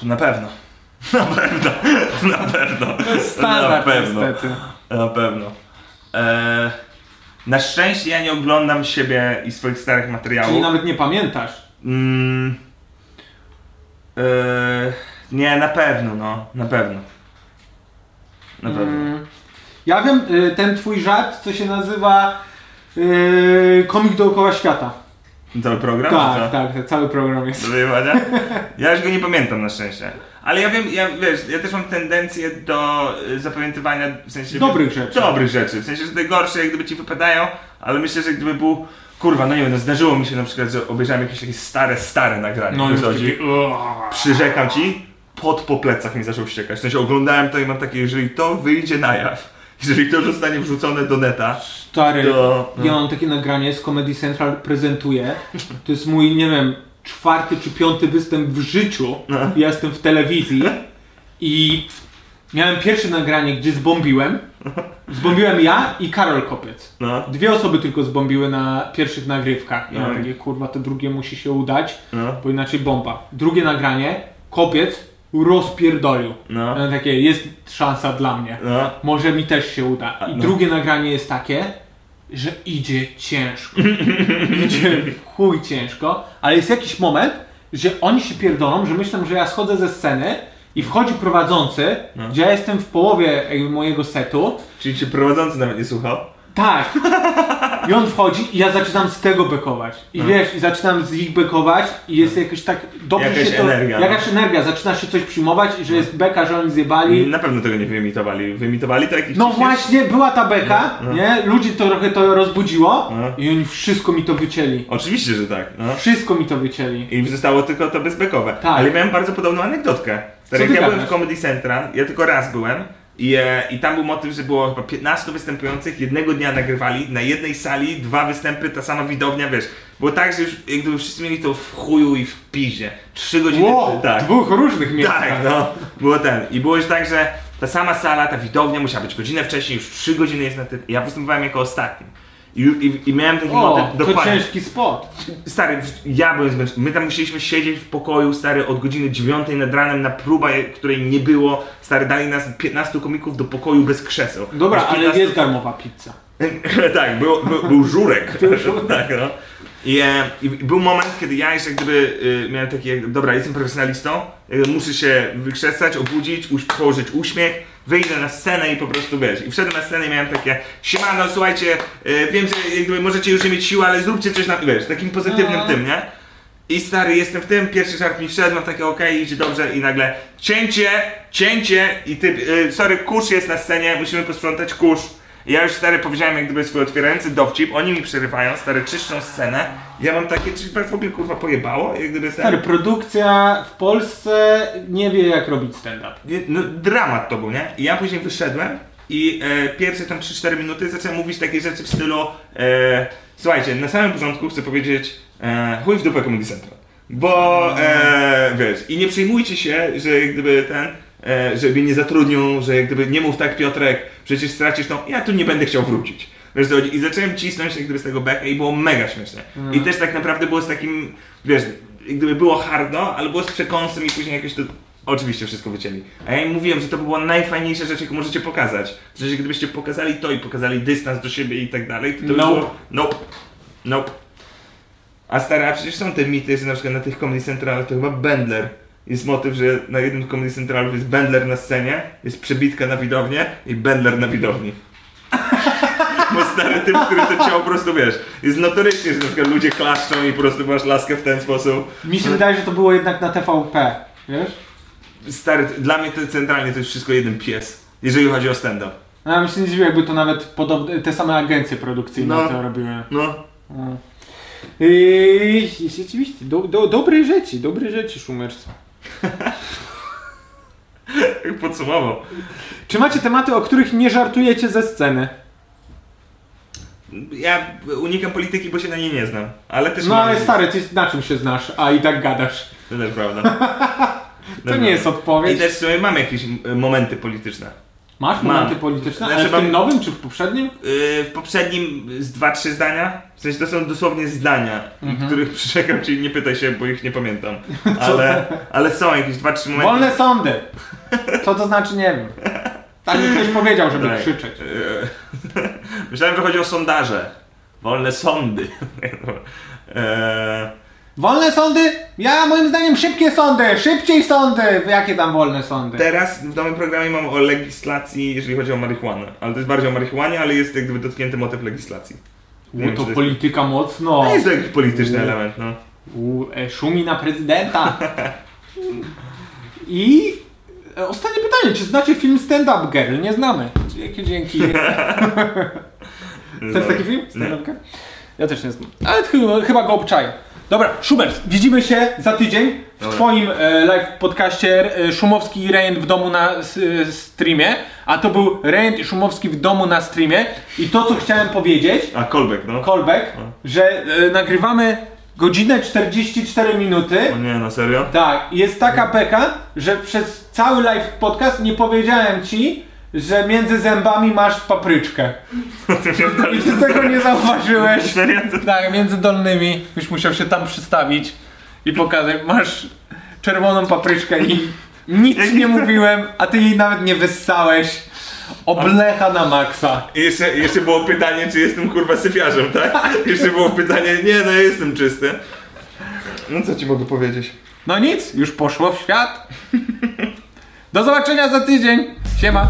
Na pewno. [LAUGHS] Na pewno. [LAUGHS] Na pewno. na
Standard
pewno.
niestety.
Na pewno. Eee, na szczęście ja nie oglądam siebie i swoich starych
Czyli
materiałów.
nawet nie pamiętasz.
Mm, eee, nie, na pewno, no. Na pewno. Na pewno.
Mm. Ja wiem y, ten twój żart, co się nazywa y, Komik dookoła świata.
Cały program? czy co?
Tak, tak, cały program jest.
Do wyjebania? Ja już go nie pamiętam na szczęście. Ale ja wiem, ja wiesz, ja też mam tendencję do y, zapamiętywania w sensie.
Dobrych rzeczy.
Dobrych rzeczy. W sensie, że te gorsze jak gdyby ci wypadają, ale myślę, że gdyby był. Kurwa, no nie wiem, no zdarzyło mi się na przykład, że obejrzałem jakieś takie stare, stare nagranie. No chodzi. Przyrzekam ci, pod po plecach mi zaczął ściekać. W sensie oglądałem to i mam takie, jeżeli to wyjdzie na jaw, jeżeli to zostanie wrzucone do neta,
Stary,
to.
ja mam takie nagranie z Comedy Central prezentuje. To jest mój, nie wiem, czwarty czy piąty występ w życiu.
No.
Ja jestem w telewizji i miałem pierwsze nagranie, gdzie zbombiłem. Zbombiłem ja i Karol Kopiec.
No,
Dwie osoby tylko zbombiły na pierwszych nagrywkach. Ja
No.
takie, kurwa, to drugie musi się udać.
no.
bo inaczej bomba. Drugie nagranie, kopiec, rozpierdolił.
No.
Ja Takie, jest szansa dla mnie.
No.
Może mi też się uda. I
no.
drugie nagranie jest takie, że idzie
[LAUGHS]
ciężko. idzie w chuj ciężko, ale jest jakiś moment, że oni się pierdolą, że myślą, że ja schodzę ze sceny i wchodzi prowadzący,
No.
gdzie ja jestem w połowie jakby mojego setu,
Czyli cię prowadzący nawet nie słuchał?
tak. I on wchodzi i ja zaczynam z tego bekować. I
No.
wiesz, i zaczynam z ich bekować i jest jakoś tak dobrze
Jakaś
się to,
energia, no.
Jakaś energia, zaczyna się coś przyjmować i że jest beka, że oni zjebali.
Na pewno tego nie wyemitowali. Wyemitowali to jakiś
No
ciśnie?
właśnie, była ta beka,
No, no.
nie? Ludzi to trochę to rozbudziło
No.
i oni wszystko mi to wycięli.
Oczywiście, że tak. No.
Wszystko mi to wycięli.
I zostało tylko to bezbekowe.
Tak.
Ale miałem bardzo podobną anegdotkę.
Co
Stary, Jak
ty
ja byłem w
gadasz?
Comedy Central, ja tylko raz byłem i, e, i tam był motyw, że było chyba 15 występujących, jednego dnia nagrywali, na jednej sali dwa występy, ta sama widownia, wiesz. Było tak, że już jak gdyby wszyscy mieli to w chuju i w piździe. Trzy godziny.
Wow,
tak.
dwóch różnych miejsc.
Tak, no. Było ten. I było już tak, że ta sama sala, ta widownia musiała być godzinę wcześniej, już trzy godziny jest na tym. Ja występowałem jako ostatni. I, i, i miałem taki
O,
motyw,
to
dokładnie.
ciężki spot.
Stary, w- ja byłem zmęczony. My tam musieliśmy siedzieć w pokoju, stary, od godziny 9 nad ranem na próbę, której nie było. Stary, dali nas 15 komików do pokoju bez krzeseł.
Dobra,
Bez
ale
15
jest darmowa pizza.
[LAUGHS] tak, był, był, był żurek. [LAUGHS] tak, no. I, e, I był moment, kiedy ja jeszcze jak gdyby y, miałem taki, jak, dobra, jestem profesjonalistą, y, muszę się wykrzesać, obudzić, uś, położyć uśmiech, wyjdę na scenę i po prostu wiesz. I wszedłem na scenę i miałem takie, siemano, słuchajcie, y, wiem, że jak gdyby możecie już nie mieć siły, ale zróbcie coś na, wiesz, takim pozytywnym tym, nie? I stary, jestem w tym, pierwszy żart mi wszedł, mam takie okej, idzie dobrze i nagle cięcie, cięcie i ty, y, sorry, kurz jest na scenie, musimy posprzątać kurz. I ja już stary powiedziałem jak gdyby swój otwierający dowcip, oni mi przerywają, stary czyszczą scenę, ja mam takie, czy was w ogóle kurwa pojebało? Jak gdyby
Stary,
stary,
produkcja w Polsce nie wie jak robić stand-up.
nie, no, dramat to był, nie? I ja później wyszedłem i e, pierwsze tam 3-4 minuty zacząłem mówić takie rzeczy w stylu e, słuchajcie, na samym początku chcę powiedzieć e, chuj w dupę Comedy Central. Bo e, wiesz, i nie przejmujcie się, że jak gdyby ten, e, że mnie nie zatrudnią, że jak gdyby nie mów tak Piotrek, przecież stracisz tą, ja tu nie będę chciał wrócić. Wiesz, co chodzi? I zacząłem cisnąć jak gdyby z tego beka i było mega śmieszne. I też tak naprawdę było z takim, wiesz, jak gdyby było hardo, ale było z przekąsem i później jakoś to Oczywiście wszystko wycięli. A ja im mówiłem, że to była najfajniejsza rzecz, jaką możecie pokazać. W sensie, gdybyście pokazali to i pokazali dystans do siebie i tak dalej, to, to by
Nope.
było... Nope. Nope. A stary, a przecież są te mity, że na przykład na tych Comedy Centralach to chyba Bendler. Jest motyw, że na jednym z Comedy Centralów jest Bendler na scenie, jest przebitka na widownię i Bendler na widowni. [LAUGHS] Bo stary typ, który to ciało po prostu, wiesz, jest notorycznie, że na przykład ludzie klaszczą i po prostu masz laskę w ten sposób. No,
Mi się wydaje, że to było jednak na TVP, wiesz?
Stary, dla mnie to centralnie to jest wszystko jeden pies, jeżeli chodzi o stand-up.
No ja bym się nie zdziwił, jakby to nawet podobne, te same agencje produkcyjne
No.
to robiły.
No.
I rzeczywiście, do, do, dobre rzeczy, dobre rzeczy szumerstwo.
Jak [LAUGHS] podsumował.
Czy macie tematy, o których nie żartujecie ze sceny? No,
Ja unikam polityki, bo się na niej nie znam. Ale też
No
mam-
ale stary, ty na czym się znasz, a i tak gadasz.
To też prawda.
[LAUGHS] To nie jest
I
odpowiedź.
też w sumie mam jakieś e, momenty polityczne.
Masz
Mam.
momenty polityczne?
Znaczy
ale w tym
mam-
nowym czy w poprzednim?
Yy, w poprzednim z dwa, trzy zdania. W sensie to są dosłownie zdania,
Mhm.
których [LAUGHS] przyrzekam, czyli nie pytaj się, bo ich nie pamiętam. Ale, ale są jakieś dwa, trzy momenty.
Wolne sądy! Co to znaczy, nie wiem. Tak mi ktoś powiedział, żeby
Tak.
krzyczeć.
Yy, [LAUGHS] Myślałem, że chodzi o sondaże. Wolne sądy. [LAUGHS] Eee,
Wolne sądy? Ja moim zdaniem szybkie sądy! Szybciej sądy! Jakie tam wolne sądy?
Teraz w nowym programie mam o legislacji, jeżeli chodzi o marihuanę. Ale to jest bardziej o marihuanie, ale jest jak gdyby dotknięty motyw legislacji. Nie
U,
wiem, czy
to
jest-
polityka mocno.
To jest jakiś polityczny element, no.
U, e, szumi na prezydenta. I e, ostatnie pytanie, czy znacie film Stand Up Girl? Nie znamy. Jakie dzięki. [LAUGHS] Znasz taki film? Stand Up Girl? Ja też nie znam. Ale ch- chyba go obczaję. Dobra, Schubert, widzimy się za tydzień w
Dobra.
twoim e, live podcaście e, Szumowski i Rejent w domu na s, e, streamie, a to był Rejent i Szumowski w domu na streamie i to co chciałem powiedzieć,
A, Kolbek, no.
callback, że e, nagrywamy godzinę 44 minuty.
O nie, no serio? [LAUGHS]
Tak, i jest taka beka, że przez cały live podcast nie powiedziałem ci, że między zębami masz papryczkę. I ty tego nie zauważyłeś.
Serio?
Tak, między dolnymi byś musiał się tam przystawić i pokazać, masz czerwoną papryczkę i
Nic nie mówiłem, a ty jej nawet nie wyssałeś. Oblecha na maksa.
I jeszcze, jeszcze było pytanie, czy jestem kurwa sypiarzem, tak? Jeszcze było pytanie, nie no, jestem czysty. No co ci mogę powiedzieć?
No nic, już poszło w świat. Do zobaczenia za tydzień. Siema.